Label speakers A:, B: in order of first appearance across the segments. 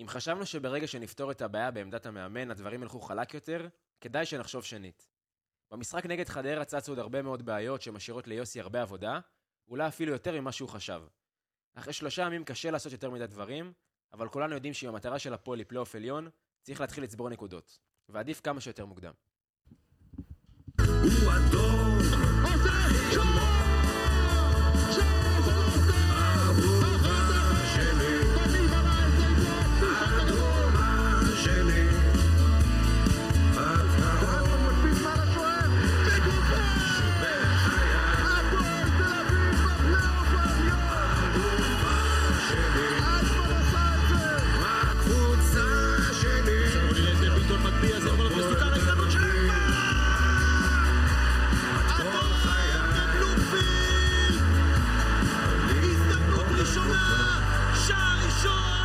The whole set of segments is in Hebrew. A: אם חשבנו שברגע שנפתור את הבעיה בעמדת המאמן, הדברים ילכו חלק יותר, כדאי שנחשוב שנית. במשחק נגד חדרה צצו עוד הרבה מאוד בעיות שמשאירות ליוסי הרבה עבודה, אולי אפילו יותר ממה שהוא חשב. אחרי שלושה ימים קשה לעשות יותר מדי דברים, אבל כולנו יודעים שאם המטרה של הפועל היא פלייאוף עליון, צריך להתחיל לצבור נקודות, ועדיף כמה שיותר מוקדם.
B: הוא אדום!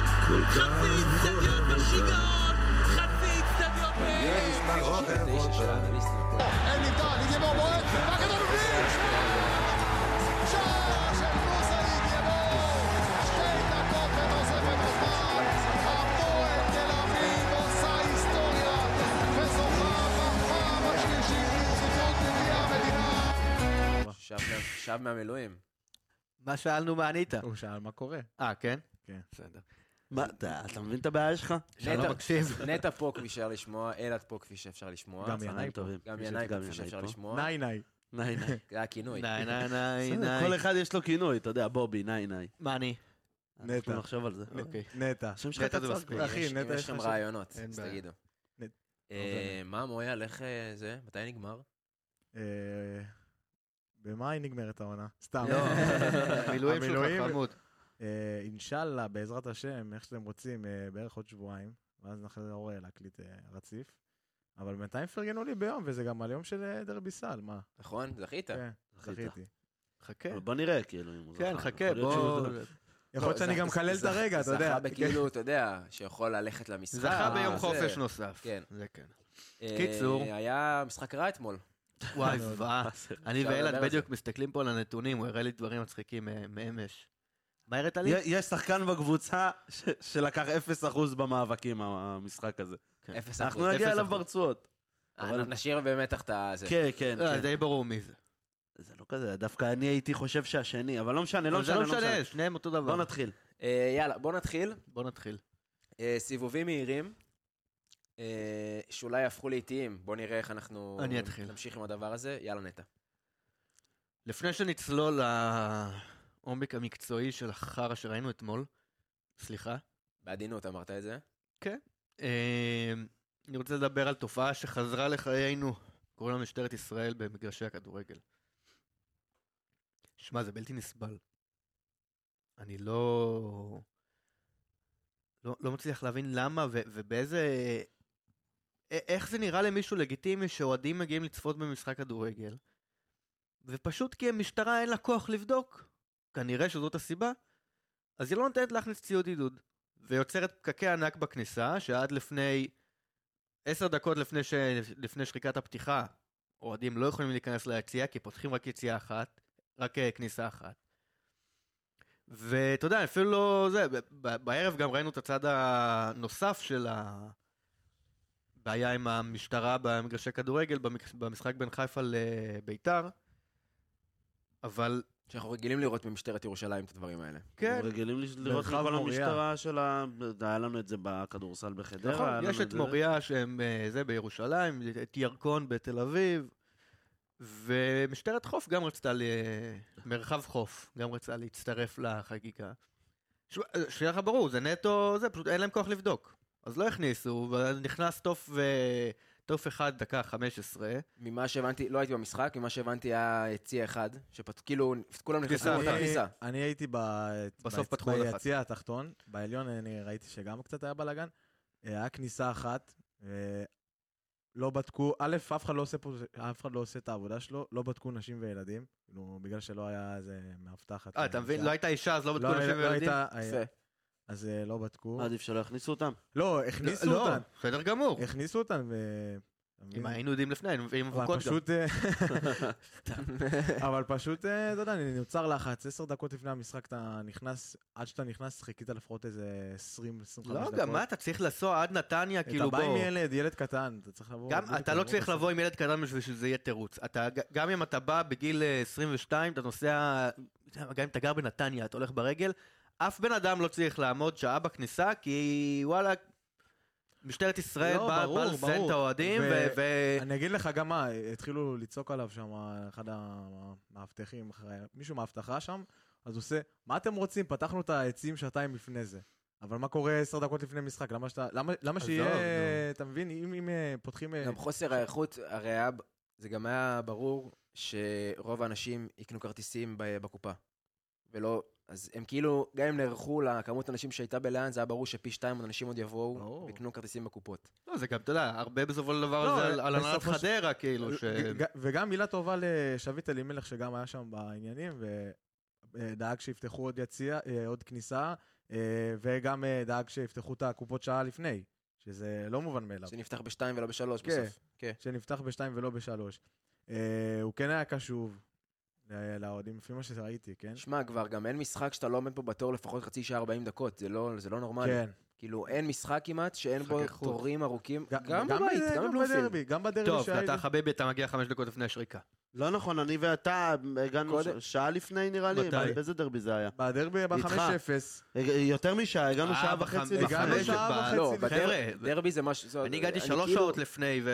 C: חצי אצטדיון בשיגעון! חצי אצטדיון
A: ילד מספר 39 של האנליסט הפועל.
D: אין נבדל, נגמור בועט, והכדור בפנים! שער של מוזאיק יבור! שתי דקות ותוספת הזמן, הפועל תל אביב עושה היסטוריה, וזוכה בפעם השלישית לזכות גביע המדינה.
A: שב מה- שב מהמילואים.
E: מה שאלנו מה ענית?
F: הוא שאל מה קורה.
E: אה, כן?
F: כן.
E: בסדר.
G: מה, אתה אתה מבין את הבעיה שלך?
E: שאני לא
A: נטע-
E: מקשיב.
A: נטע פה כפי שאפשר לשמוע, אלעד פה כפי שאפשר לשמוע.
F: גם ינאי
G: צהריים
F: פה.
G: טובים.
A: גם ינאי פה
G: גם
A: כפי
G: ינאי
A: שאפשר
G: פה.
A: לשמוע.
F: ניי ניי.
G: ניי ניי.
A: זה הכינוי.
E: ניי, ניי, ניי,
G: בסדר, כל
E: ניי.
G: אחד יש לו כינוי, אתה יודע, בובי, ניי ניי.
E: מה אני?
F: נטע.
G: אנחנו נחשוב על זה.
E: אוקיי.
F: נטע.
G: השם שלך
E: נטע זה
G: קצר
E: מספיק.
G: כבר.
F: אחי,
A: אם
F: נטע
A: יש
F: יש
A: לכם
F: לך
A: רעיונות,
F: אין
A: אז
F: בעיה. לא
A: תגידו.
F: נט-
A: אה, מה מויאל, איך אה, זה? מתי נגמר?
F: אה, במה היא נגמרת העונה? סתם.
E: לא, המילואים
F: המילואים-
E: שלך חמוד.
F: אה, אינשאללה, בעזרת השם, איך שאתם רוצים, אה, בערך עוד שבועיים, ואז נחזור אה, להקליט אה, רציף. אבל בינתיים פרגנו לי ביום, וזה גם על יום של אה, דרבי סל, מה?
A: נכון? זכית?
F: כן,
G: זכית.
F: זכיתי.
E: חכה.
G: אבל בוא נראה, כאילו, אם הוא זכה.
E: כן,
G: יכול
E: חכה,
G: להיות שהוא
E: בוא...
G: זכה.
F: יכול להיות
A: לא,
F: שאני
A: זכ-
F: גם מקלל את
A: זכ-
F: הרגע, אתה יודע.
A: זכה בכאילו, אתה יודע, שיכול ללכת למשחק. אה,
E: זכה ביום
A: זה.
E: חופש נוסף.
A: כן.
E: זה כן.
A: אה,
E: קיצור.
A: היה משחק רע אתמול.
E: וואי,
F: מאוד.
E: זוועה. אני
A: אפשר
E: ואילן
A: לדבר על זה.
E: בדיוק מסתכלים פה על הנתונים, הוא הראה לי דברים מצחיקים אה, מאמש. מה הראת לי?
G: י- יש שחקן בקבוצה ש- שלקח 0% במאבקים, המשחק הזה.
E: כן.
A: אפס אחוז.
G: אנחנו נגיע
E: אפס
G: אליו
E: אחוז.
G: ברצועות.
A: אה,
G: אבל-
A: נשאיר במתח את הזה.
G: כן, כן,
E: לא,
G: כן.
E: די ברור מי זה.
G: זה לא כזה, דווקא אני הייתי חושב שהשני, אבל לא משנה, לא
E: אבל זה
G: משנה, לא
E: לא
G: משנה.
E: משנה, שניהם אותו דבר.
G: בוא נתחיל.
A: אה, יאללה, בוא נתחיל.
E: בוא נתחיל.
A: אה, סיבובים מהירים, אה, שאולי יהפכו לאיטיים. בוא נראה איך אנחנו...
E: אני אתחיל.
A: נמשיך עם הדבר הזה. יאללה, נטע.
E: לפני שנצלול לעומק המקצועי של החרא שראינו אתמול, סליחה,
A: בעדינות אמרת את זה.
E: אה, אני רוצה לדבר על תופעה שחזרה לחיינו, קוראים לה משטרת ישראל במגרשי הכדורגל. שמע, זה בלתי נסבל. אני לא... לא, לא מצליח להבין למה ו, ובאיזה... א- איך זה נראה למישהו לגיטימי שאוהדים מגיעים לצפות במשחק כדורגל, ופשוט כי המשטרה אין לה כוח לבדוק, כנראה שזאת הסיבה, אז היא לא נותנת להכניס ציוד עידוד. ויוצרת פקקי ענק בכניסה, שעד לפני עשר דקות לפני, ש... לפני שריקת הפתיחה, אוהדים לא יכולים להיכנס ליציאה, כי פותחים רק יציאה אחת, רק אה, כניסה אחת. ואתה יודע, אפילו לא זה, ב- ב- בערב גם ראינו את הצד הנוסף של הבעיה עם המשטרה במגרשי כדורגל, במק- במשחק בין חיפה לביתר, אבל
A: שאנחנו רגילים לראות ממשטרת ירושלים את הדברים האלה.
E: כן,
G: אנחנו רגילים לש- לראות
F: מרחב
G: מכל
F: מוריה.
G: המשטרה של ה... היה לנו את זה בכדורסל בחדרה.
E: נכון,
G: היה לנו
E: יש את
G: זה.
E: מוריה שהם אה, זה בירושלים, את ירקון בתל אביב, ומשטרת חוף גם רצתה, ל... מרחב חוף, גם רצתה להצטרף לחגיגה. ש- אה, שיהיה לך ברור, זה נטו, זה פשוט אין להם כוח לבדוק. אז לא הכניסו, ונכנס תוף, ו... תוף אחד, דקה 15.
A: ממה שהבנתי, לא הייתי במשחק, ממה שהבנתי היה יציע אחד, שפת... כאילו, כולם נכנסו
E: כניסה,
A: לאותה
F: אני-
A: כניסה.
F: אני הייתי ב-
E: בסוף
F: ב-
E: פתחו עוד אחת.
F: ביציע התחתון, בעליון אני ראיתי שגם קצת היה בלאגן. אה, היה כניסה אחת, אה, לא בדקו, א', אף אחד לא עושה פה, אף אחד לא עושה את העבודה שלו, לא בדקו נשים וילדים, כאילו, בגלל שלא היה איזה מאבטחת.
E: אה, אתה מבין?
F: אישה.
E: לא הייתה אישה, אז לא בדקו
F: היה-
E: נשים
F: לא
E: וילדים?
F: הייתה- היה-
A: יפה.
F: אז אה, לא בדקו.
G: עדיף שלא יכניסו אותם.
F: לא, הכניסו
E: לא,
F: אותן,
E: בסדר גמור.
F: הכניסו אותן, ו- אתה מבין?
E: אם היינו יודעים לפני, היינו מביאים
F: אבל
E: אבוקות גם.
F: פשוט, אה, אבל פשוט, אה, אתה יודע, נוצר לחץ, עשר דקות לפני המשחק אתה נכנס, עד שאתה נכנס חיכית לפחות איזה 20-25 דקות.
E: לא, גם מה, אתה צריך לנסוע עד נתניה, כאילו
F: אתה בא עם
E: בוא.
F: ילד, ילד קטן, אתה צריך לבוא...
E: גם,
F: בדיוק
E: אתה לא
F: לבוא
E: צריך
F: בסוף.
E: לבוא עם ילד קטן בשביל שזה יהיה תירוץ. אתה, ג- גם אם אתה בא בגיל אה, 22, אתה נוסע, גם אם אתה גר בנתניה, אתה הולך ברגל, אף בן אדם לא צריך לעמוד שעה בכניסה, כי וואלה, משטרת ישראל
F: לא,
E: באה
F: ברור,
E: בא לזיין את
F: ברור.
E: האוהדים,
F: ו-
E: ו... ו-
F: אני אגיד לך גם מה, התחילו לצעוק עליו שם, אחד המאבטחים, מישהו מהאבטחה שם, אז הוא עושה, מה אתם רוצים? פתחנו את העצים שעתיים לפני זה. אבל מה קורה עשר דקות לפני משחק? למה שאתה, למה, למה
E: עזוב,
F: שיהיה,
E: נו.
F: אתה מבין, אם, אם אה, פותחים... אה,
A: גם חוסר האיכות, הרי היה- זה גם היה ברור שרוב האנשים יקנו כרטיסים ב- בקופה. ולא, אז הם כאילו, גם אם נערכו לכמות האנשים שהייתה בלאן, זה היה ברור שפי שתיים אנשים עוד יבואו
F: ברור.
A: ויקנו כרטיסים בקופות.
E: לא, זה גם, אתה יודע, הרבה בסופו של דבר
F: לא,
E: זה על- על הנהלת
F: בסופו של-
E: חדרה, כאילו, ש...
F: ג- ג- וגם מילה טובה לשביט אלימלך, שגם היה שם בעניינים, ודאג שיפתחו עוד יציע, אה, עוד כניסה, אה, וגם אה, דאג שיפתחו את הקופות שעה לפני, שזה לא מובן מאליו.
A: שנפתח בשתיים ולא בשלוש
F: כן.
A: בסוף. כן.
F: שנפתח בשתיים ולא בשלוש. אה, הוא כן היה קשוב ל- לאוהדים, לפי מה שראיתי, כן?
A: שמע, כבר גם אין משחק שאתה לא עומד פה בתור לפחות חצי שעה 40 דקות, זה לא, זה לא נורמלי.
F: כן.
A: כאילו, אין משחק כמעט שאין בו
E: משחקי חוץ.
A: תורים ארוכים,
F: ג-
A: גם בבית,
F: בזה-
A: גם בבלומפילד.
F: בדרבי, גם בדרבי
E: טוב,
F: שהיה...
E: אתה
F: לי-
E: חביבי, אתה מגיע חמש דקות לפני השריקה.
G: לא נכון, אני ואתה הגענו
A: קודם-
G: ש- שעה לפני נראה לי,
E: מתי?
G: באיזה דרבי זה היה? אה,
F: בדרבי ב-5-0.
G: יותר משעה, הגענו
E: אה,
G: שעה
E: בחמ-
G: וחצי
E: בחמש,
G: לפני.
F: הגענו
E: בחמש,
F: שעה
E: ב-
F: וחצי
A: לא,
F: לפני.
A: בדרבי-
E: חבר'ה,
A: דרבי זה משהו... זה-
E: אני הגעתי שלוש
A: כאילו-
E: שעות לפני, ו...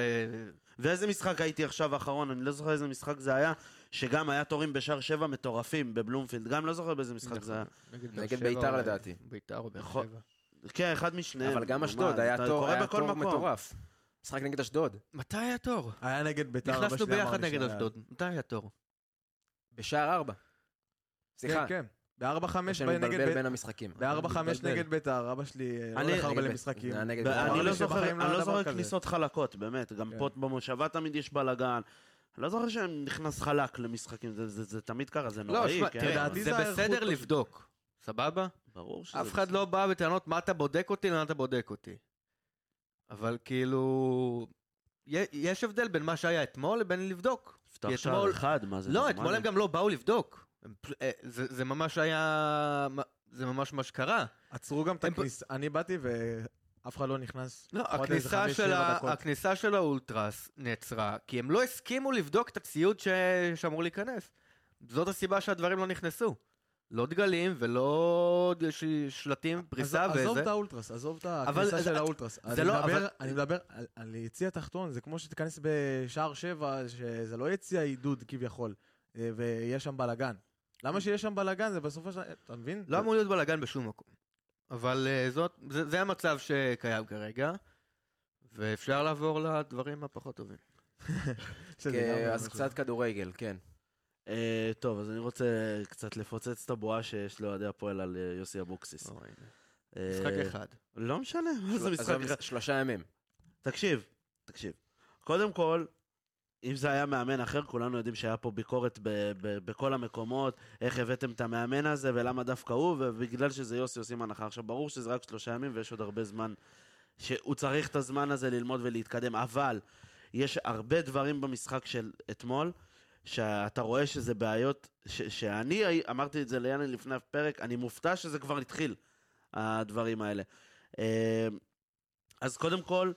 G: ואיזה משחק הייתי עכשיו האחרון, אני לא זוכר איזה משחק זה היה, שגם היה תורים בשער שבע מטורפים בבלומפילד, גם לא זוכר באיזה
E: נכון.
G: משחק זה היה.
A: נגד ביתר לדעתי.
E: ביתר או באר
G: נכון.
E: שבע.
G: כן, אחד משניהם.
A: אבל גם
G: נו,
A: אשדוד,
G: מה,
A: היה
G: אתה
A: תור
G: קורא
A: היה
G: בכל
A: תור
G: מקום.
A: מטורף. משחק נגד אשדוד.
E: מתי היה תור?
F: היה נגד ביתר.
E: נכנסנו
F: בשנייה
E: ביחד נגד
F: הראשונה.
E: אשדוד. מתי היה תור?
A: בשער ארבע. סליחה,
F: כן, כן. ב-4-5
A: יש לנו
F: נגד
A: מבלבל
F: ביתר.
A: בין המשחקים.
F: ב-4-5
E: מתבלבל.
F: נגד ביתר, אבא שלי אה, לא
G: אני-
F: הולך הרבה
A: אני-
F: למשחקים.
A: זה היה נגד
G: ב-
A: בית"ר.
G: אני
F: אמרתי
G: לא זוכר-
F: שבחיים לא
G: אני
F: היה
G: לא
F: דבר
G: זוכר
F: כזה.
G: כניסות חלקות, באמת. גם
F: כן.
G: פה במושבה תמיד יש בלאגן. אני לא זוכר שנכנס חלק למשחקים, זה- זה זה תמיד ככה, זה נוראי. כן.
E: תראה,
F: לדעתי
E: לא, זה
F: זה האיכות
E: בסדר
F: פשוט.
E: לבדוק. סבבה?
G: ברור שזה...
E: אף אחד לא בא בטענות מה אתה בודק אותי, לאן אתה בודק אותי. אבל כאילו... י- יש הבדל בין מה שהיה אתמול לבין לבדוק.
G: יפתח
E: כי
G: שער
E: אתמול-
G: אחד, מה זה?
E: לא,
G: נורמלי?
E: אתמול הם גם לא באו לבדוק. הם פשוט- אה, זה זה ממש היה... זה ממש מה שקרה.
F: עצרו גם את
E: הם-
F: הכניסה. אני באתי ואף אחד לא נכנס.
E: לא,
F: עוד איזה
E: הכניסה
F: חמש,
E: של,
F: שבע
E: ה...
F: דקות.
E: הכניסה של האולטרס נעצרה, כי הם לא הסכימו לבדוק את הציוד ש... שאמור להיכנס. זאת הסיבה שהדברים לא נכנסו. לא דגלים ולא ש... שלטים, פריסה
F: עזוב- עזוב
E: וזה.
F: את האולטרס, עזוב את
E: אבל
F: הכניסה
E: זה-
F: של האולטרס. אני
E: זה לא-
F: מדבר-
E: אבל-
F: אני מדבר על- על יציע תחתון, זה כמו שתיכנס בשער שבע, שזה לא יציע עידוד כביכול, אה, ויש שם בלאגן. למה שיש שם בלאגן? זה בסופו של... אתה מבין?
E: אה. לא אמור להיות בלאגן בשום מקום. אבל אה, זאת, זה, זה המצב שקיים כרגע, ואפשר לעבור לדברים הפחות טובים.
F: שזה
A: כן,
F: גם
A: אז
F: משהו.
A: קצת כדורגל, כן.
G: אה, טוב, אז אני רוצה קצת לפוצץ את הבועה שיש לאוהדי הפועל על אה, יוסי אבוקסיס.
E: לא, הנה.
G: אה,
E: משחק אחד.
G: לא משנה, מה זה
A: אז
G: משחק
A: זה
G: אחד?
A: שלושה ימים.
G: תקשיב, תקשיב. קודם כל, אם זה היה מאמן אחר, כולנו יודעים שהיה פה ביקורת ב- ב- בכל המקומות, איך הבאתם את המאמן הזה ולמה דווקא הוא, ובגלל שזה יוסי עושים הנחה. עכשיו, ברור שזה רק שלושה ימים ויש עוד הרבה זמן, שהוא צריך את הזמן הזה ללמוד ולהתקדם, אבל יש הרבה דברים במשחק של אתמול, שאתה רואה שזה בעיות, ש- שאני הי- אמרתי את זה ליאני לפני הפרק, אני מופתע שזה כבר התחיל, הדברים האלה. אה, אז קודם כל,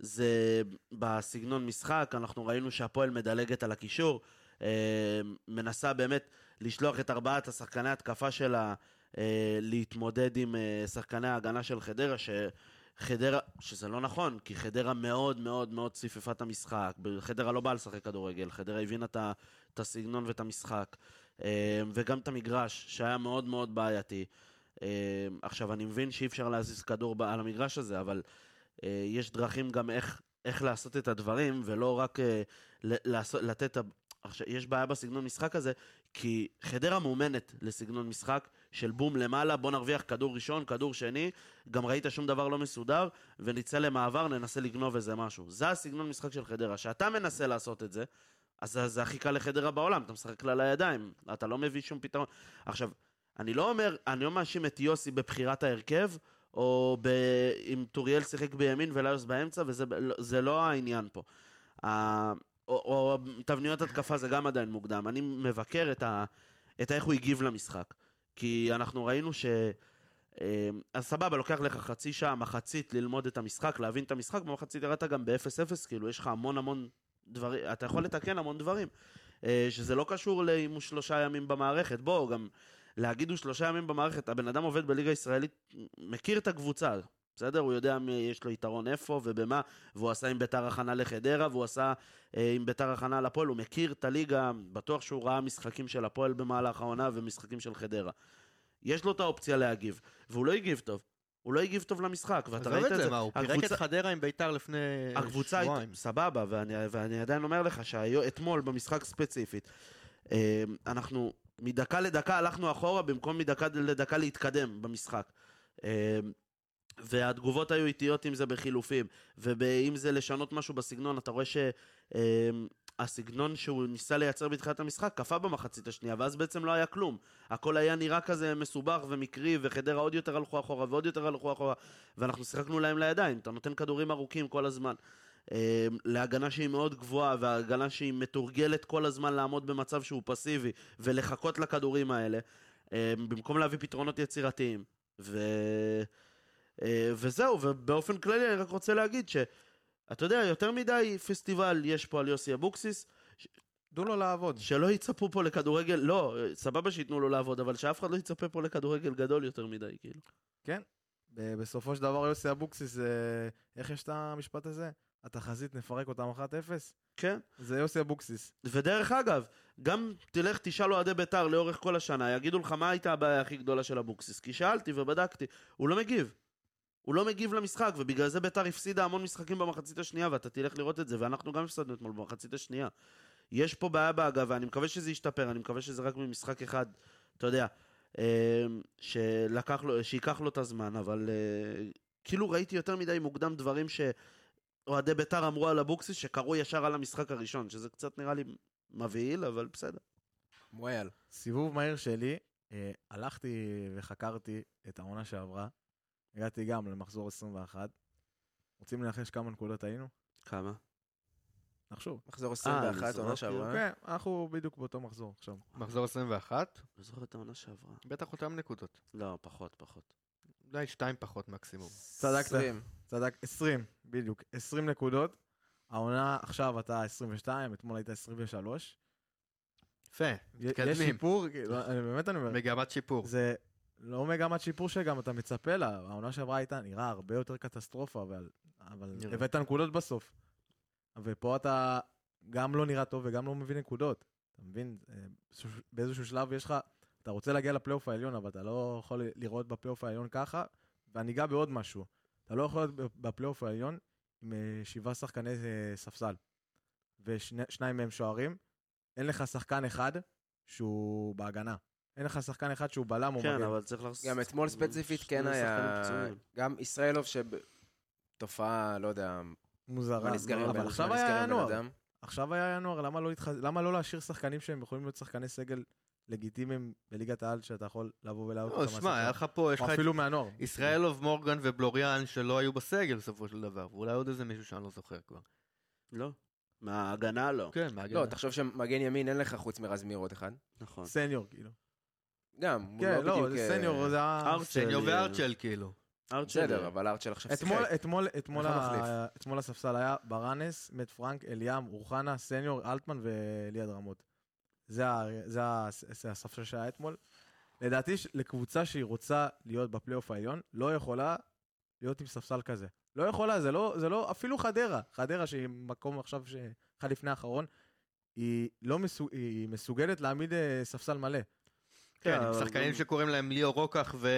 G: זה בסגנון משחק, אנחנו ראינו שהפועל מדלגת על הקישור, אה, מנסה באמת לשלוח את ארבעת השחקני התקפה שלה אה, להתמודד עם אה, שחקני ההגנה של חדרה, שחדרה, שזה לא נכון, כי חדרה מאוד מאוד מאוד ציפפה את המשחק, חדרה לא באה לשחק כדורגל, חדרה הבינה את, ה- את הסגנון ואת המשחק, אה, וגם את המגרש, שהיה מאוד מאוד בעייתי. אה, עכשיו, אני מבין שאי אפשר להזיז כדור ב- על המגרש הזה, אבל אה, יש דרכים גם איך, איך לעשות את הדברים, ולא רק אה, ל- לעשות, לתת... את ה- עכשיו, יש בעיה בסגנון משחק הזה, כי חדרה מאומנת לסגנון משחק של בום למעלה, בוא נרוויח כדור ראשון, כדור שני, גם ראית שום דבר לא מסודר, ונצא למעבר, ננסה לגנוב איזה משהו. זה הסגנון משחק של חדרה. שאתה מנסה לעשות את זה, אז זה, זה הכי קל לחדרה בעולם, אתה משחק לה לידיים, אתה לא מביא שום פתרון. עכשיו, אני לא אומר, אני לא מאשים את יוסי בבחירת ההרכב, או ב... אם טוריאל שיחק בימין וליוס באמצע, וזה ב- לא- זה לא העניין פה. ה- או, או תבניות התקפה זה גם עדיין מוקדם. אני מבקר את, ה, את איך הוא הגיב למשחק. כי אנחנו ראינו ש... אה, אז סבבה, לוקח לך חצי שעה, מחצית, ללמוד את המשחק, להבין את המשחק, במחצית ירדת גם ב-0-0, כאילו, יש לך המון המון דברים, אתה יכול לתקן המון דברים. אה, שזה לא קשור לאם הוא שלושה ימים במערכת. בואו, גם להגיד הוא שלושה ימים במערכת, הבן אדם עובד בליגה הישראלית, מכיר את הקבוצה, בסדר? הוא יודע מי יש לו יתרון איפה ובמה, והוא עשה עם ביתר הכנה לחדרה, והוא עשה אה, עם ביתר הכנה לפועל, הוא מכיר את הליגה, בטוח שהוא ראה משחקים של הפועל במהלך העונה ומשחקים של חדרה. יש לו את האופציה להגיב, והוא לא הגיב טוב. הוא לא הגיב טוב למשחק, ואתה
E: עזוב
G: ראית את זה.
E: מה, הוא פירק
G: הקבוצה-
E: את חדרה עם ביתר לפני
G: הקבוצה הייתה,
E: שבועיים.
G: אה, סבבה, ואני, ואני עדיין אומר לך שאתמול במשחק ספציפית, אה, אנחנו מדקה לדקה הלכנו אחורה במקום מדקה לדקה להתקדם במשחק. אה, והתגובות היו איטיות אם זה בחילופים, ואם זה לשנות משהו בסגנון, אתה רואה שהסגנון שהוא ניסה לייצר בתחילת המשחק קפא במחצית השנייה, ואז בעצם לא היה כלום. הכל היה נראה כזה מסובך ומקרי, וחדרה עוד יותר הלכו אחורה ועוד יותר הלכו אחורה, ואנחנו שיחקנו להם לידיים, אתה נותן כדורים ארוכים כל הזמן. אה, להגנה שהיא מאוד גבוהה, והגנה שהיא מתורגלת כל הזמן לעמוד במצב שהוא פסיבי, ולחכות לכדורים האלה, אה, במקום להביא פתרונות יצירתיים. ו... אה, וזהו, ובאופן כללי אני רק רוצה להגיד ש... אתה יודע, יותר מדי פסטיבל יש פה על יוסי אבוקסיס,
F: תנו לו לעבוד.
G: שלא יצפו פה לכדורגל, לא, אה, סבבה שייתנו לו לעבוד, אבל שאף אחד לא יצפה פה לכדורגל גדול יותר מדי, כאילו.
F: ב- בסופו של דבר יוסי אבוקסיס, אה, איך יש את המשפט הזה? התחזית נפרק אותם 1-0?
G: כן.
F: זה יוסי אבוקסיס.
G: ודרך אגב, גם תלך תשאל אוהדי בית"ר לאורך כל השנה, יגידו לך מה הייתה הבעיה הכי גדולה של אבוקסיס. כי שאלתי ובדקתי, הוא לא מגיב. הוא לא מגיב למשחק, ובגלל זה בית"ר הפסידה המון משחקים במחצית השנייה, ואתה תלך לראות את זה, ואנחנו גם הפסדנו אתמול במחצית השנייה. יש פה בעיה בהגה, ואני מקווה שזה ישתפר, אני מקווה שזה רק ממשחק אחד, אתה יודע, אה, שלקח לו, שייקח לו את הזמן, אבל אה, כאילו ראיתי יותר מדי מוקדם דברים שאוהדי בית"ר אמרו על אבוקסיס, שקרו ישר על המשחק הראשון, שזה קצת נראה לי מבהיל, אבל בסדר.
A: מויאל.
F: סיבוב מהיר שלי, אה, הלכתי וחקרתי את העונה שעברה. הגעתי גם למחזור 21. רוצים לנחש כמה נקודות היינו?
G: כמה?
F: נחשוב.
A: מחזור 21,
G: זרוק,
A: עונה שעברה.
F: אה, כן, אנחנו בדיוק באותו מחזור עכשיו.
E: מחזור 21,
G: לא זוכר את העונה שעברה.
E: בטח אותם נקודות.
G: לא, פחות, פחות.
E: אולי שתיים פחות מקסימום.
F: צדקת.
A: 20.
F: צדק, 20, בדיוק. 20 נקודות. העונה עכשיו אתה 22, אתמול הייתה 23.
E: יפה,
F: י- יש
E: מתקדמים.
F: שיפור, כאילו, אני- באמת אני אומר.
E: מגמת שיפור.
F: זה לא מגמת שיפור שגם אתה מצפה לה, העונה שעברה הייתה נראה הרבה יותר קטסטרופה, אבל, אבל
E: נראה.
F: הבאת נקודות בסוף. ופה אתה גם לא נראה טוב וגם לא מביא נקודות. אתה מבין? אה, ש- באיזשהו שלב יש לך, אתה רוצה להגיע לפלייאוף העליון, אבל אתה לא יכול לראות בפלייאוף העליון ככה, ואני אגע בעוד משהו. אתה לא יכול להיות בפלייאוף העליון עם אה, שבעה שחקני אה, ספסל, ושניים מהם שוערים. אין לך שחקן אחד שהוא בהגנה. אין לך שחקן אחד שהוא בלם או
G: כן,
F: מגן.
G: אבל צריך לחס...
A: גם אתמול ספציפית
G: שני
A: כן היה...
G: שחקנים פצועים.
A: גם ישראלוב שבתופעה, לא יודע,
F: מוזרה.
A: מה נסגרים
F: אבל
A: בן- מה
F: עכשיו
A: נסגרים
F: היה
A: בן
F: ינואר.
A: אדם?
F: עכשיו היה ינואר, למה לא, התח... למה לא להשאיר שחקנים שהם יכולים להיות שחקני סגל לגיטימיים בליגת העל, שאתה יכול לבוא ולהעלות
E: לא, שמע, היה לך פה, יש לך
F: או
E: את
F: אפילו מהנוער.
E: ישראלוב מורגן ובלוריאן שלא היו בסגל בסופו של דבר, ואולי עוד איזה מישהו שאני לא זוכר כבר.
G: לא. מההגנה לא.
E: כן, מעגל.
A: לא, תחשוב שמגן ימין אין לך חוץ מרז מאיר עוד אחד.
G: נכון.
F: סניור, כאילו.
A: גם, הוא
F: כן, לא,
A: בדיוק,
F: זה
A: אה,
F: סניור, זה היה...
G: ארצ'ל.
E: סניו וארצ'ל כאילו.
G: ארצ'ל.
A: בסדר, אבל ארצ'ל עכשיו שיחק.
F: אתמול, אתמול, אתמול,
A: איך
F: ה-
A: המחליף?
F: אתמול הספסל היה ברנס, מת פרנק, אליאם, אוחנה, סניור, אלטמן ואליעד רמות. זה, ה- זה, ה- זה הספסל שהיה אתמול. לדעתי, ש- לקבוצה שהיא רוצה להיות בפלייאוף העליון, לא יכולה להיות עם ספסל כזה. לא יכולה, זה לא, זה לא, אפילו חדרה, חדרה שהיא מקום עכשיו, ש... אחד לפני האחרון, היא, לא מסוג, היא מסוגלת להעמיד אה, ספסל מלא.
E: כן,
G: אבל
E: עם שחקנים
G: גם-
E: שקוראים להם ליאו רוקח ורז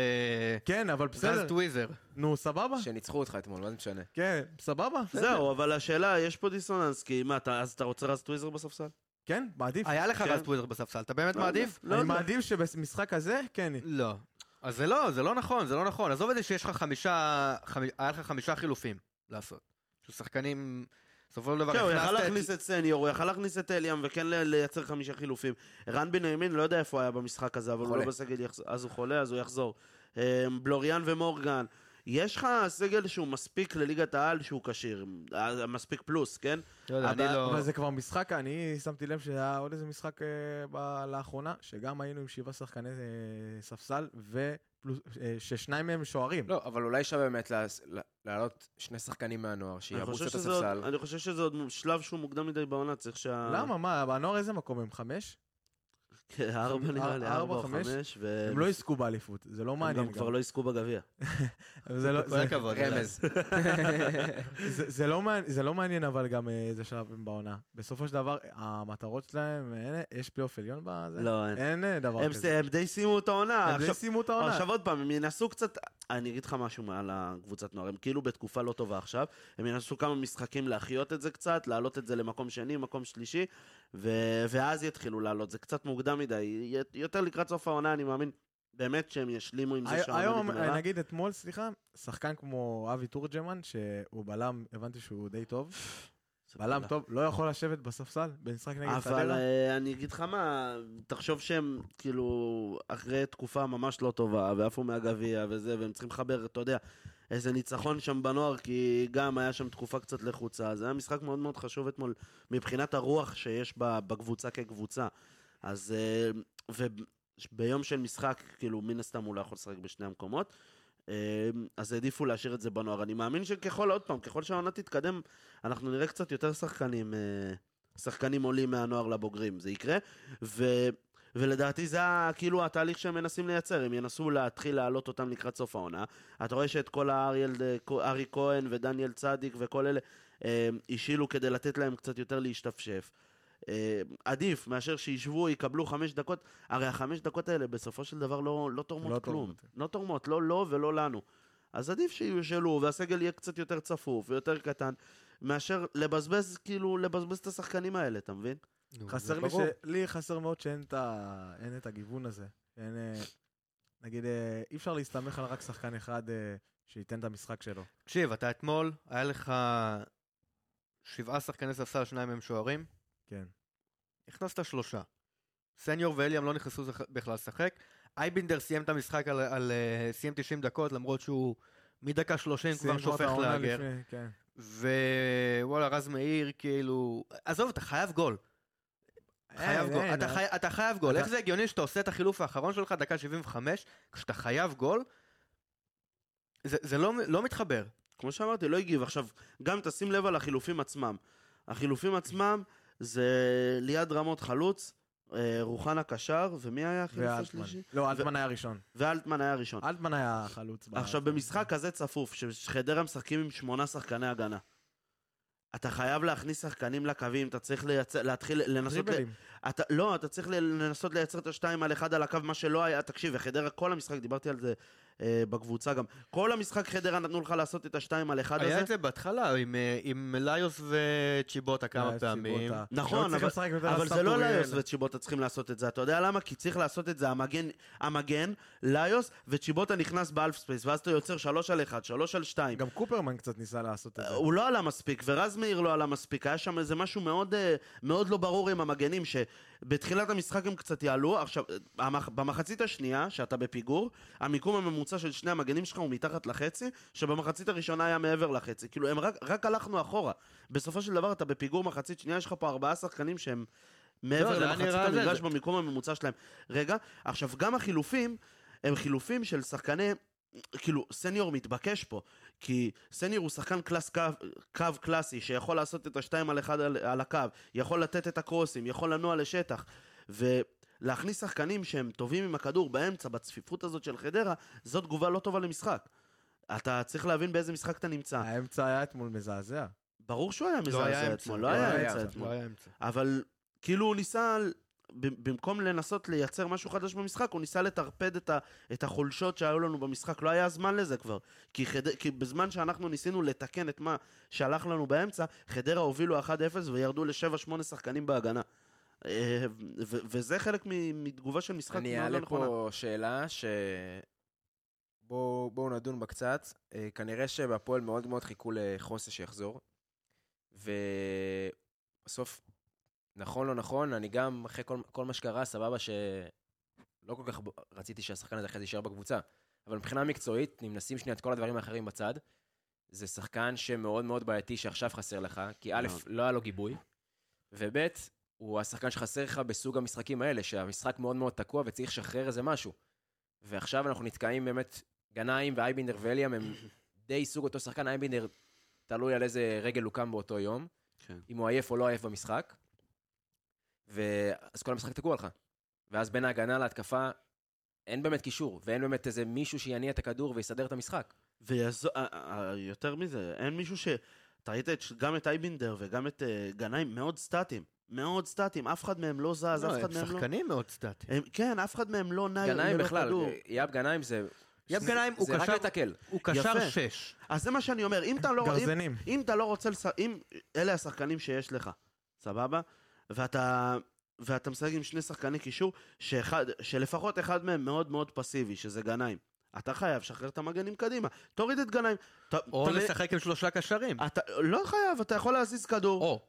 F: כן, אבל בסדר.
E: טוויזר.
F: נו, סבבה?
A: שניצחו אותך אתמול, מה זה משנה?
F: כן, סבבה. בסדר.
G: זהו, אבל השאלה, יש פה דיסוננס, כי מה, אתה- אז אתה רוצה רז טוויזר בספסל?
F: כן, מעדיף.
E: היה לך
G: כן.
E: רז טוויזר בספסל, אתה באמת
G: לא יודע.
E: מעדיף?
G: לא
F: אני
G: יודע.
F: מעדיף שבמשחק הזה, כן.
E: לא. אז זה לא, זה לא נכון, זה לא נכון. עזוב את זה שיש לך חמישה, חמ... היה לך חמישה חילופים לעשות. של שחקנים, בסופו של דבר
G: כן, הוא יכל
E: הכנסת-
G: להכניס את סניור, הוא יכל להכניס את אליאם, וכן ל- לייצר חמישה חילופים. רן בנימין, לא יודע איפה הוא היה במשחק הזה, אבל הוא
A: חולה.
G: לא בסגל, יחז- אז הוא חולה, אז הוא יחזור. אמ, בלוריאן ומורגן, יש לך סגל שהוא מספיק לליגת העל שהוא כשיר, אה, מספיק פלוס, כן?
E: לא יודע, אני
G: אבל-
E: לא...
F: אבל זה כבר משחק, אני שמתי לב שהיה עוד איזה משחק אה, ב- לאחרונה, שגם היינו עם שבעה שחקני אה, ספסל, ופלוס- אה, ששניים מהם שוערים.
A: לא, אבל אולי אפשר באמת לעס- לה- להעלות שני שחקנים מהנוער,
G: אני
A: שיעבוצו
G: חושב,
A: את
G: שזה עוד,
A: הספסל.
G: אני חושב שזה עוד שלב שהוא מוקדם מדי בעונה, צריך שה...
F: למה? מה, בנוער איזה מקום הם? חמש?
G: כן, ארבע נראה לי,
F: ארבע,
G: ארבע או
F: חמש?
G: חמש, ו...
F: הם לא יזכו באליפות, זה לא
G: אה, הם
F: מעניין.
G: גם כבר לא יזכו בגביע.
F: זה לא-
E: כל
F: זה-
E: הכבוד.
A: רמז.
F: זה- זה לא מעניין- זה לא מעניין, אבל גם אה, איזה שלב הם בעונה. בסופו של דבר, המטרות שלהם, אין- יש פלייאוף עליון בזה?
G: לא, אין.
F: אין אה, דבר
G: הם,
F: כזה.
G: הם די סיימו את העונה.
F: הם
G: עכשיו,
F: די סיימו את העונה.
G: עכשיו עוד פעם, הם ינסו קצת... אני אגיד לך משהו מעל הקבוצת נוער, הם כאילו בתקופה לא טובה עכשיו, הם ינסו כמה משחקים להחיות את זה קצת, להעלות את זה למקום שני, מקום שלישי, ו... ואז יתחילו לעלות, זה קצת מוקדם מדי, י- יותר לקראת סוף העונה, אני מאמין, באמת שהם ישלימו עם זה
F: הי-
G: שהעונה
F: היום, אה,
G: נגמרה.
F: נגיד אתמול, סליחה, שחקן כמו אבי תורג'מן, שהוא בלם, הבנתי שהוא די טוב, בלם טוב, לא יכול לשבת בספסל במשחק נגד
G: אבל
F: חדרה.
G: אה, אני אגיד לך מה, תחשוב שהם כאילו אחרי תקופה ממש לא טובה, ועפו מהגביע וזה, והם צריכים לחבר, אתה יודע, איזה ניצחון שם בנוער, כי גם היה שם תקופה קצת לחוצה. זה היה משחק מאוד מאוד חשוב אתמול, מבחינת הרוח שיש ב- בקבוצה כקבוצה. אז... אה, וביום של משחק, כאילו, מן הסתם הוא לא יכול לשחק בשני המקומות. אה, אז העדיפו להשאיר את זה בנוער. אני מאמין שככל, עוד פעם, ככל שהעונה תתקדם, אנחנו נראה קצת יותר שחקנים, אה, שחקנים עולים מהנוער לבוגרים, זה יקרה. ו... ולדעתי זה ה- כאילו התהליך שהם מנסים לייצר, הם ינסו להתחיל להעלות אותם לקראת סוף העונה. אתה רואה שאת כל האריאל, אה, ארי כהן ודניאל צדיק וכל אלה אה, השילו כדי לתת להם קצת יותר להשתפשף. אה, עדיף מאשר שישבו, יקבלו חמש דקות, הרי החמש דקות האלה בסופו של דבר לא, לא תורמות
F: לא
G: כלום.
F: תורמות.
G: לא תורמות, לא לו ולא לנו. אז עדיף שיושאלו, והסגל יהיה קצת יותר צפוף ויותר קטן, מאשר לבזבז, כאילו, לבזבז את השחקנים האלה, אתה מבין?
F: חסר לי, ש... לי חסר מאוד שאין את, ה... אין את הגיוון הזה. אין, אה, נגיד, אה, אי אפשר להסתמך על רק שחקן אחד אה, שייתן את המשחק שלו.
E: תקשיב, אתה אתמול, היה לך שבעה שחקני ספסל, שניים הם שוערים,
F: כן.
E: הכנסת שלושה. סניור ואליאם לא נכנסו זכ- בכלל לשחק. אייבינדר סיים את המשחק על, על אה, סיים 90 דקות, למרות שהוא מדקה
G: כן,
E: 30 כבר
F: סיימו את
E: שופך
F: העונה
E: לאגר.
F: לפני- כן.
E: ווואלה, רז מאיר, כאילו... עזוב, אתה חייב גול. חייב
F: אין,
E: גול.
F: אין,
E: אתה
F: אה.
E: חי- אתה חייב גול.
F: אתה-
E: איך זה הגיוני שאתה עושה את החילוף האחרון שלך, דקה 75, כשאתה חייב גול? זה- זה לא לא מתחבר.
G: כמו שאמרתי, לא הגיב. עכשיו, גם תשים לב על החילופים עצמם. החילופים עצמם זה ליד רמות חלוץ, אה, רוחנה קשר, ומי היה החילוף
F: ואלטמן.
G: השלישי?
F: לא, אלטמן היה ראשון.
G: ואלטמן היה הראשון.
F: אלטמן היה חלוץ. ב-
G: עכשיו, במשחק כזה צפוף, שחדרה משחקים עם שמונה שחקני הגנה. אתה חייב להכניס שחקנים לקווים, אתה צריך לייצר, להתחיל לנסות... ל-
F: דריבלים.
G: אתה, לא, אתה צריך ל- לנסות לייצר את השתיים על אחד על הקו, מה שלא היה, תקשיב, וחדרה, כל המשחק, דיברתי על זה אה, בקבוצה גם, כל המשחק חדרה נתנו לך לעשות את השתיים על אחד
E: היה
G: הזה.
E: את זה בהתחלה עם, אה, עם ליוס וצ'יבוטה כמה
F: היה
E: פעמים.
F: סיבוטה.
G: נכון,
F: לא צריך
G: אבל-
F: לשחק יותר על
G: אבל זה לא
F: סאטוריאל.
G: ליוס וצ'יבוטה צריכים לעשות את זה, אתה יודע למה? כי צריך לעשות את זה המגן, המגן ליוס, וצ'יבוטה נכנס באלף ספייס, ואז אתה יוצר שלוש על אחד, שלוש על שתיים.
F: גם קופרמן קצת ניסה לעשות את זה.
G: הוא לא עלה מספיק, ורז מאיר לא עלה מספיק, היה שם איזה משהו מאוד, אה, מאוד לא ברור עם המגנים, שבתחילת המשחק הם קצת יעלו, עכשיו, אה, המח- במחצית השנייה, שאתה בפיגור, המיקום הממוצע של שני המגנים שלך הוא מתחת לחצי, שבמחצית הראשונה היה מעבר לחצי, כאילו, הם רק, רק הלכנו אחורה. בסופו של דבר אתה בפיגור מחצית שנייה, יש לך פה ארבעה שחקנים שהם מעבר
E: לא, זה היה
G: למחצית
E: נראה זה,
G: המגרש
E: זה-
G: במיקום הממוצע שלהם. רגע, עכשיו, גם החילופים, הם חילופים של שחקני... כאילו, סניור מתבקש פה, כי סניור הוא שחקן קלאס קו, קו קלאסי, שיכול לעשות את השתיים על אחד על, על הקו, יכול לתת את הקרוסים, יכול לנוע לשטח, ולהכניס שחקנים שהם טובים עם הכדור באמצע, בצפיפות הזאת של חדרה, זו תגובה לא טובה למשחק. אתה צריך להבין באיזה משחק אתה נמצא.
F: האמצע היה אתמול מזעזע.
G: ברור שהוא היה
E: אה. לא היה
G: מזעזע
E: אמצע,
G: אתמול, לא היה אמצע
E: לא
G: אתמול.
E: היה אמצע.
G: אבל כאילו הוא ניסה, ב- במקום לנסות לייצר משהו חדש במשחק, הוא ניסה לטרפד את, ה, את החולשות שהיו לנו במשחק. לא היה זמן לזה כבר. כי, חד... כי בזמן שאנחנו ניסינו לתקן את מה שהלך לנו באמצע, חדרה הובילו 1-0 וירדו ל-7-8 שחקנים בהגנה. אה, ו- ו- וזה חלק מ- מתגובה של משחק
A: אני
G: מאוד לא
A: אעלה
G: נכונה.
A: פה שאלה ש... בואו בואו נדון בה קצת. אה, כנראה שבהפועל מאוד מאוד חיכו לחוסה שיחזור. ובסוף, נכון לא נכון, אני גם, לא אחרי כל, כל מה שקרה, סבבה שלא כל כך ב- רציתי שהשחקן הזה אחרי זה יישאר בקבוצה. אבל מבחינה מקצועית, אם נשים שנייה את כל הדברים האחרים בצד, זה שחקן שמאוד מאוד בעייתי שעכשיו חסר לך, כי א',
G: מאוד.
A: לא היה לו גיבוי, וב', הוא השחקן שחסר לך בסוג המשחקים האלה, שהמשחק מאוד מאוד תקוע וצריך לשחרר איזה משהו. ועכשיו אנחנו נתקעים באמת, גנאים ואייבינדר ואליאם הם די סוג אותו שחקן, אייבינדר תלוי על איזה רגל הוא קם באותו יום,
G: כן.
A: אם הוא עייף או לא עייף במשחק, ואז כל המשחק תקוע לך. ואז בין ההגנה להתקפה, אין באמת קישור, ואין באמת איזה מישהו שיניע את הכדור ויסדר את המשחק.
G: ויעזור, אה, אה, יותר מזה, אין מישהו ש... אתה ראית את, ש- גם את אייבינדר וגם את אה, גנאים מאוד סטטיים. מאוד סטטיים, אף אחד מהם לא זז, אף
E: לא, אה,
G: אחד
E: הם
G: מהם לא...
E: שחקנים מאוד סטטיים.
G: הם, כן, אף אחד מהם לא נע
A: גנאים
G: ללא
A: בכלל, אה,
G: כדור.
A: יאב גנאים זה...
E: יאב גנאים הוא
A: זה רק
E: קשר-
A: לתקל.
E: הוא קשר
G: יפה.
E: שש.
G: אז זה מה שאני אומר, אם אתה לא... אם,
F: גרזנים.
G: אם אתה לא רוצה לש... אם אלה השחקנים שיש לך, סבבה? ואתה... ואתה משחק עם שני שחקני קישור, שאחד, שלפחות אחד מהם מאוד מאוד פסיבי, שזה גנאים. אתה חייב לשחרר את המגנים קדימה. תוריד את גנאים. ת-
E: או
G: תמ-
E: לשחק עם שלושה קשרים.
G: אתה לא חייב, אתה יכול להזיז כדור.
E: או.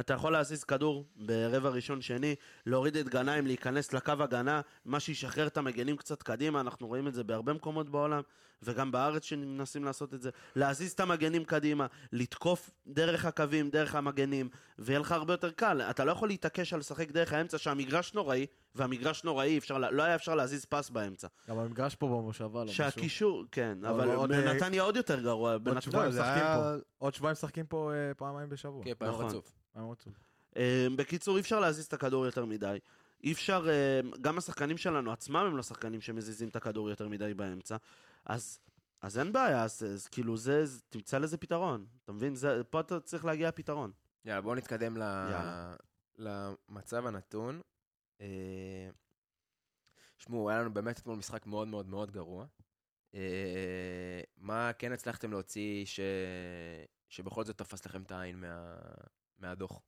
G: אתה יכול להזיז כדור ברבע ראשון שני, להוריד את גנאים, להיכנס לקו הגנה, מה שישחרר את המגנים קצת קדימה, אנחנו רואים את זה בהרבה מקומות בעולם, וגם בארץ שמנסים לעשות את זה. להזיז את המגנים קדימה, לתקוף דרך הקווים, דרך המגנים, ויהיה לך הרבה יותר קל. אתה לא יכול להתעקש על לשחק דרך האמצע שהמגרש נוראי, והמגרש נוראי, אפשר, לה- לא היה אפשר להזיז פס באמצע.
F: גם המגרש פה במושבה, לא משהו.
G: שהקישור, כן,
F: אבל
G: אבל
F: עוד, אה,
G: נתניה עוד יותר גרוע. בנתניה.
F: שבועיים
E: זה
F: משחקים
E: היה-
F: פה. עוד שבועיים משחקים פה אה, פעמיים בשבוע.
A: כן, פעם
G: נכון.
A: רצוף.
F: פעמיים רצוף.
G: אה, בקיצור, אי אפשר להזיז את הכדור יותר מדי. אי אפשר, אה, גם השחקנים שלנו עצמם הם לא שחקנים שמזיזים את הכדור יותר מדי באמצע. אז, אז אין בעיה, אז, אז כאילו זה, זה, תמצא לזה פתרון. אתה מבין? זה, פה אתה צריך להגיע לפתרון.
A: יאללה, בואו נתקדם ל...
G: יאללה.
A: למצב הנתון. אה, שמעו, היה לנו באמת אתמול משחק מאוד מאוד מאוד גרוע. אה, מה כן הצלחתם להוציא ש... שבכל זאת תפס לכם את העין מה... מהדוח?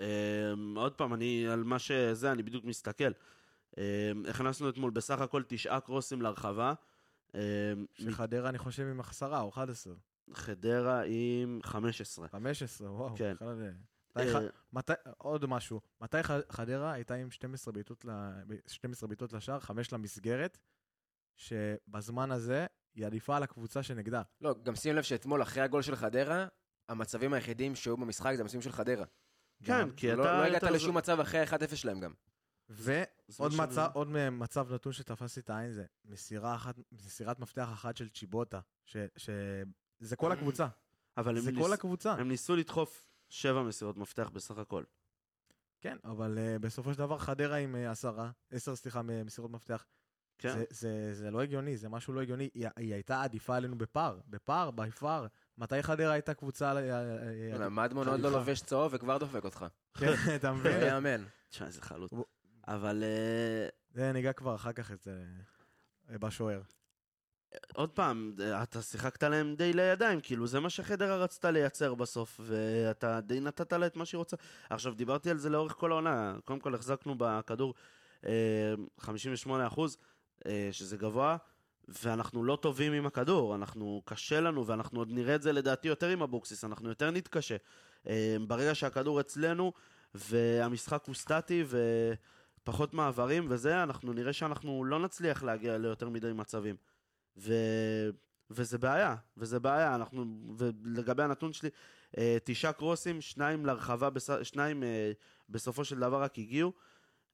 G: אה, עוד פעם, אני, על מה שזה, אני בדיוק מסתכל. אה, הכנסנו אתמול בסך הכל תשעה קרוסים להרחבה. אה,
F: שחדרה, אני חושב, עם החסרה, או 11.
G: חדרה עם 15.
F: 15, וואו.
G: כן.
F: בכלל, אה,
G: אה,
F: מתי ח- מתי, עוד משהו, מתי ח- חדרה הייתה עם 12 בעיטות, ל- ב- 12 בעיטות לשער, 5 למסגרת, שבזמן הזה היא עדיפה על הקבוצה שנגדה.
A: לא, גם שים לב שאתמול, אחרי הגול של חדרה, המצבים היחידים שהיו במשחק זה המצבים של חדרה.
G: כן,
F: גם.
G: כי אתה...
A: לא, לא הגעת
G: יותר-
A: לשום מצב אחרי ה-1-0 שלהם גם.
G: זה
F: ועוד
G: מה שאני-
F: מצב, עוד מ- מצב נתון שתפס לי את העין זה מסירה אחת, מסירת מפתח אחת של צ'יבוטה, ש... ש... זה כל הקבוצה,
G: אבל הם
F: זה
G: ניס-
F: כל הקבוצה.
G: הם ניסו לדחוף שבע מסירות מפתח בסך הכל.
F: כן, אבל אה, בסופו של דבר חדרה עם אה, עשרה, עשר, סליחה, מ- מסירות מפתח.
G: כן.
F: זה, זה, זה לא הגיוני, זה משהו לא הגיוני. היא, היא הייתה עדיפה עלינו בפער, בפער, בי פאר. מתי חדרה הייתה קבוצה... על- אה, אה,
A: בוא'נה, מדמון עוד לא
F: חליפה.
A: לובש צהוב וכבר דופק אותך.
F: כן, אתה
A: לא
F: מבין?
A: יאמן.
G: תשמע, איזה חלוט.
F: הוא-
G: אבל אה,
F: זה ניגע כבר אחר כך את זה אה, בשוער.
G: עוד פעם, אה, אתה שיחקת להם די לידיים, כאילו זה מה שחדרה רצתה לייצר בסוף, ואתה די נתת לה את מה שהיא רוצה. עכשיו, דיברתי על זה לאורך כל העונה, קודם כל החזקנו בכדור אה, 58 אחוז, אה, שזה גבוה, ואנחנו לא טובים עם הכדור, אנחנו, קשה לנו, ואנחנו עוד נראה את זה לדעתי יותר עם אבוקסיס, אנחנו יותר נתקשה. אה, ברגע שהכדור אצלנו, והמשחק הוא סטטי, ו... פחות מעברים וזה, אנחנו נראה שאנחנו לא נצליח להגיע ליותר מדי מצבים. ו... וזה בעיה, וזה בעיה, אנחנו, ולגבי הנתון שלי, אה, תשעה קרוסים, שניים לרחבה, בס... שניים אה, בסופו של דבר רק הגיעו.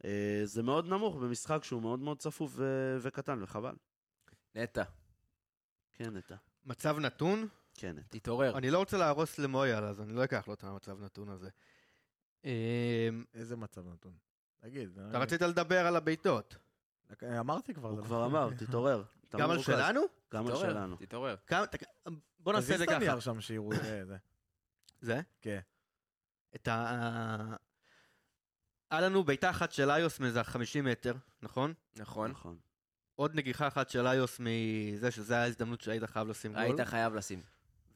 G: אה, זה מאוד נמוך במשחק שהוא מאוד מאוד צפוף ו... וקטן, וחבל.
A: נטע,
G: כן, נטע.
E: מצב נתון?
G: כן, נטע.
A: תתעורר.
E: אני לא רוצה להרוס למויאל, אז אני לא אקח לו את המצב נתון הזה. אמ,
F: איזה מצב נתון. תגיד.
E: אתה רצית לדבר על הבעיטות.
F: אה, אמרתי כבר.
G: הוא
F: זה
G: כבר
F: לא-
G: אמר, תתעורר. אתה
E: גם על
G: מרוכז.
E: שלנו?
G: גם על
A: תתעורר,
G: שלנו.
A: תתעורר.
E: כמה- ת- בוא נעשה את
F: תזיז
E: זה
F: את
E: ככה.
F: הנייר שם שיראו אה, זה.
E: זה?
F: כן.
E: את ה... היה לנו בעיטה אחת של איוס מאיזה 50 מטר, נכון?
A: נכון.
G: נכון.
E: עוד נגיחה אחת של איוס מזה, שזו הייתה ההזדמנות שהיית חייב לשים גול.
A: היית חייב לשים.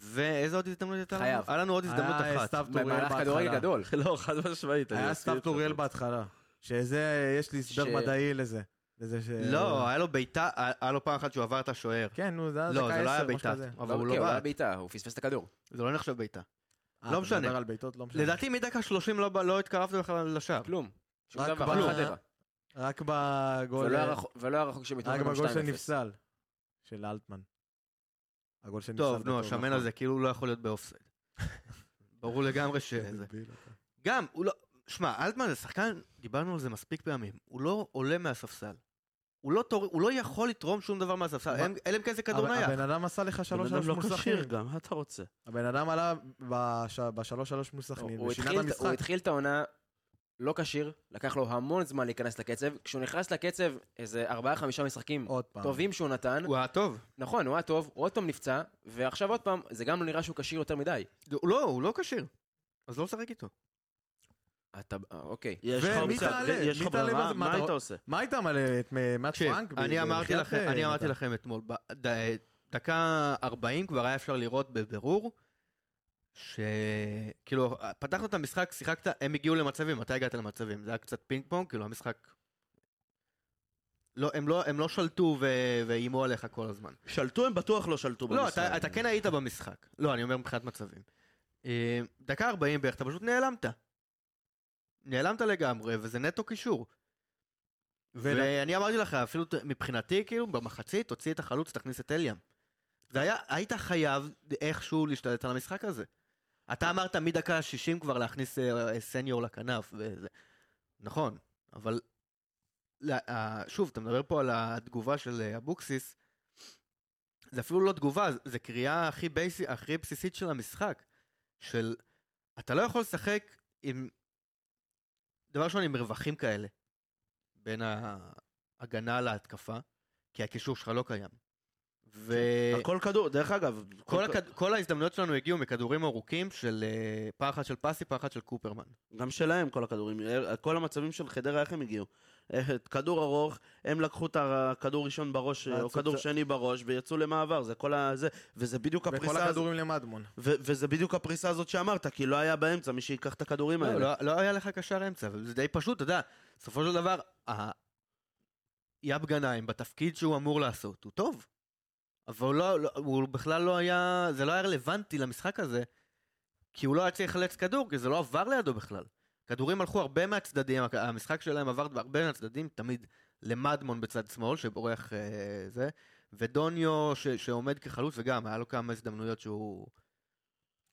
E: ואיזה עוד הזדמנות הייתה לנו?
A: חייב. אה,
E: היה לנו עוד הזדמנות
F: היה
E: אחת.
F: סתיו טוריאל
A: במהלך
F: בהתחלה.
A: כדורגל גדול.
G: לא, חד משמעית. אני
F: היה
G: מסכים
F: סתיו
G: איתך.
F: טוריאל בהתחלה. שזה, יש לי הסבר
A: ש-
F: מדעי לזה. לזה ש...
E: לא, היה לו בעיטה, היה לו פעם אחת שהוא עבר את השוער.
F: כן, נו, זה היה
E: לא,
F: דקה
E: זה לא היה
F: עשר, משהו
E: בעיטה,
F: כזה.
E: אבל הוא
A: כן,
E: לא
A: הוא היה
E: בעט.
A: בעיטה, הוא פספס את הכדור.
E: זה לא נחשב בעיטה.
F: אה,
E: לא
F: אתה
E: משנה.
F: מדבר על בעיטות, לא משנה.
E: לדעתי מדקה 30 לא, לא התקרבת בכלל לשער.
A: כלום. שום
F: רק
A: דבר,
F: כלום.
A: חדרה.
F: רק בגול...
E: לא
A: ולא היה רחוק- ולא היה רחוק שהם
F: רק
A: יתמודדו
F: בגול
A: עם 2-0.
F: שנפסל. של אלטמן. הגול שנפסל נכון.
E: טוב, נו,
F: בטוב.
A: נכון.
E: השמן הזה כאילו לא יכול להיות באופסייד. ברור לגמרי שזה.
F: דביל אתה.
E: גם, הוא לא... שמע, אלטמן זה שחקן, דיברנו על זה מספיק פעמים, הוא לא עולה מהספסל. הוא לא, תור... הוא לא יכול לתרום שום דבר מהספסל,
F: אבל-
E: אין- אלא אם כן זה כדור
F: הבן
E: נייח.
F: הבן אדם עשה לך
G: בן
F: שלוש
G: אדם
F: שלוש
G: לא
F: מול
G: כשיר
F: סכנין.
G: גם, מה אתה רוצה?
F: הבן אדם עלה בש- בשלוש שלוש מול סכנין,
A: הוא
F: ושינה
A: התחיל-
F: את
A: הוא
F: המשחק.
A: התחיל את העונה לא כשיר, לקח לו המון זמן להיכנס לקצב. כשהוא נכנס לקצב, איזה ארבעה-חמישה משחקים
F: עוד פעם.
A: טובים שהוא נתן.
E: הוא היה טוב.
A: נכון, הוא היה טוב, הוא עוד פעם נפצע, ועכשיו עוד פעם, זה גם לא נראה שהוא כשיר יותר מדי.
E: הוא לא, הוא לא כשיר. אז לא לשחק איתו.
A: אתה, אה, אוקיי.
G: יש לך
F: ומי
G: אופציה,
F: תעלה?
G: יש
F: מי
G: לך
F: תעלה
G: ברירה,
F: בזה? מה
G: מה
F: אתה-
G: היית עושה?
F: מה היית מלא את מ- מאט
E: תקשיב,
F: פרנק?
E: אני
F: ב-
E: אמרתי
F: בחייאת,
E: לכם,
F: אה,
E: אני אמרתי
F: נתן.
E: לכם אתמול, ב- ד- דקה 40 כבר היה אפשר לראות בבירור, שכאילו, פתחנו את המשחק, שיחקת, הם הגיעו למצבים, אתה הגעת למצבים, זה היה קצת פינג פונג, כאילו המשחק... לא, הם לא, הם לא שלטו ו- ואיימו עליך כל הזמן.
G: שלטו, הם בטוח לא שלטו
E: לא,
G: במשחק.
E: אתה, אתה כן היית במשחק. לא, אני אומר מבחינת מצבים. אה, דקה 40 בערך, אתה פשוט נעלמת. נעלמת לגמרי, וזה נטו קישור.
F: ול-
E: ואני אמרתי לך, אפילו ת- מבחינתי, כאילו, במחצית, תוציא את החלוץ, תכניס את אליאם. זה היה, היית חייב איכשהו להשתלט על המשחק הזה. אתה אמרת מדקה ה-60 כבר להכניס אה, אה, סניור לכנף, וזה... נכון, אבל... לה- אה, שוב, אתה מדבר פה על התגובה של אה, אבוקסיס, זה אפילו לא תגובה, זה- זה קריאה הכי, בייסי, הכי בסיסית של המשחק. של אתה לא יכול לשחק עם... דבר ראשון, עם רווחים כאלה. בין ההגנה להתקפה, כי הקישור שלך לא קיים. וכל
G: הכל כדור, דרך אגב.
E: הכד... כל ההזדמנויות שלנו הגיעו מכדורים ארוכים של אה, פעם אחת של פסי, פעם אחת של קופרמן.
G: גם שלהם כל הכדורים, כל המצבים של חדרה, איך הם הגיעו? אה, כדור ארוך, הם לקחו את הכדור ראשון בראש,
E: אה,
G: או
F: רצו
G: כדור
F: קצת-
G: שני בראש, ויצאו למעבר, זה כל ה... זה, וזה בדיוק
F: וכל
G: הפריסה הזאת,
F: הכדורים למדמון.
G: ו- וזה בדיוק הפריסה הזאת שאמרת, כי לא היה באמצע מי שיקח את הכדורים
E: לא,
G: האלה.
E: לא, לא היה לך קשר אמצע, וזה די פשוט, אתה יודע, בסופו של דבר, ה... יאב גנאים, בתפקיד שהוא אמור לעשות, הוא טוב. אבל הוא, לא, לא, הוא בכלל לא היה, זה לא היה רלוונטי למשחק הזה, כי הוא לא היה צריך לחלץ כדור, כי זה לא עבר לידו בכלל. כדורים הלכו הרבה מהצדדים, הכ- המשחק שלהם עבר הרבה מהצדדים, תמיד למדמון בצד שמאל, שבורח אה, זה, ודוניו ש, שעומד כחלוץ, וגם, היה לו כמה הזדמנויות שהוא...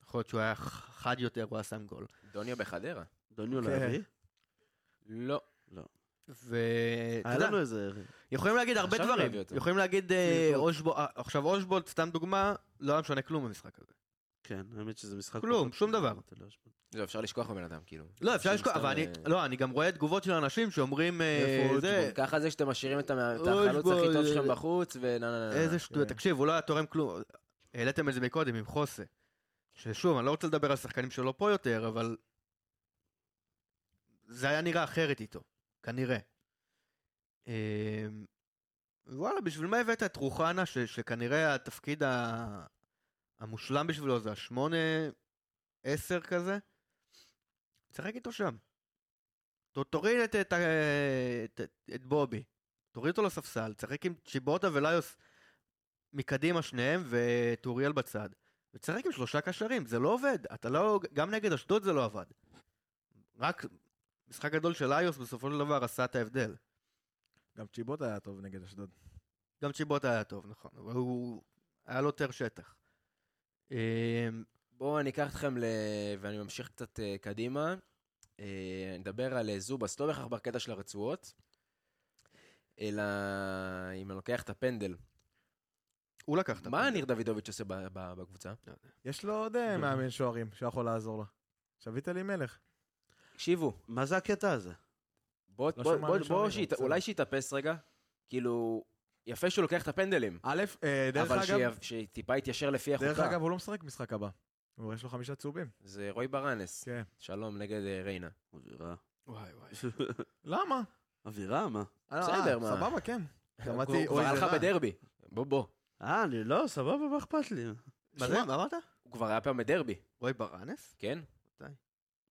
E: יכול להיות שהוא היה ח- חד יותר, הוא היה שם גול.
A: דוניו בחדרה?
G: דוניו
F: כן.
E: אוקיי.
G: להביא?
A: לא.
E: ואתה
G: היה
E: יודע,
G: לנו איזה...
E: יכולים להגיד הרבה
A: חשבנו
E: דברים,
A: להביא אותו. כאילו-
E: יכולים להגיד אה,
G: מיעוט.
E: אושבולט, אה, עכשיו אושבולט, סתם דוגמה, לא היה משנה כלום במשחק הזה.
G: כן, האמת שזה משחק...
E: כלום,
G: פחות- לא,
E: שום דבר.
A: זהו, אפשר לשכוח בבן אדם, כאילו.
E: לא, אפשר לשכוח,
A: סתם,
E: אבל אני,
A: אה,
E: לא, אני גם רואה תגובות של אנשים שאומרים, אה,
F: איפה
E: זה,
A: ככה זה שאתם משאירים את המ- את
E: אוי,
A: החלוץ הכי
E: בוא,
A: טוב
E: אה,
A: שלכם בחוץ, ונה נה נה נה.
E: איזה שטויות,
F: כן.
E: תקשיב, הוא לא היה תורם כלום, העליתם את זה מקודם עם חוסה, ששוב, אני לא רוצה לדבר על שחקנים שלא פה יותר, אבל זה היה נראה אחרת איתו, כנראה. אה, וואלה, בשביל מה הבאת את רוחנה, ש- שכנראה התפקיד ה- המושלם בשבילו זה השמונה, עשר כזה? תשחק איתו שם. ת- תוריד את, את, ה- את, את בובי, תוריד אותו לספסל, תשחק עם צ'יבוטה וליוס מקדימה שניהם ואת אוריאל בצד. ותשחק עם שלושה קשרים, זה לא עובד. אתה לא... גם נגד אשדוד זה לא עבד. רק משחק גדול של איוס בסופו של דבר עשה את ההבדל.
F: גם צ'יבוט היה טוב נגד אשדוד.
E: גם צ'יבוטה היה טוב, נכון. אבל הוא... היה לו יותר שטח. אמ,
A: בואו אני אקח אתכם ל... ואני ממשיך קצת אה, קדימה. אה, נדבר על אה, זובס, לא בהכרח בקטע של הרצועות, אלא אם אני לוקח את הפנדל.
E: הוא לקח את
A: מה
E: הפנדל.
A: ניר
E: לא
A: דוידוביץ' עושה ב- ב- בקבוצה?
F: יש לו עוד אה, מאמן שוערים שיכול לעזור לו. שביט אלימלך.
A: תקשיבו,
G: מה זה הקטע הזה?
A: בוא,
F: לא
A: בוא,
F: שמענו
A: בוא,
F: שום
A: בוא
F: דבר,
A: שית,
F: בסדר.
A: אולי שיתאפס רגע. כאילו, יפה שהוא לוקח את הפנדלים.
F: א', אה, דרך
A: אבל
F: אגב,
A: שיב- שטיפה יתיישר לפי
F: דרך
A: החוקה.
F: אגב, הוא לא משחק משחק הבא. הוא יש לו חמישה צהובים.
A: זה רוי ברנס,
F: כן.
A: שלום נגד אה, ריינה.
G: אווירה.
E: וואי וואי.
F: למה?
G: אווירה, מה?
A: בסדר,
F: אה,
A: מה?
F: סבבה, כן. שמעתי,
A: הוא כבר
F: אוי,
A: היה
F: זה
A: לך
F: רע.
A: בדרבי. בוא, בוא.
G: אה, אני לא, סבבה, מה אכפת לי?
E: מה זה? מה אמרת?
A: הוא כבר היה פעם בדרבי,
E: רועי ברנס?
A: כן?
E: מתי?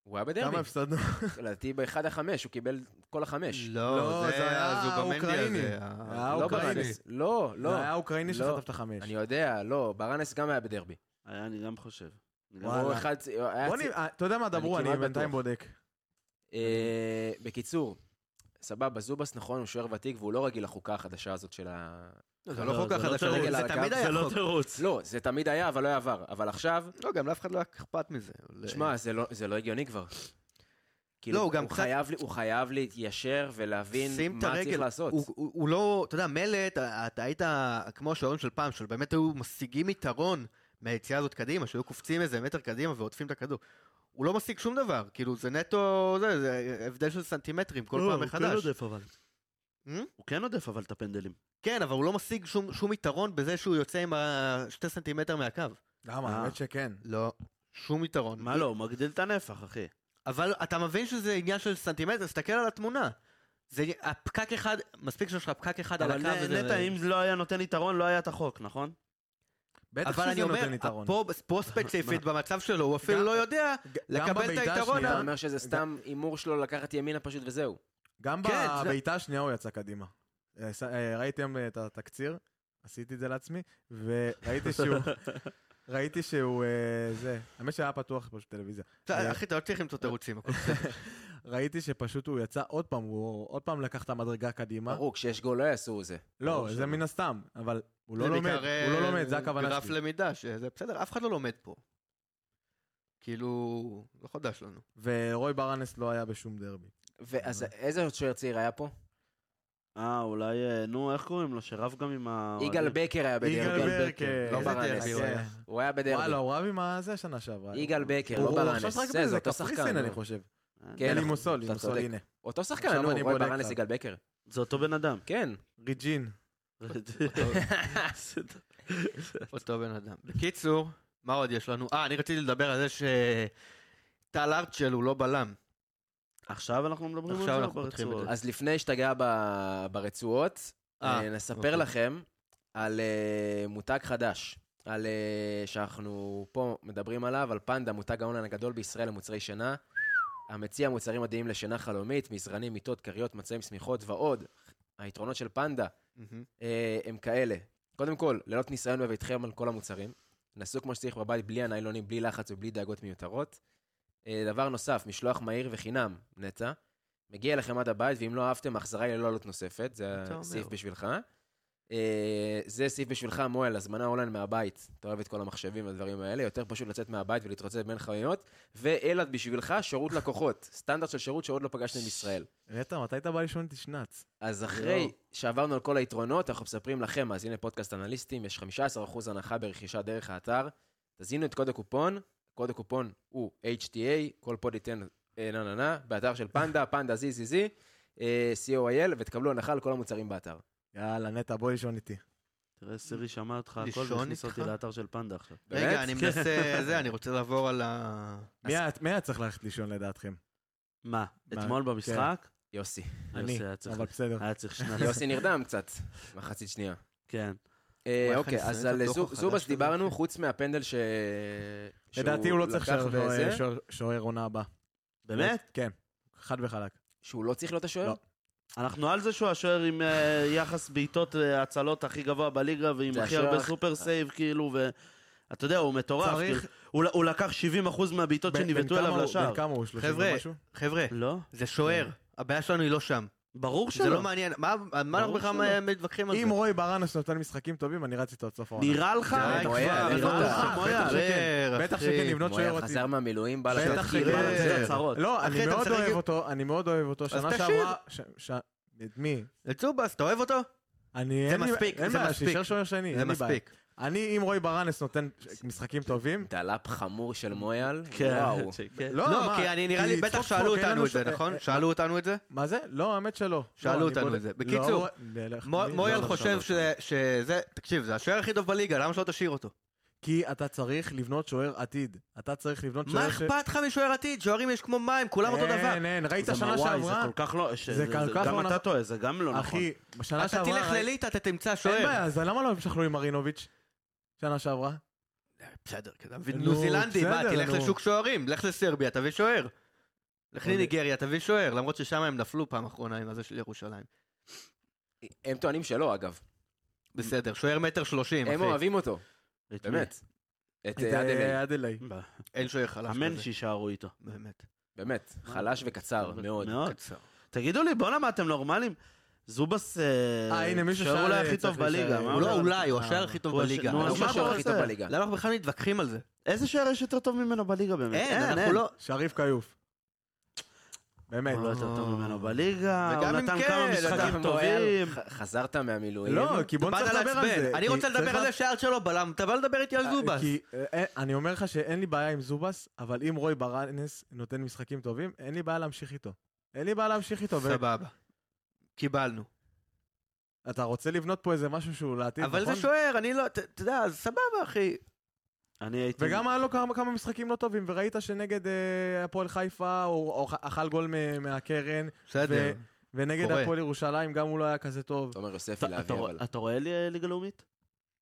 A: הוא היה
F: כמה
A: בדרבי.
F: הפסדנו?
A: לדעתי באחד החמש, הוא קיבל כל החמש.
F: לא, זה היה
E: אז הוא במנדי
F: האוקראיני.
E: הזה, ה-
F: היה
A: לא
F: האוקראיני.
A: ברנס. לא,
F: לא.
A: לא.
F: זה היה האוקראיני
A: לא.
F: שחטף את החמש.
A: אני יודע, לא, ברנס גם היה בדרבי.
G: היה, אני גם חושב. אני גם-
F: וואלה.
A: הוא אחד... היה
F: בוא
A: צי-
F: נראה, אתה יודע מה, דברו,
A: אני
F: אני
A: כמעט
F: בינתיים
A: בטוח.
F: בודק.
A: אה, בקיצור, סבבה, זובס נכון, הוא שוער ותיק, והוא לא רגיל לחוקה החדשה הזאת של ה-
E: זה לא כל כך
G: זה לא
E: חדש, הרגל
G: תירוץ.
E: על
B: זה תמיד
E: הקו.
B: היה
G: זה לא
B: חוק.
G: תירוץ.
A: לא, זה תמיד היה, אבל לא היה עבר. אבל עכשיו,
E: לא, גם לאף אחד לא היה אכפת מזה. אבל,
A: שמע, זה לא- זה לא הגיוני כבר. כאילו,
E: לא, הוא גם
A: הוא
E: קצת-
A: חייב לי- הוא חייב להתיישר ולהבין
E: שים את
A: מה צריך
E: הרגל.
A: לעשות.
E: הוא, הוא, הוא לא, אתה יודע, מילא אתה, אתה היית כמו השוערים של פעם, שבאמת היו משיגים יתרון מהיציאה הזאת קדימה, שהיו קופצים איזה מטר קדימה ועוטפים את הכדור. הוא לא משיג שום דבר, כאילו זה נטו, זה, זה הבדל של סנטימטרים
G: לא,
E: כל פעם
G: כן
E: מחדש. Hmm?
G: הוא כן עודף אבל את הפנדלים.
E: כן, אבל הוא לא משיג שום, שום יתרון בזה שהוא יוצא עם השתי סנטימטר מהקו.
F: למה?
G: אה.
F: האמת שכן.
E: לא, שום יתרון.
G: מה לא, הוא מגדיל את הנפח, אחי.
E: אבל אתה מבין שזה עניין של סנטימטר, תסתכל על התמונה. זה הפקק אחד, מספיק שיש לך פקק אחד על
G: אבל
E: הקו.
G: נ-
E: וזה-
G: נטע, אם לא היה נותן יתרון, לא היה את החוק, נכון?
F: בטח
E: אבל אני
F: שזה
E: אומר,
F: נותן יתרון.
E: פה- פה ספציפית במצב שלו, הוא אפילו
F: גם-
E: לא יודע
F: ג- גם
E: לקבל את
F: בבעיטה
E: היתרון.
F: השנייה-
A: אתה אומר שזה סתם הימור שלו לקחת ימינה פשוט וזהו.
F: גם
E: כן, זה-
F: בבעיטה השנייה הוא יצא קדימה. אה, ס- אה, ראיתם אה, את התקציר? עשיתי את זה לעצמי, וראיתי שהוא... ראיתי שהוא... אה, זה... האמת שהיה פתוח פשוט טלוויזיה.
E: אתה-
F: אה,
E: אחי, אתה לא צריך למצוא תירוצים. הכל בסדר.
F: ראיתי שפשוט הוא יצא עוד פעם, הוא עוד פעם לקח את המדרגה קדימה.
A: ברור, כשיש גול לא יעשו זה.
F: לא,
A: ברור
F: זה
A: שלא.
F: מן הסתם, אבל הוא לא
E: זה
F: לומד,
E: בעיקר, אה,
F: הוא לא לומד, זה הכוונה
E: גרף
F: שלי.
E: למידה, שזה בסדר, אף אחד לא לומד פה. כאילו, לא חדש לנו.
F: ורוי ברנס לא היה בשום דרבי.
A: ואז איזה עוד שוער צעיר היה פה?
G: אה, אולי, אה, נו, איך קוראים לו? שרב גם עם אה, ה...
A: יגאל בקר היה
F: יגאל
A: בדרבי.
F: ברקר.
A: לא
E: איזה
A: ברנס.
E: דרבי הוא
F: כן.
E: היה.
A: הוא היה
F: וואלה,
A: בדרבי.
F: הוא רב עם הזה שנה שעברה.
A: יגאל בקר,
F: הוא-
A: לא
F: הוא עכשיו
A: ברנס.
F: שחק
A: זה, זה
F: באיזה
A: אותו שחקן.
F: קפריסין, אני
A: נו.
F: חושב.
A: כן,
F: אלי
A: אנחנו-
F: מוסול,
A: אתה צודק.
F: מוסולינה.
A: אותו שחקן,
F: עכשיו
A: נו,
F: אני
A: רוי
F: בודק
A: ברנס,
F: לך.
A: יגאל בקר.
G: זה אותו בן אדם.
A: כן.
F: ריג'ין.
E: אותו בן אדם. בקיצור, מה עוד יש לנו? אה, אני רציתי לדבר על זה שטל ארצ'ל הוא לא בלם.
G: עכשיו אנחנו מדברים על
E: עכשיו
G: זה או
E: אנחנו פותחים את
G: ברצועות?
A: אז לפני שתגע ב- ברצועות,
E: אה,
A: אה, נספר
G: אוקיי.
A: לכם על אה, מותג חדש. על אה, שאנחנו פה מדברים עליו, על פנדה, מותג ההון הגדול בישראל למוצרי שינה. המציע מוצרים מדהים לשינה חלומית, מזרנים, מיטות, כריות, מצעים, שמיכות ועוד. היתרונות של פנדה
E: מהמם.
A: אה, הם כאלה. קודם כל, לילות ניסיון בביתכם על כל המוצרים. נסו כמו שצריך בבית, בלי הניילונים, בלי לחץ ובלי דאגות מיותרות. אה, דבר נוסף, משלוח מהיר וחינם, נטע. מגיע אליכם עד הבית, ואם לא אהבתם, ההחזרה היא ללא עלות נוספת. זה
E: אתה אומר.
A: אה, סעיף בשבילך. אה, זה סעיף בשבילך, מואל, הזמנה אונליין מהבית. אתה אוהב את כל המחשבים והדברים האלה. יותר פשוט לצאת מהבית ולהתרוצץ בין חנויות. ואלעד בשבילך, שירות לקוחות. סטנדרט של שירות שעוד לא פגשתם בישראל.
F: נטע, מתי אתה בא לישון איתי שנץ?
A: אז אחרי
E: לא.
A: שעברנו על כל היתרונות, אנחנו מספרים לכם, מאזיני פודקאסט אנליסטים, יש 15% הנחה ברכישה דרך האתר. תזינו את קוד הקופון, קוד הקופון הוא HTA, כל פוד ייתן אה, נה נה נה, באתר של פנדה, פנדה זי זי זי, אה, co.il, ותקבלו הנחה על כל המוצרים באתר.
F: יאללה, נטע, בוא לישון איתי.
G: תראה, סירי שמע אותך הכל
E: לישון
G: והכניס אותי
E: איתך?
G: לאתר של פנדה עכשיו.
A: באמת?
E: רגע, אני מנסה, זה, אני רוצה לעבור על ה...
F: מי היה- מי היה צריך ללכת לישון לדעתכם?
G: מה,
F: מה?
G: אתמול במשחק?
A: יוסי.
F: אני,
G: יוסי היה צריך-
F: אבל בסדר.
E: אה,
G: היה צריך שנץ.
A: יוסי נרדם קצת, מחצית שנייה.
G: כן.
A: אה,
E: וואי, איך
A: אוקיי,
E: אני
A: אז
E: שונא את
A: על
E: הדוח
A: זו-
E: החדש
A: זובס
E: הזה.
A: דיברנו, חוץ מהפנדל ש...
F: לדעתי
A: שהוא
F: הוא לא צריך
A: לקח
F: שוער-
A: וזה,
F: שוער- שוער עונה הבאה.
G: באמת?
F: כן. חד וחלק.
A: שהוא לא צריך להיות השוער?
F: לא.
G: אנחנו על זה שהוא השוער עם אה, יחס בעיטות אה, הצלות הכי גבוה בליגה ועם
A: זה
G: הכי
A: השוער
G: הרבה
A: הכי-
G: סופר סייב, כאילו, ו... אתה יודע, הוא מטורף.
E: צריך-
G: כאילו, הוא ל- הוא לקח 70% מהבעיטות
F: בן- בן
G: שניבטו
F: כמה
G: אליו
F: הוא-
G: לשער.
F: בן כמה הוא? שלושים
E: חבר'ה.
F: ומשהו?
E: חבר'ה,
G: לא?
E: זה שוער.
F: אה.
E: הבעיה שלנו היא לא שם.
G: ברור
E: זה
G: שלא.
E: לא מעניין. מה מה אנחנו
G: ברור
E: בכלל מתווכחים על זה?
F: אם רוי ברנס נותן משחקים טובים, אני רץ איתו עד סוף העונה.
G: נראה לך?
E: די,
G: כבר,
A: מויאל,
G: נראה
A: נראה
G: לך,
A: לך,
G: מויאל.
E: שוער,
F: לא בטח
E: אחי.
F: שכן, לבנות לא שוער
A: מויאל
F: אותי.
A: חזר מהמילואים, בא
F: בטח
A: לתת
F: שכן.
A: כאילו,
G: זה
E: אה,
G: הצהרות.
F: לא,
E: אחי,
F: אני
E: אתה
F: מאוד
E: משחק
F: אוהב
E: עם-
F: אותו, אני מאוד אוהב אותו. שנה
E: תשאיר.
F: שעברה... ש- ש- את מי?
E: לצובס, אתה אוהב אותו?
F: אני,
E: זה
F: אין לי-
E: מספיק,
F: אין
E: זה
F: בעיה,
E: מספיק.
F: שישאר שוער שני,
E: זה
F: אין לי בעיה.
E: מספיק.
F: אני, אם רוי ברנס נותן ש- משחקים טובים...
A: דלאפ חמור של מויאל,
G: כן.
A: וואו.
G: כן.
E: לא,
F: מה,
E: כי אני נראה לי,
F: צחוק,
E: בטח
F: צחוק,
E: שאלו
F: אין לנו
E: אותנו את זה,
F: שוער-
E: נכון?
F: אה,
E: שאלו אותנו את זה?
F: מה זה? לא, האמת שלא.
E: שאלו
F: לא, אני
E: אותנו
F: בודק.
E: את זה. בקיצור,
F: לא, נלך,
E: מו-
F: אני-
E: מויאל
F: לא,
E: חושב ש- שזה, תקשיב, זה השוער הכי טוב בליגה, למה שלא תשאיר אותו?
F: כי אתה צריך לבנות שוער עתיד. אתה צריך לבנות שוער
E: מה אכפת לך משוער עתיד? שוערים יש כמו מים, כולם אותו דבר.
F: אין, אין, ראית
G: זה
F: שנה
G: מה- וואי,
F: שעברה?
G: זה כל כך לא... ש-
F: זה כל כך
G: גם
F: לא
G: אתה
F: נכון.
G: טועה, זה גם לא נכון.
F: אחי, בשנה
E: אתה
F: שעברה...
E: תלך
F: ראי-
E: לליטא, אתה תמצא
F: אין
E: שוער.
F: בעיה, אז למה לא המשכנו עם מרינוביץ'? שנה שעברה?
E: בסדר, כן, כזה, אבל
F: נו,
E: ניו זילנדי, מה,
F: בסדר,
E: תלך
F: נו.
E: לשוק שוערים, לך לסרביה, תביא שוער. לך
F: אוקיי.
E: לניגריה, תביא שוער, למרות ששם הם נפלו פעם אחרונה עם הזה של ירושלים.
A: הם טוענים שלא, אגב.
E: בסדר, שוער מטר שלושים,
A: הם
E: אחי.
A: אוהבים אותו,
G: את מי?
A: באמת. את
F: את, אה,
A: אה, אדלי,
F: אדלי.
G: ב-
E: אין שוער חלש
G: אמן
E: כזה.
G: שיישארו איתו.
E: באמת.
A: באמת. חלש וקצר מאוד.
G: מאוד.
E: קצר.
G: תגידו לי, בואנה, מה אתם נורמלים? זובס, אה,
F: אה, הנה, מישהו
G: שהאולי
F: שאל,
G: הכי
F: צריך
G: טוב בליגה.
F: להישאר.
G: מה
F: אה,
E: הוא לא
G: אומר?
E: אולי, הוא
F: אה,
E: השוער הכי טוב
G: הוא הש-
E: בליגה.
G: נו,
E: אני
A: הוא
E: לא
G: אז מה
A: השוער
G: אתה
A: הכי טוב
G: עושה?
A: בליגה.
E: למה אנחנו בכלל מתווכחים על זה?
G: איזה שער יש יותר טוב ממנו בליגה באמת?
E: אין,
G: אה.
E: אנחנו לא...
F: שריף כיוף. באמת.
G: הוא לא יותר טוב
F: אה.
G: ממנו בליגה,
E: וגם
G: הוא
E: אם
G: נתן
E: כן,
G: כמה
E: אתה
G: משחקים
A: גם
G: טובים.
A: מועל, ח- חזרת מהמילואים?
F: לא, כי בוא
E: באת
F: נצטרך לדבר על
E: לעצבן.
F: זה.
E: אני
F: כי
E: רוצה לדבר
F: צריך
E: על
F: לה-
E: זה שהארד שלו בלם, אתה בא לדבר איתי על זובס.
F: כי אה, אה, אני אומר לך שאין לי בעיה עם זובס, אבל אם רוי ברנס נותן משחקים טובים, אין לי בעיה להמשיך איתו. אין לי בעיה להמשיך איתו. ו-
E: סבבה. קיבלנו.
F: אתה רוצה לבנות פה איזה משהו שהוא לעתיד,
E: אבל
F: נכון?
E: זה שוער, אני לא... ת- אתה יודע, אז סבבה, אחי.
G: אני הייתי...
F: וגם היה לו כמה, כמה משחקים לא טובים, וראית שנגד אה, הפועל חיפה הוא הוא אכל גול מ- מהקרן,
E: בסדר.
F: ונגד
E: קורה.
F: הפועל ירושלים גם הוא לא היה כזה טוב.
A: תומר יוספי
G: אתה- אתה
A: להביא,
G: רוא-
A: אבל...
G: אתה רואה לי- אה, ליגה לאומית?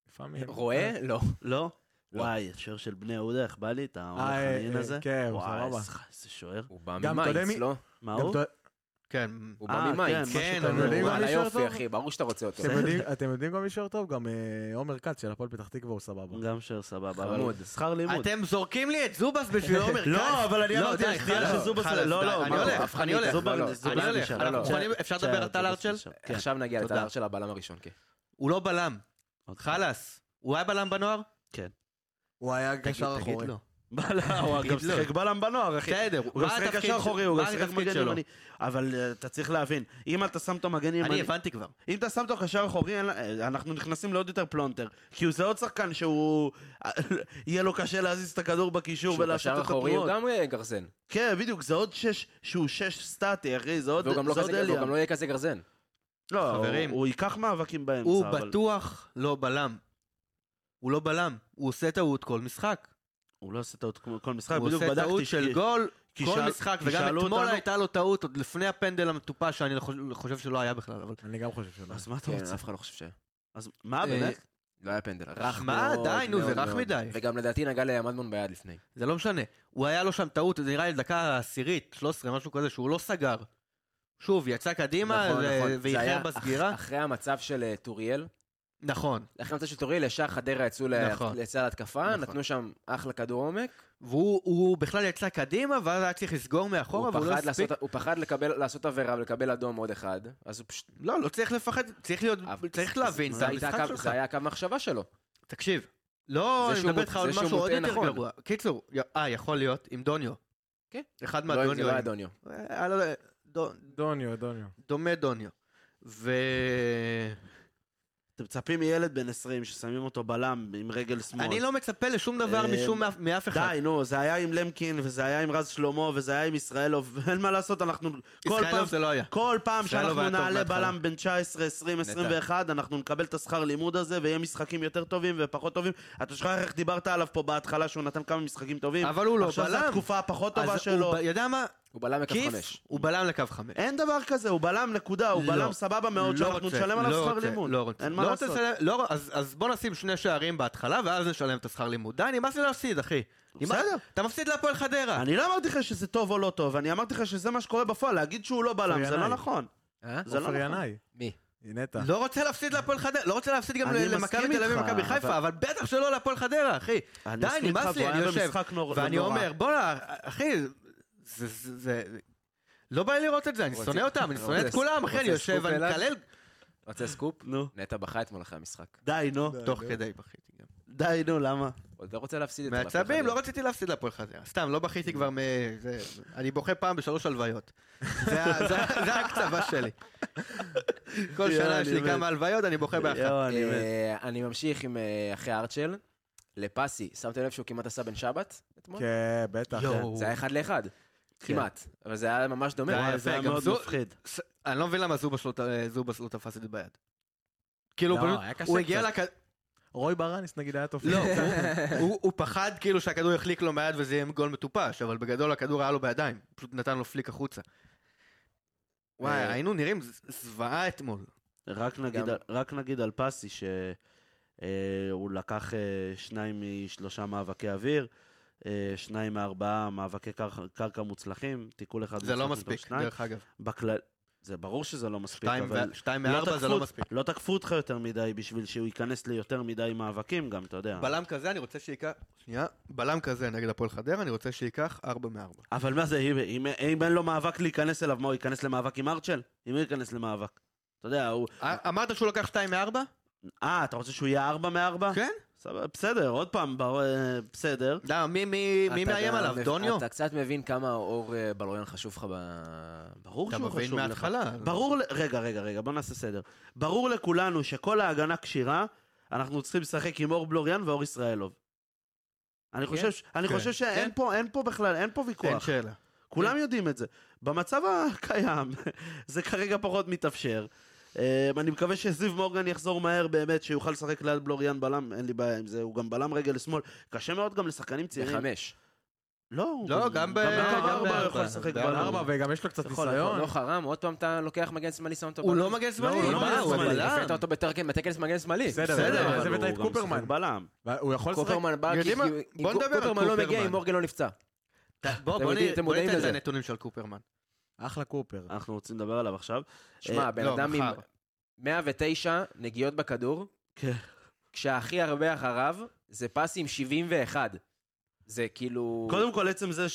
F: לפעמים. אה,
A: רואה? לא.
G: לא?
A: לא.
G: וואי, השוער של בני יהודה, איך בא לי את
F: אה, אה,
G: המחנין
F: אה,
G: הזה?
F: כן, הוא
G: וואי,
F: סבבה.
G: איזה- איזה שוער.
A: הוא בא
F: גם, אתה יודע
A: ממייץ,
F: מי-
A: לא?
G: מה
F: גם
G: הוא?
F: אתה-
E: כן.
A: הוא
G: אה,
A: בא ממייץ.
G: כן,
E: כן,
G: משהו
E: אבל
A: הוא
G: כזה.
F: יודעים מה
A: על
F: נשאר
A: היופי,
F: טוב?
A: אחי, ברור שאתה רוצה אותו.
F: אתם יודעים- אתם יודעים גם מי שוער טוב? גם אה, עומר כץ של הפועל פתח תקווה הוא סבבה.
G: גם שוער סבבה,
A: חמוד.
G: אבל שכר לימוד.
E: אתם זורקים לי את זובס בשביל עומר כץ.
G: לא, אבל אני
E: לא,
G: אמרתי
E: די,
G: לך, תראה
E: חלאס,
G: שזובס...
E: חלאס,
G: לא,
E: די,
G: לא,
E: אני
G: מה הוא?
E: הולך,
G: אף אחד
E: אני
G: לא-
E: הולך,
G: זובס-
A: לא, לא,
G: זובס
E: אני הולך,
G: נשאר,
A: אנחנו
G: לא, לא.
E: מוכנים- אפשר לדבר על
G: שי-
E: טל ארצ'ל?
G: שי- כן.
A: עכשיו נגיע
G: תודה.
A: לטער של הבלם הראשון, כן.
E: הוא לא בלם. חלאס. הוא היה בלם בנוער?
F: הוא היה
E: תגיד,
F: קשר
E: תגיד לא.
F: אחורי.
E: לו.
G: בלם, הוא
E: תגיד
G: גם
E: לא.
G: שיחק בלם בנוער, אחי.
E: בסדר,
G: הוא גם
E: מה
G: שיחק
E: התפקיד
G: קשר
E: של-
G: אחורי, הוא
E: מה
G: גם שיחק
E: התפקיד
G: מגן
E: שלו?
G: ימני. אבל אה, אתה צריך להבין, אם אתה שם אותו מגן ימני...
E: אני הבנתי כבר.
G: אם אתה שם אותו קשר אחורי, אין- אה, אנחנו נכנסים לעוד יותר פלונטר. כי הוא זה עוד שחקן שהוא... אה, יהיה לו קשה להזיז את הכדור בקישור
A: שהוא
G: ולעשות
A: קשר
G: את
A: אחורי הוא
G: התנועות.
A: גם אה, גרזן.
G: כן, בדיוק, זה עוד שש, שהוא שש סטטי, אחי, זה עוד...
A: והוא גם לא
G: זה עוד
A: כזה- והוא
G: אליה.
A: גם לא יהיה כזה גרזן.
G: לא,
E: חברים.
G: הוא הוא ייקח מאבקים באמצע,
E: הוא
G: אבל-
E: בטוח לא בלם. הוא לא בלם. הוא עושה טעות כל משחק.
G: הוא לא עושה טעות כמו כל משחק,
E: הוא
G: בדיוק
E: עושה טעות
G: בדקתי
E: של
G: ש-
E: גול
G: כי
E: כל
G: שאל-
E: משחק,
G: כי
E: וגם
G: שאלו
E: אתמול
G: אותנו-
E: הייתה לו טעות, עוד לפני הפנדל המטופש, שאני חושב- חושב שלא היה בכלל, אבל...
F: אני גם חושב שלא.
G: אז מה אתה
A: כן,
G: רוצה?
A: אף אחד לא חושב ש...
G: אז
E: אה,
G: מה באמת?
A: לא היה פנדל. רך
E: מה?
A: מאוד,
E: די, נו, זה
A: מאוד,
E: רך
A: מאוד.
E: מדי.
A: וגם לדעתי נגע למדמון ביד לפני.
E: זה לא משנה. הוא היה לו שם טעות, זה נראה לי דקה עשירית, 13, משהו כזה, שהוא לא סגר. שוב, יצא קדימה,
A: נכון,
E: ו-
A: נכון. זה היה
E: ואיחר
A: אח-
E: בסגירה.
A: אחרי המצב של אה, טוריאל,
E: נכון.
A: אחרי המצב של טוריאל, ישר חדרה יצאו ל-
E: נכון.
A: לצד ההתקפה,
E: נכון.
A: נתנו שם אחלה כדור עומק.
E: והוא הוא בכלל יצא קדימה, ואז היה צריך לסגור מאחורה,
A: הוא
E: והוא לא
A: פחד
E: הספיק.
A: לעשות- הוא פחד לקבל- לעשות עבירה ולקבל אדום עוד אחד, אז הוא פשוט...
E: לא, לא צריך לפחד, צריך להיות,
A: אבל-
E: צריך להבין,
A: זה
E: זה
A: הייתה
E: המשחק
A: הקו-
E: שלך.
A: זה היה קו מחשבה שלו.
E: תקשיב. לא,
A: זה
E: אני
A: שהוא
E: מדבר
A: מוט-
E: איתך על
A: זה שהוא
E: משהו עוד
A: מוטעה
E: יותר
A: נכון.
E: גרוע. קיצור, י- אה, יכול להיות, עם דוניו.
A: כן.
E: אחד
A: לא, זה
E: מהדוניו. אה,
A: לא היה דוניו.
E: היה לו- לא דו-
F: דוניו, דוניו.
E: דומה דוניו. ו...
G: אתם מצפים מילד בן 20 ששמים אותו בלם עם רגל שמאל.
E: אני לא מצפה לשום דבר
G: אה,
E: משום מאף- מאף אחד.
G: די, נו, זה היה עם למקין, וזה היה עם רז שלמה, וזה היה עם ישראלוב, אין מה לעשות, אנחנו... כל פעם,
E: ישראלוב זה לא היה.
G: כל פעם
E: ישראלוב היה
G: שאנחנו
E: טוב
G: נעלה
E: בהתחלה.
G: בלם בין 19, 20, 21, אנחנו נקבל את השכר לימוד הזה, ויהיה משחקים יותר טובים ופחות טובים. אתה שוכח איך דיברת עליו פה בהתחלה, שהוא נתן כמה משחקים טובים.
E: אבל הוא לא
G: עכשיו זו
E: בלם.
G: התקופה הפחות טובה
E: אז הוא
G: שלו.
E: ב- יודע מה?
A: הוא בלם לקו
E: כיף,
A: חמש.
E: הוא בלם לקו חמש.
G: אין דבר כזה, הוא בלם נקודה, הוא
E: לא.
G: בלם סבבה מאוד,
E: לא
G: שאנחנו
E: רוצה,
G: נשלם עליו
E: לא
G: שכר
E: רוצה,
G: לימוד.
E: לא רוצה.
G: אין מה
E: לא
G: לעשות.
E: רוצה לשלם- לא, אז אז בוא נשים שני שערים בהתחלה, ואז נשלם את השכר לימוד. די, נמאס לי להפסיד, אחי. נמאס-
G: בסדר.
E: אתה מפסיד להפועל חדרה.
G: אני לא אמרתי לך שזה טוב או לא טוב, אני אמרתי לך שזה מה שקורה בפועל, להגיד שהוא לא בלם, זה לא
F: ינאי.
G: נכון.
A: אה?
G: זה לא
F: עופר
G: נכון.
F: ינאי.
A: מי?
F: היא נטע.
E: לא רוצה להפסיד להפועל חדרה, לא רוצה להפסיד גם
G: אני
E: ל- למכבי
G: מסכים
E: תל אביב
G: איתך,
E: ומכבי חיפה, אבל בטח שלא להפועל חדרה, אחי.
G: אני
E: די,
G: מסכים איתך,
E: נמאס לי,
G: והוא
E: אני
G: היה
E: יושב.
G: במשחק נור-
E: ואני
G: לא נורא.
E: אומר, בואנה, אחי, זה... זה- זה- לא בא לי לראות את זה, אני
A: רוצה-
E: שונא אותם, אני
A: רוצה
E: שונא את
A: סק-
E: כולם, אחי,
A: רוצה
E: אני יושב,
A: סקופ
E: אני
A: אליו?
E: מקלל
A: רוצה סקופ?
G: נו.
A: נטע בכה אתמול אחרי המשחק.
G: די, נו.
E: תוך כדי בכיתי גם.
G: די, נו, למה?
A: עוד לא רוצה להפסיד את זה. להפועל
E: מעצבים,
A: חדרה.
E: לא רציתי להפסיד להפועל חדרה. סתם, לא בכיתי כבר מ... זה- אני בוכה פעם בשלוש הלוויות. זה ה- זה ה- זה ההקצבה שלי. כל
G: יואו,
E: שנה יש
G: אני
E: לי
G: מת.
E: כמה הלוויות, אני בוכה באחת.
G: יואו, אני מת.
A: אה, אני ממשיך עם אה, אחרי ארצ'ל. לפסי, שמתם לב שהוא כמעט עשה בן שבת
G: לא
A: אתמול?
F: כן, בטח.
E: יואו.
A: זה היה אחד לאחד.
E: כן.
A: כמעט. אבל זה היה ממש דומה.
E: זה היה
G: וואי,
E: אה, יפה,
G: זה היה
E: גם
G: מאוד
E: זו-
G: מפחיד.
E: ס- אני לא מבין למה זובס לא ת- אה, זובס לא תפס את זה ביד. כאילו,
F: לא,
E: פשוט-
F: היה קשה
E: הוא הגיע
F: קצת.
E: לכ...
F: רוי ברנס נגיד היה תופס.
E: לא, הוא- הוא- הוא פחד כאילו שהכדור יחליק לו מהיד וזה יהיה גול מטופש, אבל בגדול הכדור היה לו בידיים, פשוט נתן לו פליק החוצה. וואי,
A: אה,
E: היינו נראים ז- זוועה אתמול.
G: רק נגיד,
A: גם-
G: רק נגיד על פסי שהוא לקח אה, שניים משלושה מאבקי אוויר, אה, שניים מארבעה מאבקי קרח- קרקע מוצלחים, תיקול אחד
E: זה לא
G: מוצלח מתוך
E: מספיק,
G: שניים.
E: דרך אגב.
G: בכלל... זה ברור שזה לא מספיק,
E: שתיים
G: אבל...
E: ו- שתיים מארבע זה לא
G: תקפו-
E: מספיק.
G: לא תקפו אותך יותר מדי בשביל שהוא ייכנס ליותר מדי מאבקים גם, אתה יודע.
E: בלם כזה אני רוצה שייקח, שנייה, בלם כזה נגד הפועל חדרה, אני רוצה שייקח 4 מ-4.
G: אבל מה זה, אם, אם, אם אין לו מאבק להיכנס אליו, מה, הוא ייכנס למאבק עם ארצ'ל? אם הוא ייכנס למאבק. אתה יודע, הוא...
E: אה, אמרת שהוא לקח 2 מ-4?
G: אה, אתה רוצה שהוא יהיה ארבע מארבע?
E: כן.
G: סבבה, בסדר, עוד פעם, בר- אה, בסדר.
E: לא, מי- מי מי
A: אתה
E: מאיים
A: גם-
E: עליו? דוניו?
A: אתה קצת מבין כמה אור אה, בלוריאן חשוב לך ב-
G: ברור
E: אתה
G: שהוא
E: מבין
G: חשוב לך.
E: מההתחלה.
G: ברור, ל- רגע, רגע, רגע, בוא נעשה סדר. ברור לכולנו שכל ההגנה כשירה, אנחנו צריכים לשחק עם אור בלוריאן ואור ישראלוב. אני חושב, ש- אני
E: כן.
G: חושב שאין
E: כן.
G: פה, אין פה בכלל, אין פה
E: אין כן.
G: ויכוח.
E: שאלה.
G: כולם יודעים את זה. במצב הקיים, זה כרגע פחות מתאפשר. אה, אני מקווה שזיו מורגן יחזור מהר באמת, שיוכל לשחק ליד בלוריאן בלם, אין לי בעיה עם זה, הוא גם בלם רגל שמאל. קשה מאוד גם לשחקנים צעירים.
A: בחמש.
G: לא, הוא
E: לא, גם ב-
G: גם
E: גם
G: בארבע הוא
E: בארבע.
G: יכול לשחק
E: בארבע.
G: בלם.
F: ארבע, וגם יש לו קצת
A: יכול, יכול.
F: ניסיון.
A: לא חרם, עוד פעם אתה לוקח מגן שמאלי, שם אותו
E: נכון. הוא
A: בלם.
E: לא מגן
G: לא,
E: שמאלי,
G: הוא לא
E: מה,
G: מגן
E: הוא
G: שמאלי.
E: בלם.
A: הבאת אותו בתקן בתקן מגן שמאלי.
F: בסדר,
E: בסדר,
F: בסדר,
G: אבל
F: זה
G: הוא
F: הבאת את
G: גם
F: קופרמן.
G: משחק בלם.
F: לא. הוא יכול לשחק...
A: קופרמן בא, כי
E: יודעים מה?
A: כי-
E: בוא
A: כי
E: נדבר על
A: קופרמן לא מגיע
E: קופרמן.
A: אם אורגן לא נפצע.
E: בוא,
A: אתם
E: בוא
A: יודעים,
E: נ-
A: אתם
E: בוא
A: מודעים
E: ניתן את
A: לזה.
E: הנתונים של קופרמן.
F: אחלה קופר.
E: אה,
G: אנחנו רוצים לדבר עליו עכשיו.
A: שמע,
G: אה,
A: בן
E: לא,
A: אדם עם
E: מחר.
A: 109 נגיעות בכדור,
G: כן.
A: כשהכי הרבה אחריו זה פס עם 71. זה כאילו...
G: קודם כל, עצם זה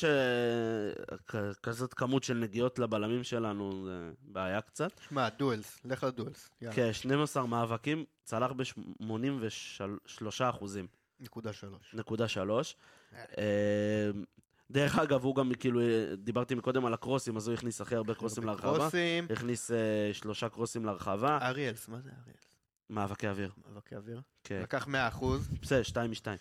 G: שכזאת כמות של נגיעות לבלמים שלנו, זה בעיה קצת.
E: שמע, דואלס, לך לדואלס. יאללה,
G: כן, 12 מאבקים, צלח ב-83 אחוזים,
E: נקודה שלוש.
G: נקודה שלוש. אה, דרך אגב, הוא גם כאילו, אה, דיברתי מקודם על הקרוסים, אז הוא הכניס הכי הרבה קרוסים להרחבה.
E: אוקיי. קרוסים,
G: הכניס אה, שלושה קרוסים להרחבה,
E: אריאלס, מה זה אריאלס?
G: מאבקי אוויר.
E: מאבקי אוויר.
G: כן.
E: לקח 100 אחוז.
G: בסדר, שתיים משתיים.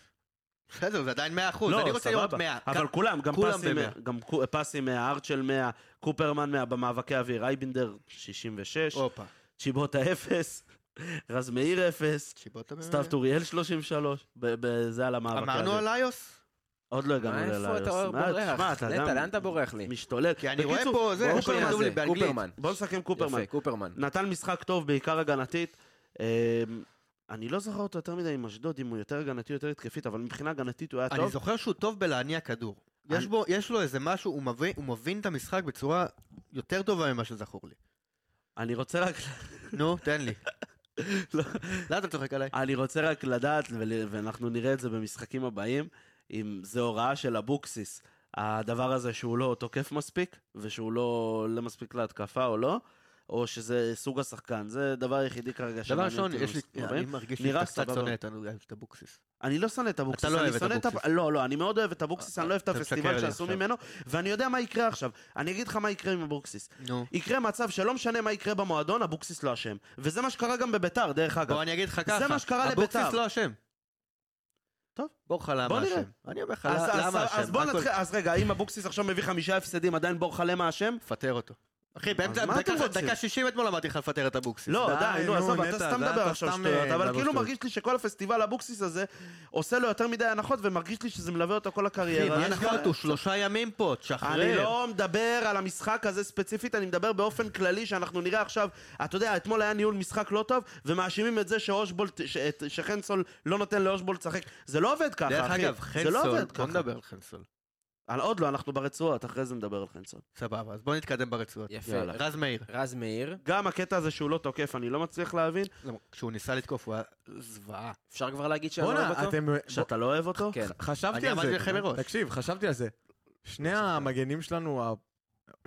E: בסדר, זה עדיין 100 אחוז. אני רוצה לראות 100.
G: לא, אבל כולם, גם
E: כולם
G: פסים,
E: במאה.
G: גם קו- פסים 100, ארצ'ל 100, קופרמן 100 במאבקי אוויר, אייבינדר 66,
E: הופה.
G: צ'יבוטה 0, רז מאיר 0,
E: צ'יבוטה באמת.
G: סתיו טוריאל 33, ב- ב- זה על המאבקי
E: אה. אמרנו
G: אוויר.
E: על איוס?
G: עוד לא הגענו
A: מה,
G: ללילה.
A: איפה אתה בורח? נטע, לאן אתה בורח לי?
G: משתולל.
E: כי אני רואה
G: בקיצור,
E: פה, זה,
G: בוא
E: יש לי
G: נשמע
E: כתוב
G: זה.
E: לי באנגלית.
A: קופרמן.
G: בוא נשחק עם קופרמן.
A: יפה, קופרמן.
G: נתן משחק טוב, בעיקר הגנתית. אמ, אני לא זוכר אותו יותר מדי עם אשדוד, אם הוא יותר הגנתי או יותר התקפית, אבל מבחינה הגנתית הוא היה
E: אני
G: טוב.
E: זוכר שהוא טוב בלהניע כדור. יש
G: אני-
E: בו- יש לו איזה משהו, הוא מבין- הוא מבין את המשחק בצורה יותר טובה ממה שזכור לי.
G: אני רוצה רק
E: נו, תן לי.
G: לא. אה,
E: לא, אתה צוחק עליי.
G: אני רוצה רק לדעת, ול- ואנחנו נראה את זה במשחקים הבאים, אם זה הוראה של אבוקסיס, הדבר הזה שהוא לא תוקף מספיק, ושהוא לא עולה מספיק להתקפה או לא, או שזה סוג השחקן. זה דבר היחידי כרגע
E: דבר
G: שמעניין
E: ראשון,
G: אותי
E: יש לי,
G: במשחקים
E: אני
G: הבאים.
E: מרגיש
G: נראה
E: שאתה קצת
G: סבבה.
E: שונא את אנו- את אבוקסיס.
G: אני לא שונא את אבוקסיס.
E: אתה לא
G: אני
E: אוהב את
G: שונא
E: אבוקסיס. אה,
G: הפ- לא, לא, אני מאוד אוהב את אבוקסיס, אני לא אוהב את
E: אתה משקר
G: הפסטיבל
E: לי
G: שעשו
E: עכשיו.
G: ממנו, ואני יודע מה יקרה עכשיו. אני אגיד לך מה יקרה עם אבוקסיס.
E: נו.
G: יקרה מצב שלא משנה מה יקרה במועדון, אבוקסיס לא אשם. וזה מה שקרה גם בביתר, דרך אגב.
E: בוא אני אגיד לך ככה.
G: מה שקרה
E: אבוקסיס
G: לביתר.
E: לא אשם.
G: טוב.
E: בורחה למה
G: בוא נראה.
E: אשם. אני אומר לך,
G: אז- אז-
E: למה אשם?
G: אז בוא
E: הכל-
G: נתחיל, אז רגע, אם אבוקסיס עכשיו מביא חמישה הפסדים, עדיין בורחה למה אשם?
E: פטר אותו. אחי,
G: אז
E: באמצע,
G: מה
E: דקה-
G: אתם רוצים?
E: דקה 60 אתמול אמרתי לך לפטר את אבוקסיס.
G: לא,
F: די,
G: די, נו,
F: נו,
G: עזוב, אתה
F: נטע,
G: סתם
F: זה
G: מדבר
F: אתה
G: עכשיו
F: סתם,
G: שטויות,
F: אה,
G: אבל
F: מדבר
G: כאילו
F: שטויות.
G: מרגיש לי שכל הפסטיבל אבוקסיס הזה עושה לו יותר מדי הנחות, ומרגיש לי שזה מלווה אותו כל
E: אחי,
G: הקריירה.
E: מה
G: יש גם-
E: הנחות? הוא שלושה ימים פה,
G: אני
E: תשחרר.
G: לא מדבר על המשחק הזה ספציפית, אני מדבר באופן כללי שאנחנו נראה עכשיו, אתה יודע, אתמול היה ניהול משחק לא טוב, ומאשימים את זה שאושבולט, ש- את- שחנסול לא נותן לאושבולט לשחק. זה לא עובד ככה, אחי.
E: דרך אגב,
G: זה לא
E: חנסול,
G: עובד
E: בוא
G: ככה.
E: נדבר על חנסול.
G: על- עוד לא, אנחנו ברצועות, אחרי זה נדבר על חנסול.
E: סבבה, אז בוא נתקדם ברצועות.
A: יפה.
G: יאללה.
E: רז מאיר,
A: רז מאיר,
G: גם הקטע הזה שהוא לא תוקף, אני לא מצליח להבין.
E: כשהוא ניסה לתקוף הוא היה זוועה.
A: אפשר כבר להגיד שאני לא אוהב
F: בואנה,
A: אותו?
F: אתם...
G: שאתה לא אוהב אותו?
A: כן.
F: ח- חשבתי
E: אני
F: על
E: עמדתי
F: זה.
E: לכם מראש.
F: תקשיב, חשבתי על זה. שני המגנים שלנו, ה-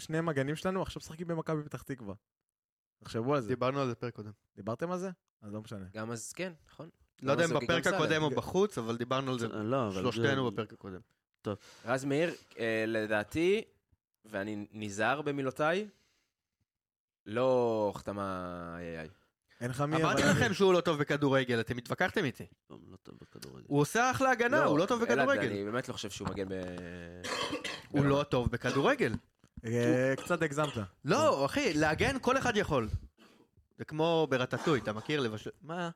F: שני המגנים שלנו עכשיו משחקים במכבי פתח תקווה. תחשבו על זה.
E: דיברנו על זה פרק קודם.
F: דיברתם על זה? אז לא משנה.
A: גם אז, כן, נכון.
E: לא יודע
A: גם
E: אם
A: זוגי, גם
E: בפרק
A: סלע.
E: הקודם או בחוץ, אבל דיברנו על זה
G: לא, אבל...
E: שלושתנו בפרק הקודם.
A: רז מאיר, אה, לדעתי, ואני נזהר במילותיי, לא חתמה איי-איי.
F: אין לך מי...
E: אמרתי
F: אבל-
E: לכם שהוא לא טוב בכדורגל, אתם התווכחתם איתי.
G: לא טוב בכדורגל.
E: הוא עושה אחלה הגנה, הוא לא טוב
A: אלעד,
E: בכדורגל.
A: אני באמת לא חושב שהוא מגן ב...
E: הוא לא טוב בכדורגל.
F: אה, קצת הגזמת.
E: לא, אחי, להגן כל אחד יכול. זה כמו ברטטוי, אתה מכיר לבשל... מה?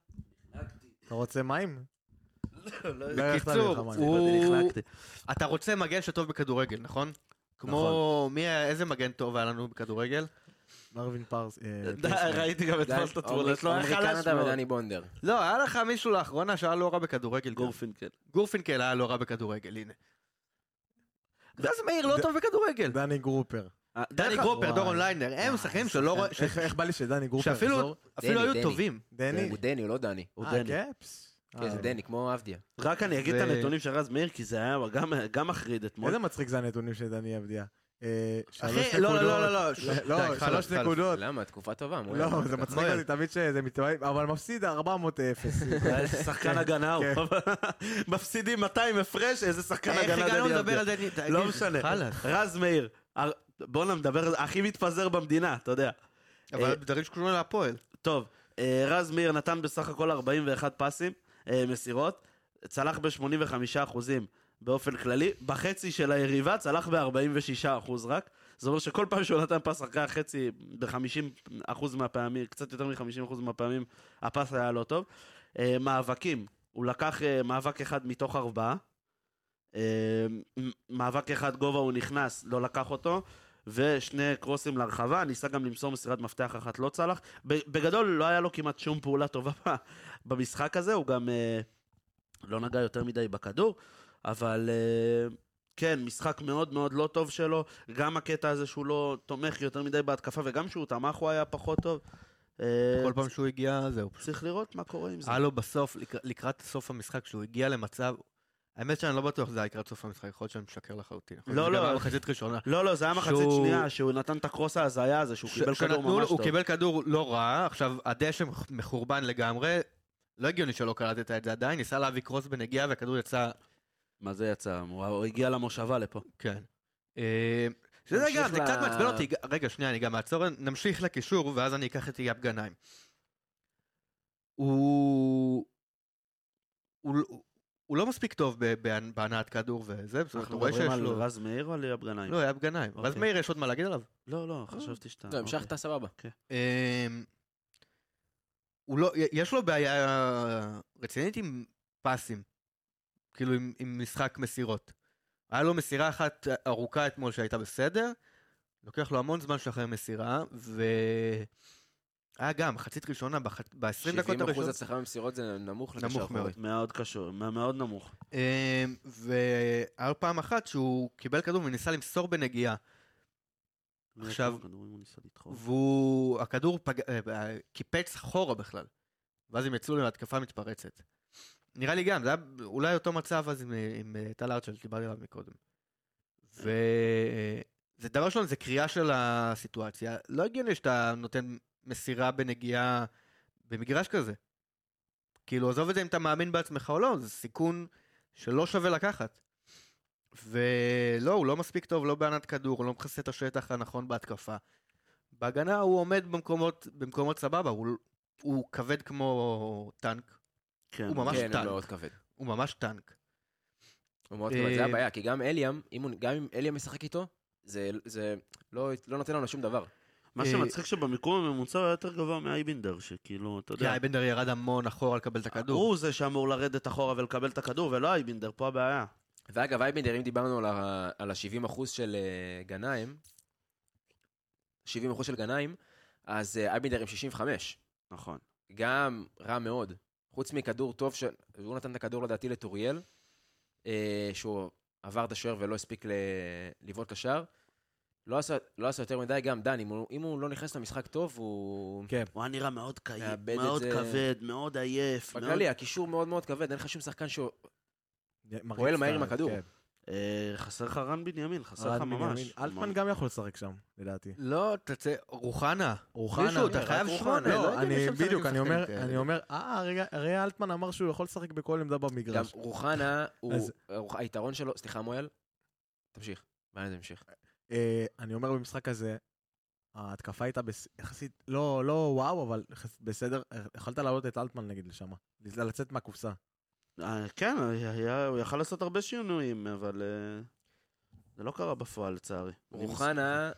F: אתה רוצה מים?
E: לא,
F: לא
E: בקיצור,
G: לא
E: הוא...
G: החלקתי.
E: אתה רוצה מגן שטוב בכדורגל, נכון? כמו... מי היה- איזה מגן טוב היה לנו בכדורגל?
F: מרווין פרס. אה,
G: די, ראיתי גם אתמול את
A: עומרי
G: התמונות, לא היה חלש
A: קנדה
G: מאוד.
A: ודני בונדר.
E: לא, היה לך מישהו לאחרונה שהיה לא רע בכדוררגל.
G: גורפין, כן.
E: גורפינקל היה לא רע בכדורגל, הנה. רז מאיר לא טוב בכדורגל.
F: דני גרופר.
E: דני גרופר,
F: וואי.
E: דורון ליינר, הם שחקנים שלא רואים,
F: איך איך בא לי שדני גרופר
E: שאפילו-
F: יחזור?
E: אפילו
A: דני,
E: היו
A: דני.
E: טובים.
F: דני?
A: הוא דני, הוא לא דני.
G: הוא
F: אה,
G: דני.
F: כן? פס.
A: כן, זה
E: אוקיי.
F: אה,
A: דני, כמו עבדיה.
G: רק אני אגיד את
E: זה-
G: הנתונים של רז מאיר, כי זה היה גם- גם מחריד אתמול.
F: איזה מצחיק זה הנתונים של דני אבדיה. אה, שלוש
E: אחי, לא, לא, לא, לא, לא, ש-
F: נקודות.
E: די,
F: לא,
E: חלאס,
F: שלוש
E: חלאס.
F: נקודות.
A: למה? תקופה טובה, מועל.
F: לא, זה מצחיק
E: מועל.
F: אותי תמיד שזה מתאמן, אבל מפסיד 400 אפס.
G: שחקן הגנה הוא.
F: כן.
G: מפסידים 200 הפרש, איזה שחקן
E: איך
G: הגנה
E: הגענו
G: דני
E: לדבר
G: אבדיה.
E: על זה? תגיד,
G: לא משנה.
E: חלאס.
G: רז מאיר, הר- בואנה נדבר, הכי מתפזר במדינה, אתה יודע. אה,
E: אבל דברים שקשורים להפועל.
G: טוב, אה, רז מאיר נתן בסך הכל 41 פסים, אה, מסירות, צלח ב-85 אחוזים באופן כללי, בחצי של היריבה צלח ב-46 אחוז רק. זה אומר שכל פעם שהוא נתן פס אחרי החצי, ב-50 אחוז מהפעמים, קצת יותר מ-50 אחוז מהפעמים, הפס היה לא טוב. אה, מאבקים, הוא לקח אה, מאבק אחד מתוך ארבעה. אה, מ- מאבק אחד גובה הוא נכנס, לא לקח אותו. ושני קרוסים להרחבה, ניסה גם למסור מסירת מפתח אחת, לא צלח. ב- בגדול, לא היה לו כמעט שום פעולה טובה ב- במשחק הזה, הוא גם אה, לא נגע יותר מדי בכדור, אבל אה, כן, משחק מאוד מאוד לא טוב שלו, גם הקטע הזה שהוא לא תומך יותר מדי בהתקפה, וגם שהוא תמך הוא היה פחות טוב. אה,
E: כל פעם שהוא הגיע, זהו. פשוט.
G: צריך לראות מה קורה עם זה.
E: היה לו בסוף, לק- לקראת סוף המשחק, כשהוא הגיע למצב... האמת שאני לא בטוח שזה היה לקראת סוף המשחק, יכול להיות שאני משקר לחלוטין. יכול להיות
G: לא,
E: שזה גם
G: לא.
E: היה מחצית ראשונה.
G: לא, לא, זה היה מחצית
E: שהוא-
G: שנייה, שהוא נתן את הקרוס ההזיה הזה, שהוא
E: ש-
G: קיבל כדור
E: שנתנו לו-
G: ממש טוב.
E: הוא קיבל כדור לא רע, עכשיו הדשא מח- מחורבן לגמרי, לא הגיוני שלא קלטת את זה עדיין, ניסה להביא קרוס בנגיעה והכדור יצא...
G: מה זה יצא? הוא הוא הגיע למושבה לפה.
E: כן. אה, שזה
A: נמשיך
E: גם, זה קצת
A: ל-
E: מעצבן אותי, ג- רגע, שנייה, אני גם אעצור, נמשיך לקישור, ואז אני אקח את אייב גנאים. הוא... הוא לא- הוא לא מספיק טוב ב- בה- בהנעת כדור וזה, בסדר, אתה
G: אנחנו
E: רואה
G: מדברים
E: שיש
G: על
E: לו...
G: רז מאיר או על אייב גנאים?
E: לא, אייב גנאים. רז
G: אוקיי.
E: מאיר, יש עוד מה להגיד עליו?
G: לא, לא, חשבתי
E: אה,
G: שאתה...
A: לא,
E: אוקיי.
A: המשכת סבבה.
E: אמ, הוא לא, יש לו בעיה רצינית עם פסים, כאילו עם, עם משחק מסירות. היה לו מסירה אחת ארוכה אתמול שהייתה בסדר, לוקח לו המון זמן לשחרר מסירה, ו... היה גם, מחצית ראשונה, בח- ב-20 דקות
A: 70 אחוז
E: הראשונות,
A: הצלחה במסירות זה נמוך לקשר.
E: נמוך מאוד.
A: אחורי.
G: אוקיי. מאוד קשור, מא- מאוד נמוך.
E: אמ, והיה פעם אחת שהוא קיבל כדור וניסה למסור בנגיעה. עכשיו-
G: כדורים הוא ניסה לדחוף.
E: והוא, הכדור פג... אה, אה, קיפץ אחורה בכלל. ואז הם יצאו להתקפה מתפרצת. נראה לי גם, זה היה אולי אותו מצב אז עם, אה, עם אה, טל ארצ'ל שדיברתי עליו מקודם. ו... אה, זה דבר ראשון, זה קריאה של הסיטואציה. לא הגיוני שאתה נותן מסירה בנגיעה במגרש כזה. כאילו, עזוב את זה אם אתה מאמין בעצמך או לא, זה סיכון שלא שווה לקחת. ולא, הוא לא מספיק טוב, לא בענת כדור, הוא לא מכסה את השטח הנכון בהתקפה. בהגנה הוא עומד במקומות, במקומות סבבה, הוא, הוא כבד כמו טנק,
G: כן.
E: הוא ממש
A: כן,
E: טנק.
A: הוא מאוד כבד.
E: הוא ממש טנק.
A: הוא מאוד
E: אה,
A: כבד, זה הבעיה, כי גם אליאם, אם הוא- גם אם אליאם ישחק איתו, זה- זה לא לא נותן לנו שום דבר.
G: מה
E: אה,
G: שמצחיק שבמיקום הממוצע הוא היה יותר גבוה מאייבינדר, שכאילו, אתה
E: גיא
G: יודע,
E: בנדר ירד המון אחורה לקבל את הכדור.
G: הוא זה שאמור לרדת אחורה ולקבל את הכדור, ולא אייבינדר, פה הבעיה.
A: ואגב, אייבנדר, אם דיברנו על ה- על ה-70% של אה, גנאים, 70% של גנאים, אז אה, אייבנדר עם 65.
G: נכון.
A: גם רע מאוד. חוץ מכדור טוב, ש... הוא נתן את הכדור לדעתי לטוריאל, אה, שהוא עבר את השוער ולא הספיק ל... לבעוט לשער. לא עשה, לא עשה יותר מדי, גם דן, אם הוא, אם הוא לא נכנס למשחק טוב, הוא...
F: כן.
G: הוא היה נראה מאוד קייב,
A: מאבד את
G: מאוד
A: זה.
G: כבד, מאוד עייף. מאוד-
A: בכללי, הקישור מאוד מאוד כבד, אין לך שום שחקן שהוא...
F: מרגיש
A: פועל מהר
F: את ה-
A: עם הכדור.
F: כן.
G: אה, חסר לך רן בנימין, חסר לך
F: רן בנימין.
G: ממש.
F: אלטמן גם יכול לשחק שם, לדעתי.
E: לא, תצא, רוחנה.
F: רוחנה.
E: מישהו, אתה
A: רק
E: חייב
A: רוחנה.
E: שמונה.
A: לא,
F: לא,
E: הגיוני
F: אני
E: שמשחקים
F: בדיוק, אני אומר,
E: שחקנים
F: אני
E: כאלה.
F: אומר, אה, הרגע- הרי אלטמן אמר שהוא יכול לשחק בכל עמדה
A: גם
F: במגרש.
A: רוחנה, הוא...
F: אז-
A: רוח- היתרון שלו... סליחה, מואל? תמשיך. מה זה המשיך?
F: אה, אני אומר במשחק הזה, ההתקפה הייתה בס- יחסית, לא לא וואו, אבל יחס- בסדר, יכולת להעלות את אלטמן נגיד לשם, לצאת מהקופסה.
G: אה, כן, היה- הוא יכל לעשות הרבה שינויים, אבל אה, זה לא קרה בפועל, לצערי.
A: רוחנה,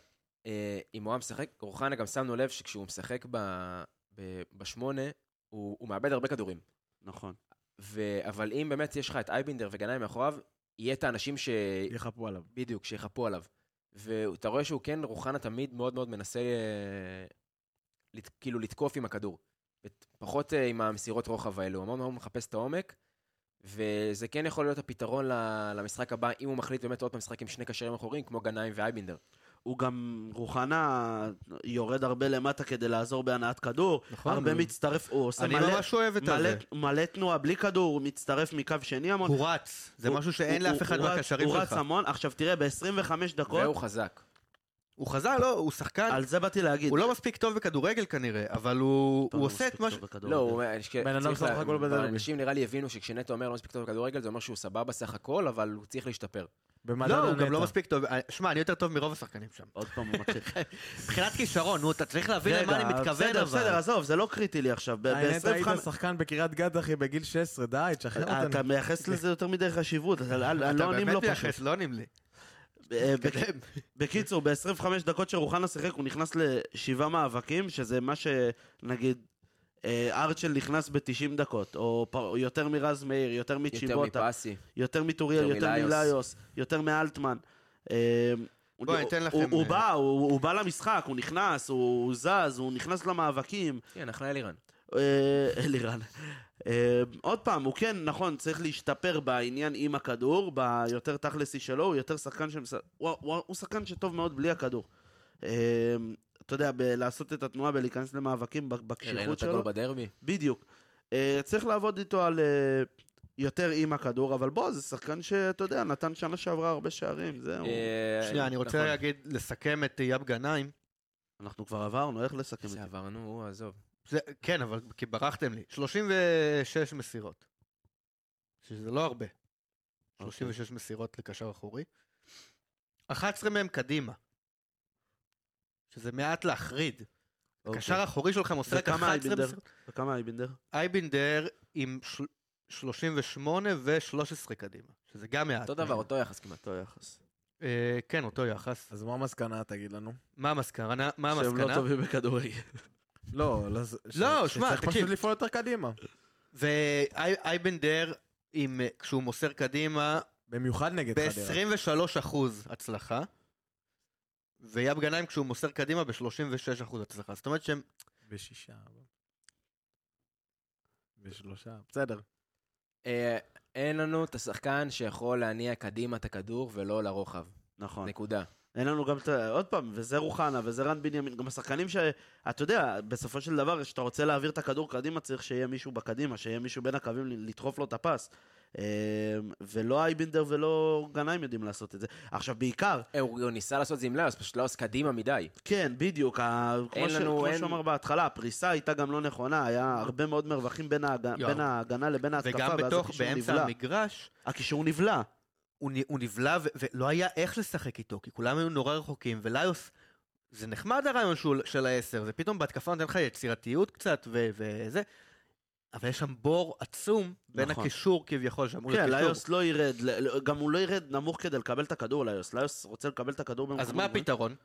A: אה, אם הוא היה משחק, רוחנה גם שמנו לב שכשהוא משחק ב, ב, בשמונה, הוא, הוא מאבד הרבה כדורים.
G: נכון.
A: ו, אבל אם באמת יש לך את אייבינדר וגנאים מאחוריו, יהיה את האנשים ש...
F: יחפו עליו.
A: בדיוק, שיחפו עליו. ואתה רואה שהוא כן, רוחנה תמיד מאוד מאוד מנסה אה, לת, כאילו לתקוף עם הכדור. ות- פחות אה, עם המסירות רוחב האלו, הוא מאוד מאוד מחפש את העומק, וזה כן יכול להיות הפתרון ל- למשחק הבא, אם הוא מחליט באמת עוד פעם לשחק עם שני קשרים אחוריים, כמו גנאים ואייבינדר.
G: הוא גם, רוחנה יורד הרבה למטה כדי לעזור בהנעת כדור,
E: נכון,
G: הרבה
E: הוא-
G: מצטרף, הוא עושה
E: אני
G: מלא,
E: ממש אוהב את
G: מלא,
E: זה.
G: מלא תנועה בלי כדור, הוא מצטרף מקו שני המון.
E: הוא רץ, זה
G: הוא-
E: משהו שאין
G: הוא-
E: לאף אחד
G: הוא רץ-
E: מהקשרים
G: הוא רץ
E: שלך.
F: נכון.
G: המון, עכשיו תראה, ב-25 דקות,
A: והוא חזק.
E: הוא חזר, לא, הוא שחקן,
G: על זה באתי להגיד.
E: הוא לא מספיק טוב בכדורגל כנראה, אבל הוא
G: טוב,
E: הוא עושה את
G: מספיק
E: מה ש...
G: טוב בכדורגל.
A: לא, הוא אומר, שכ-
F: כן. בן אדם
A: צריך
F: סך
A: לה-
F: הכל בדרבי.
A: אנשים נראה לי הבינו שכשנטו אומר לא מספיק טוב בכדורגל, זה אומר שהוא סבבה סך הכל, אבל הוא צריך להשתפר.
F: במדד
E: לא, הוא
F: הנטע.
E: גם לא מספיק טוב. אה, שמע, אני יותר טוב מרוב השחקנים שם.
G: עוד פעם הוא מתחיל.
E: מבחינת כישרון, נו, אתה צריך להבין למה אני
G: רגע,
E: מתכוון,
G: בסדר, בסדר,
E: אבל.
G: עזוב, זה לא קריטי לי עכשיו. ב-
F: הנטע אה, היית
G: ב-25...
F: שחקן בקריית גת, אחי, בגיל 16, די, תשחרר
G: אתה
F: אותנו.
G: מייחס לזה יותר מדי חשיבות, אתה לא-
E: אתה
G: לא עונים
E: באמת
G: לו פשוט.
E: מייחס, לא עונים לי.
G: אה, בק- בקיצור, ב-25 דקות שרוחנה שיחק, הוא נכנס לשבעה מאבקים, שזה מה שנגיד אה, ארצ'ל נכנס ב-90 דקות, או פ- או יותר מרז מאיר, יותר
A: יותר
G: מצ'יבוטה,
A: מפאסי.
G: יותר מטוריאל,
A: יותר
G: יותר
A: מליוס.
G: מליוס, יותר מאלטמן. אה,
E: בוא,
G: הוא-
E: אני אתן לכם,
G: הוא- הוא
E: אה,
G: בא, הוא הוא בא למשחק, הוא נכנס, הוא הוא זז, הוא נכנס למאבקים.
A: כן, אחלה אלירן.
G: אה, אלירן. אה, עוד פעם, הוא כן, נכון, צריך להשתפר בעניין עם הכדור, ביותר תכלסי שלו, הוא יותר שחקן שמס... הוא, הוא, הוא שחקן שטוב מאוד בלי הכדור. אה, אתה יודע, ב- לעשות את התנועה ולהיכנס למאבקים בק-
A: כן, ראינו
G: בקשיחות
A: את הגול
G: שלו,
A: בדרבי.
G: בדיוק. אה, צריך לעבוד איתו על אה, יותר עם הכדור, אבל בוא, זה שחקן שאתה יודע, נתן שנה שעברה הרבה שערים, זהו.
A: אה,
E: שנייה, אני רוצה
A: נכון.
E: להגיד, לסכם את אייב גנאים.
G: אנחנו כבר עברנו, איך לסכם את זה?
A: זה עברנו, הוא, עזוב.
E: זה- כן, אבל כי ברחתם לי. 36 מסירות. שזה לא הרבה. 36 מסירות לקשר אחורי. 11 מהם קדימה. שזה מעט להחריד.
G: אוקיי.
E: קשר אחורי שלך מוסר רק
G: וכמה
E: 11
G: אייבינדר?
E: מסירות.
G: וכמה אייבינדר?
E: אייבינדר עם של- 38 ו-13 קדימה, שזה גם מעט.
A: אותו דבר, אותו יחס כמעט.
G: אותו יחס.
E: אה, כן, אותו יחס.
F: אז מה המסקנה, תגיד לנו?
E: מה המסקנה? מה
G: שהם לא
A: אה?
E: המסקנה?
G: טובים בכדורגל.
F: לא, לא,
E: לא, שמע,
F: צריך
E: תקשיב.
F: פשוט לפעול יותר קדימה.
E: ואייבנדר, עם, אה, כשהוא מוסר קדימה,
F: במיוחד נגד חדרה.
E: ב-23 אחוז הצלחה, ויאב גנאים כשהוא מוסר קדימה ב-36 אחוז הצלחה. זאת אומרת שהם...
F: בשישה. אבל. בשלושה, בסדר.
A: אה, אין לנו את השחקן שיכול להניע קדימה את הכדור ולא לרוחב.
G: נכון.
A: נקודה.
G: אין לנו גם את ה... עוד פעם, וזה רוחנה, וזה רן בנימין, גם השחקנים ש... אתה יודע, בסופו של דבר, כשאתה רוצה להעביר את הכדור קדימה, צריך שיהיה מישהו בקדימה, שיהיה מישהו בין הקווים ל- לדחוף לו את הפס. אמ, ולא אייבינדר ולא גנאים יודעים לעשות את זה. עכשיו, בעיקר,
A: אה, הוא הוא ניסה לעשות את זה עם לאוס, פשוט לאוס קדימה מדי.
G: כן, בדיוק, ה... כמו,
A: אין
G: ש...
A: לנו-
G: כמו
A: אין-
G: שאמר בהתחלה, הפריסה הייתה גם לא נכונה, היה הרבה מאוד מרווחים בין, ההג...
E: יואו.
G: בין ההגנה לבין ההתקפה,
E: וגם
G: ואז
E: בתוך,
G: הקישור נבלע.
E: באמצע המגרש,
G: הקישור נבלע.
E: הוא, נ- הוא נבלע ו- ולא היה איך לשחק איתו, כי כולם היו נורא רחוקים, וליוס, זה נחמד הרעיון של, של העשר, זה פתאום בהתקפה נותן לך יצירתיות קצת ו- וזה, אבל יש שם בור עצום בין
G: נכון.
E: הקישור כביכול, שאמור
G: כן,
E: להיות קישור.
G: ליוס לא ירד, ל- ל- גם הוא לא ירד נמוך כדי לקבל את הכדור, ליוס. ליוס רוצה לקבל את הכדור במקום...
E: אז מה הפתרון?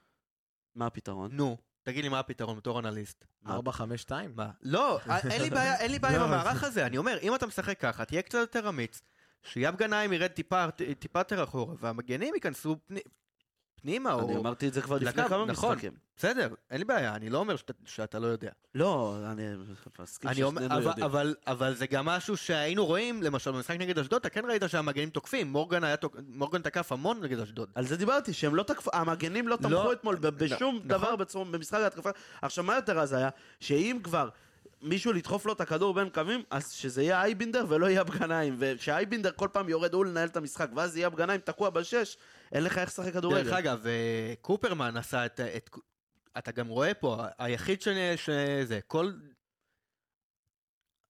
G: מה הפתרון?
E: נו, תגיד לי מה הפתרון בתור אנליסט.
G: מה
F: ארבע, חמש, שתיים.
E: מה? לא, אין לי בעיה, אין לי בעיה עם
F: לא,
E: המערך הזה, אני אומר, אם אתה משחק ככה, תהיה קצת יותר אמיץ, שיאב גנאים ירד טיפה טיפה יותר אחורה, והמגנים ייכנסו פני- פנימה,
G: אני
E: או...
G: אמרתי את זה כבר לפני
E: לקו,
G: כמה
E: נכון.
G: משחקים.
E: בסדר, אין לי בעיה, אני לא אומר שאתה- שאתה לא יודע.
G: לא, אני מסכים
E: אני אומר,
G: ששנינו
E: אבל,
G: יודעים.
E: אבל, אבל זה גם משהו שהיינו רואים, למשל במשחק נגד אשדוד, אתה כן ראית שהמגנים תוקפים, מורגן, היה תוק... מורגן תקף המון נגד אשדוד.
G: על זה דיברתי, שהם לא תקפו, המגנים לא תמכו
E: לא,
G: אתמול ב- בשום
E: נכון.
G: דבר בצורה- במשחק ההתקפה. עכשיו, מה יותר אז היה? שאם כבר מישהו לדחוף לו את הכדור בין קווים, אז שזה יהיה אייבינדר ולא יהיה גנאים. וכשאייבינדר כל פעם יורד הוא לנהל את המשחק, ואז יהיה גנאים תקוע בשש, אין לך איך לשחק
E: דרך
G: כדורגל.
E: אגב, אה, קופרמן עשה את... את... אתה גם רואה פה, ה- היחיד ש... שזה, כל...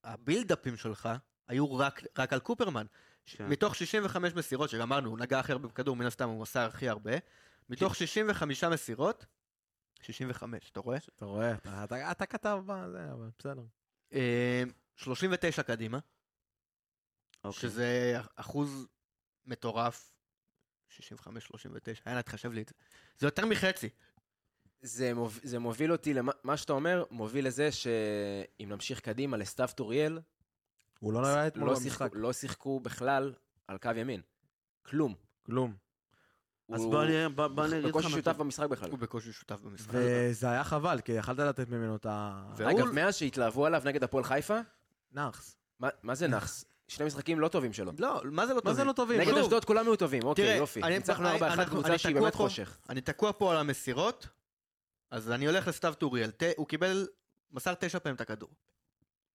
E: הבילדאפים שלך היו רק, רק על קופרמן.
G: כן.
E: מתוך 65 מסירות, שגמרנו, הוא נגע הכי הרבה בכדור, מן הסתם הוא עשה הכי הרבה. מתוך 65 מסירות, 65, אתה רואה?
F: אתה רואה, אתה- אתה- אתה כתב בזה, אבל בסדר.
E: אה, 39 קדימה.
G: אוקיי.
E: שזה אחוז מטורף, 65-39, יאללה, תחשב לי את זה. זה יותר מחצי.
A: זה, מוב... זה מוביל אותי, למה מה שאתה אומר, מוביל לזה שאם נמשיך קדימה לסתיו טוריאל,
F: הוא לא נראה אתמול
A: לא שיחקו,
F: במשחק.
A: לא שיחקו בכלל על קו ימין. כלום.
F: כלום.
G: אז
A: הוא-
G: בוא אני בוא- בוא אני
A: הוא
G: אגיד לך...
A: בקושי
G: מה
A: שותף
G: טוב.
A: במשחק בכלל.
E: הוא בקושי שותף במשחק.
F: וזה היה חבל, כי יכלת לתת ממנו את ה...
E: והוא-
A: אגב, מאז שהתלהבו עליו נגד הפועל חיפה,
F: נאחס.
A: מה- מה זה נאחס? שני משחקים לא טובים שלו.
E: לא, מה זה לא טובים?
F: מה זה לא טובים?
A: נגד
E: שוב.
A: אשדוד כולם היו טובים, אוקיי,
E: תראה,
A: יופי.
E: אני-
A: ניצחנו
E: אני-
A: 4-1
E: אנחנו-
A: קבוצה
E: אני
A: שהיא
E: תקוע
A: באמת
E: פה.
A: חושך.
E: אני תקוע פה על המסירות, אז אני הולך לסתיו טוריאל. ת- הוא קיבל, מסר תשע פעמים את הכדור.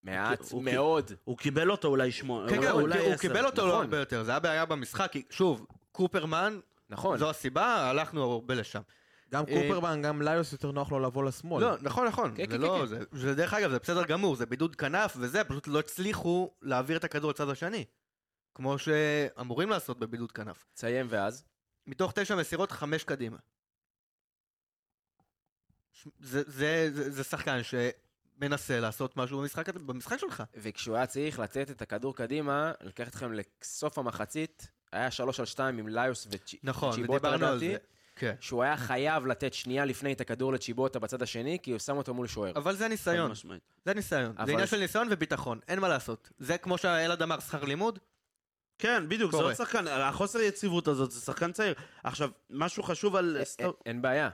A: מעט
G: הוא-
A: מאוד.
G: הוא קיבל אותו אולי שמונה.
E: כן, כן, הוא-
G: אולי
E: הוא
G: עשר.
E: קיבל אותו לא
A: נכון.
E: הרבה יותר, זה היה בעיה במשחק, כי שוב, קופרמן,
A: נכון.
E: זו הסיבה, הלכנו הרבה לשם.
F: גם
E: אה,
F: קופרבן, גם ליוס יותר נוח לו לבוא לשמאל. אה,
E: לא, נכון, נכון.
A: כן,
E: זה
A: כן,
E: לא,
A: כן.
E: זה- זה דרך אגב, זה בסדר גמור, זה בידוד כנף וזה, פשוט לא הצליחו להעביר את הכדור לצד השני. כמו שאמורים לעשות בבידוד כנף.
A: תסיים ואז.
E: מתוך תשע מסירות, חמש קדימה. ש- זה, זה, זה, זה שחקן שמנסה לעשות משהו במשחק, הזה- במשחק שלך.
A: וכשהוא היה צריך לתת את הכדור קדימה, לקח אתכם לסוף המחצית, היה 3 על 2 עם ליוס וצ'יבוטה,
E: נכון, ודיברנו על זה. כן.
A: שהוא היה חייב לתת שנייה לפני את הכדור לצ'יבוטה בצד השני, כי הוא שם אותו מול שוער.
E: אבל זה ניסיון,
G: משמעית.
E: זה ניסיון.
A: אבל-
E: זה עניין של ניסיון וביטחון, אין מה לעשות. זה כמו שאלעד אמר, שכר לימוד,
G: כן, בדיוק, זה
E: קורה.
G: עוד שחקן, החוסר יציבות הזאת, זה שחקן צעיר. עכשיו, משהו חשוב
E: אה,
G: על...
A: א- א- אין בעיה.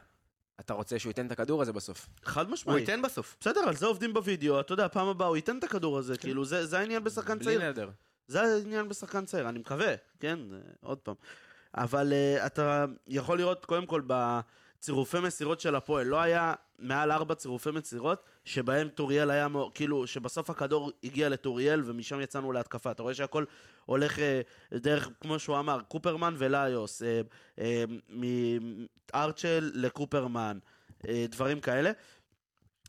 A: אתה רוצה שהוא ייתן את הכדור הזה בסוף.
G: חד
E: הוא
G: משמעית.
E: ייתן בסוף.
G: בסדר, על זה עובדים בווידאו, אתה יודע, פעם הבאה הוא ייתן את הכדור הזה,
E: כן.
G: כאילו, זה זה העניין בשחקן
A: בלי
G: צעיר.
A: נדר.
G: זה העניין בשחקן צעיר, אני מקווה, כן, אה, עוד פעם. אבל אה, אתה יכול לראות, קודם כל, בצירופי מסירות של הפועל, לא היה מעל ארבע צירופי מסירות שבהם טוריאל היה, מאו- כאילו, שבסוף הכדור הגיע לטוריאל ומשם יצאנו להתקפה. אתה רואה שהכל הולך אה, דרך, כמו שהוא אמר, קופרמן וליוס, אה, אה, מארצ'ל לקופרמן, אה, דברים כאלה.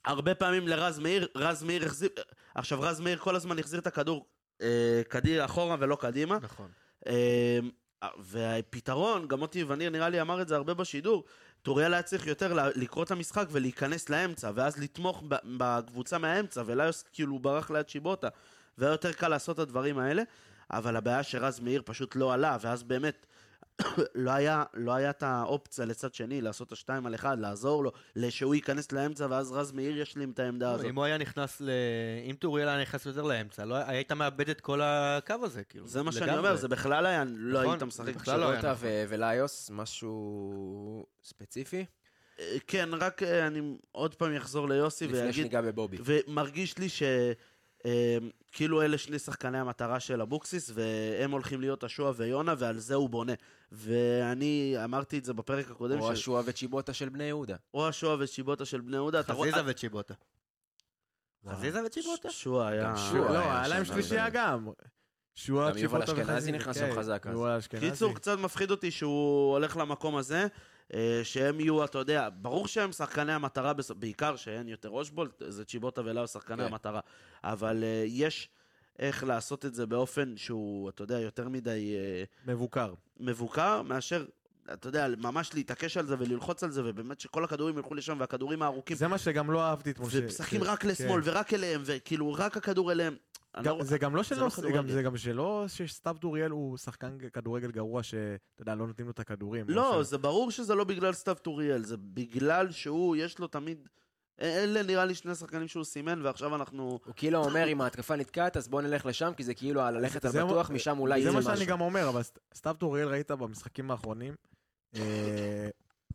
G: הרבה פעמים לרז מאיר, רז מאיר החזיר, עכשיו רז מאיר כל הזמן החזיר את הכדור אה, קדימה, אחורה ולא קדימה.
E: נכון.
G: אה, והפתרון, גם מוטי וניר נראה לי אמר את זה הרבה בשידור, טוריאל היה צריך יותר לה- לקרוא את המשחק ולהיכנס לאמצע, ואז לתמוך ב- בקבוצה מהאמצע, וליוס כאילו ברח ליד שיבוטה, והיה יותר קל לעשות את הדברים האלה, אבל הבעיה שרז מאיר פשוט לא עלה, ואז באמת... לא היה, לא היה את האופציה לצד שני לעשות את השתיים על אחד, לעזור לו, שהוא ייכנס לאמצע ואז רז מאיר ישלים את העמדה הזאת.
E: לא, אם הוא היה נכנס ל... אם טוריאל היה נכנס יותר לאמצע, לא... היית מאבד את כל הקו הזה, כאילו.
G: זה מה שאני
E: לגמרי.
G: אומר, זה בכלל היה, לא
E: נכון,
G: היית
E: זה
G: משחק
E: בכלל לא היה
A: צ'יבוטה ו- וליוס, משהו ספציפי?
G: אה, כן, רק אה, אני עוד פעם אחזור ליוסי
A: לפני
G: ואגיד,
A: שניגע בבובי.
G: ומרגיש לי ש... אה, כאילו אלה שני שחקני המטרה של אבוקסיס, והם הולכים להיות השועה ויונה, ועל זה הוא בונה. ואני אמרתי את זה בפרק הקודם,
A: או
G: ש...
A: השועה וצ'יבוטה של בני יהודה.
G: או השועה ושיבוטה של בני יהודה. אתה אה-
E: חזיזה
G: רואה-
E: וצ'יבוטה. חזיזה וצ'יבוטה?
G: שועה היה...
A: גם שועה.
F: לא, היה
A: שם
F: להם
A: הרבה.
F: שלישייה גם. שועה,
A: גם יובל
F: צ'יפוטה
A: אשכנזי
F: וחזיזה,
A: נכנס
F: כן,
A: שם חזק אז.
F: יובל אשכנזי.
G: קיצור, קצת מפחיד אותי שהוא הולך למקום הזה, אה, שהם יהיו, אתה יודע, ברור שהם שחקני המטרה, בס- בעיקר שאין יותר אושבולט, זה צ'יבוטה ולאו שחקני
A: כן.
G: המטרה. אבל אה, יש איך לעשות את זה באופן שהוא, אתה יודע, יותר מדי אה,
F: מבוקר.
G: מבוקר, מאשר... אתה יודע, ממש להתעקש על זה וללחוץ על זה, ובאמת שכל הכדורים ילכו לשם, והכדורים הארוכים,
F: זה מה שגם לא אהבתי אתמול. ש-
G: ומשחקים
F: ש-
G: כן.
F: כן.
G: רק לשמאל ורק אליהם, וכאילו רק הכדור אליהם. אני
F: גם-
G: לא-
F: זה גם לא שלא,
G: לא
F: זה
G: כדורגל.
F: גם- זה גם שלא שסתיו דוריאל הוא שחקן ג- כדורגל גרוע שאתה יודע, לא נותנים לו את הכדורים.
G: לא,
F: שלא-
G: זה ברור שזה לא בגלל סתיו טוריאל, זה בגלל שהוא, יש לו תמיד... אה, אלה נראה לי שני שחקנים שהוא סימן, ועכשיו אנחנו...
A: הוא כאילו אומר, אם ההתקפה נתקעת, אז בואו נלך לשם, כי זה כאילו ללכת על
F: זה מה-
A: בטוח, משם אולי
F: זה
A: יצא
F: מה שאני
A: משהו.
F: גם אומר, אבל סת- סתיו טוריאל ראית במשחקים האחרונים, אה,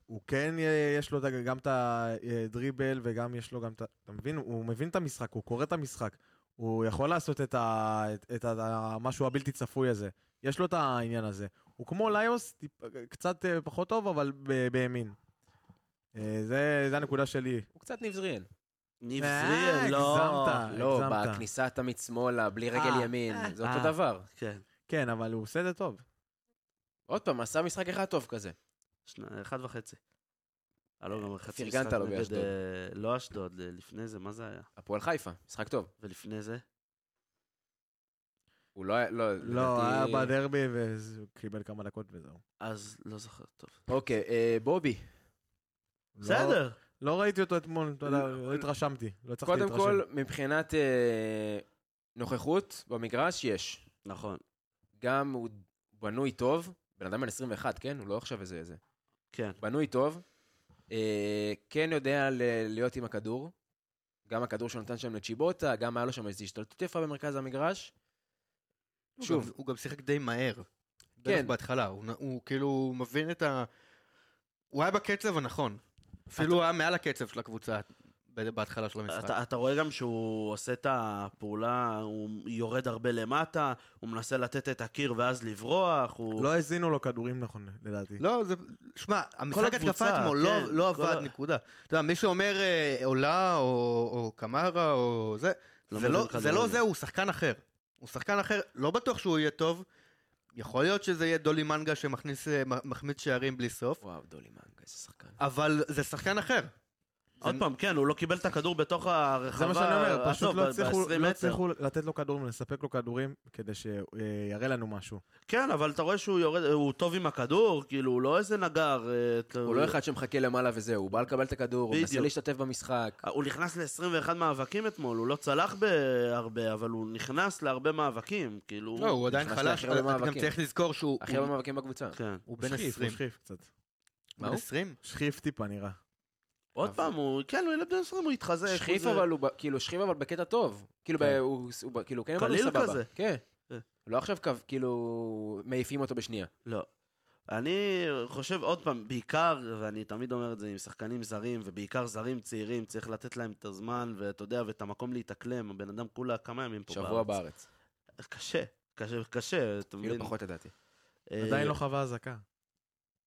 F: הוא כן, אה, יש לו את ה- גם את הדריבל וגם יש לו גם את ה... אתה מבין? הוא מבין את המשחק, הוא קורא את המשחק. הוא יכול לעשות את ה- את- את המשהו הבלתי צפוי הזה. יש לו את העניין הזה. הוא כמו ליוס, טיפ- קצת אה, פחות טוב, אבל ב- בימין. אה, זה זה הנקודה שלי.
A: הוא קצת נבזריאל.
G: ניב
F: אה,
G: זריאן, לא...
F: הגזמת.
A: לא,
F: אה, הגזמת.
A: בכניסה תמיד שמאלה, בלי רגל
F: אה,
A: ימין,
F: אה,
A: זה אותו
F: אה.
A: דבר.
G: כן,
F: כן, אבל הוא עושה את זה טוב.
A: עוד פעם, עשה משחק אחד טוב כזה.
G: שני- אחד וחצי. אה, לא, גם חצי
A: פרגנת
G: משחק
A: לו
G: נגד,
A: באשדוד.
G: אה, לא אשדוד, אה, לפני זה, מה זה היה?
A: הפועל חיפה, משחק טוב.
G: ולפני זה?
A: הוא לא היה, לא,
F: לא,
A: לדעתי-
F: היה בדרבי והוא קיבל כמה דקות וזהו.
G: אז לא זוכר טוב.
A: אוקיי, אה, בובי,
F: לא-
G: בסדר.
F: לא ראיתי אותו אתמול, אתה יודע,
A: לא-
F: לא התרשמתי. לא הצלחתי
A: קודם
F: להתרשם.
A: כל, מבחינת אה, נוכחות במגרש, יש.
G: נכון,
A: גם הוא בנוי טוב, בן אדם בן 21, כן? הוא לא עכשיו איזה איזה.
G: כן.
A: בנוי טוב, אה, כן יודע ל- להיות עם הכדור, גם הכדור שהוא נתן שם לצ'יבוטה, גם היה לו שם איזו השתלטות יפה במרכז המגרש.
E: הוא
A: שוב.
E: גם- הוא גם שיחק די מהר. בטח
A: כן.
E: בהתחלה, הוא נ- הוא כאילו מבין את ה... הוא היה בקצב הנכון. אפילו הוא היה מעל הקצב של הקבוצה ב- בהתחלה של המשחק.
G: אתה, אתה רואה גם שהוא עושה את הפעולה, הוא יורד הרבה למטה, הוא מנסה לתת את הקיר ואז לברוח, הוא...
F: לא האזינו לו כדורים נכון, לדעתי.
E: לא, זה... שמע, המשחק התקפה
G: הקבוצה,
E: אתמול לא-
G: כן,
E: לא
G: כל
E: עבד,
G: ה-
E: נקודה. אתה יודע, מי שאומר אה, עולה או או קמרה או זה,
G: לא
E: זה לא-
G: מבין
E: זה לא
G: כדורגל.
E: זה, הוא שחקן אחר. הוא שחקן אחר, לא בטוח שהוא יהיה טוב. יכול להיות שזה יהיה דולי מנגה שמכניס אה, מ- מחמיץ שערים בלי סוף.
A: וואו, דולי מנגה. איזה שחקן.
E: אבל זה שחקן אחר.
G: עוד פעם, כן, הוא לא קיבל את הכדור בתוך הרחבה.
F: זה מה שאני אומר, פשוט
G: עזוב,
F: לא
G: ב-
F: הצליחו-
G: ב-20
F: לא
G: מטר.
F: הצליחו לתת לו כדורים, לספק לו כדורים, כדי שיראה לנו משהו.
G: כן, אבל אתה רואה שהוא יורד, הוא טוב עם הכדור, כאילו, הוא לא איזה נגר. אה, אתה-
A: הוא לא אחד שמחכה למעלה וזהו, הוא בא לקבל את הכדור, הוא מנסה
G: בדיוק.
A: להשתתף במשחק.
G: הוא נכנס ל-21 מאבקים אתמול, הוא לא צלח בהרבה, אבל הוא נכנס להרבה מאבקים, כאילו...
E: לא, הוא עדיין
A: נכנס
E: חלש,
A: להכי
E: אבל
A: הרבה
E: אתה גם
A: מאבקים.
E: צריך לזכור שהוא
A: הכי הרבה מאבקים בקבוצה.
G: כן.
E: הוא
F: הוא
E: בן
F: שחיף,
E: 20.
F: הוא שחיף קצת.
A: מה
E: בן
A: הוא?
E: 20?
F: שחיף טיפה נראה.
G: עוד
A: אבל-
G: פעם, הוא... כן, הוא ילד בן 20, הוא התחזק. הוא
A: שכיב
G: זה-
A: אבל הוא, ב- כאילו, שכיב אבל בקטע טוב. כאילו, ב-
F: כן.
A: הוא הוא ב- כאילו, כן, אבל הוא
G: קליל
A: סבבה.
G: כזה.
A: כן.
G: כן.
A: לא עכשיו קו- כאילו, מעיפים אותו בשנייה.
G: לא. אני חושב, עוד פעם, בעיקר, ואני תמיד אומר את זה עם שחקנים זרים, ובעיקר זרים צעירים, צריך לתת להם את הזמן, ואתה יודע, ואת המקום להתאקלם. הבן אדם כולה כמה ימים פה
A: שבוע בארץ.
G: קשה, קשה, קשה, אתה מבין?
A: אפילו כאילו, פחות לדעתי.
G: אה,
F: עדיין לא חווה אזעקה.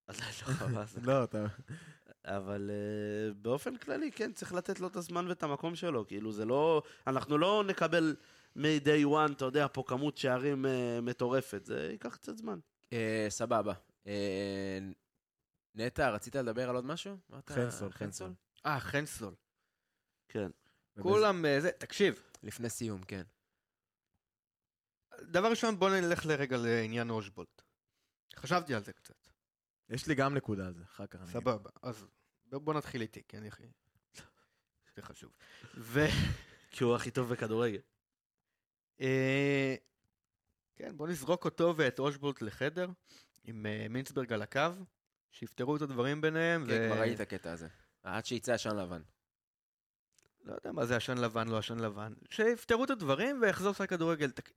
G: עדיין לא חווה. זה.
F: לא, אתה...
G: אבל אה, באופן כללי, כן, צריך לתת לו את הזמן ואת המקום שלו. כאילו, זה לא... אנחנו לא נקבל מ-day one, אתה יודע, פה כמות שערים אה, מטורפת. זה ייקח קצת זמן.
A: אה, סבבה. אה, נטע, רצית לדבר על עוד משהו? אמרת,
F: חנסול,
A: חנסול?
F: חנסול.
E: אה, חנסול.
G: כן.
E: כולם אה, זה, תקשיב,
A: לפני סיום, כן.
E: דבר ראשון בוא נלך לרגע לעניין אושבולט. חשבתי על זה קצת,
F: יש לי גם נקודה על זה, אחר כך. אני אגיד.
E: סבבה, אז ב- בוא נתחיל איתי, כי אני הכי... זה חשוב. ו...
G: כי הוא הכי טוב בכדורגל.
E: אה, כן, בוא נזרוק אותו ואת אושבולט לחדר, עם אה, מינסברג על הקו, שיפתרו את הדברים ביניהם.
A: כן, כבר ראיתי את הקטע הזה. עד שיצא עשן לבן.
E: לא יודע מה זה עשן לבן, לא עשן לבן. שיפתרו את הדברים ויחזור לשחק כדורגל. תק-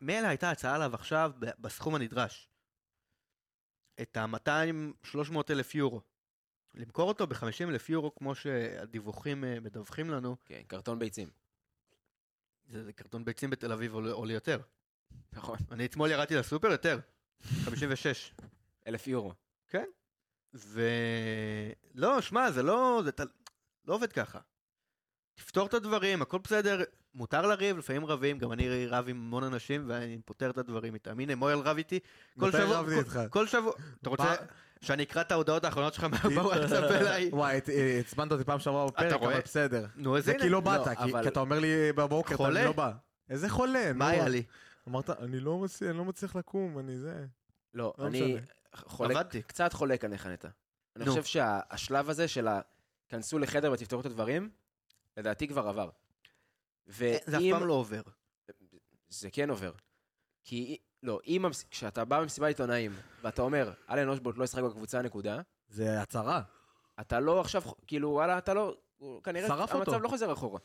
E: מילא הייתה הצעה עליו עכשיו ב- בסכום הנדרש. את ה-200-300 אלף יורו. למכור אותו ב-50 אלף יורו, כמו שהדיווחים אה, מדווחים לנו,
A: כן, קרטון ביצים.
E: זה, זה קרטון ביצים בתל אביב עולה, עולה יותר.
A: נכון.
E: אני אתמול ירדתי לסופר יותר, 56.
A: אלף יורו.
E: ולא, שמע, זה לא, זה ת... לא עובד ככה. תפתור את הדברים, הכל בסדר, מותר לריב, לפעמים רבים, גם אני רב עם המון אנשים ואני פותר את הדברים איתם. הנה, מויאל רב איתי, כל
F: מתי
E: שבוע,
F: רבתי
E: כל-
F: איתך?
E: כל שבוע, אתה רוצה
F: פעם-
E: שאני אקרא את ההודעות האחרונות שלך בוואטסאפ אליי?
F: וואי, הת- אה, עצבנת אותי פעם שעברה בפרק,
E: רואה?
F: אבל בסדר.
E: נו, איזה
F: זה כי לא באת,
A: לא,
F: כי-
A: אבל-
F: כי אתה אומר לי בבוקר, אתה
E: חולה?
F: לא בא. איזה חולה?
E: מה
F: נו.
E: היה לי?
F: אמרת, אני לא מצליח- אני לא מצליח לקום, אני זה.
A: לא,
F: לא
A: אני
F: משנה.
A: חולק,
E: עבדתי.
A: קצת חולק עליך נטע. אני
E: נו.
A: חושב שהשלב הזה של ה... כנסו לחדר ותפתרו את הדברים, לדעתי כבר עבר.
F: אה,
A: ואם...
E: אה, זה אף פעם לא עובר.
A: זה כן עובר. כי... לא, אם... המס- כשאתה בא במסיבת עיתונאים, ואתה אומר, אלן אושבולט לא ישחק בקבוצה, נקודה,
F: זה הצהרה.
A: אתה לא עכשיו... כאילו, וואלה, אתה לא... הוא- כנראה...
F: שרף אותו.
A: המצב לא חוזר אחורה.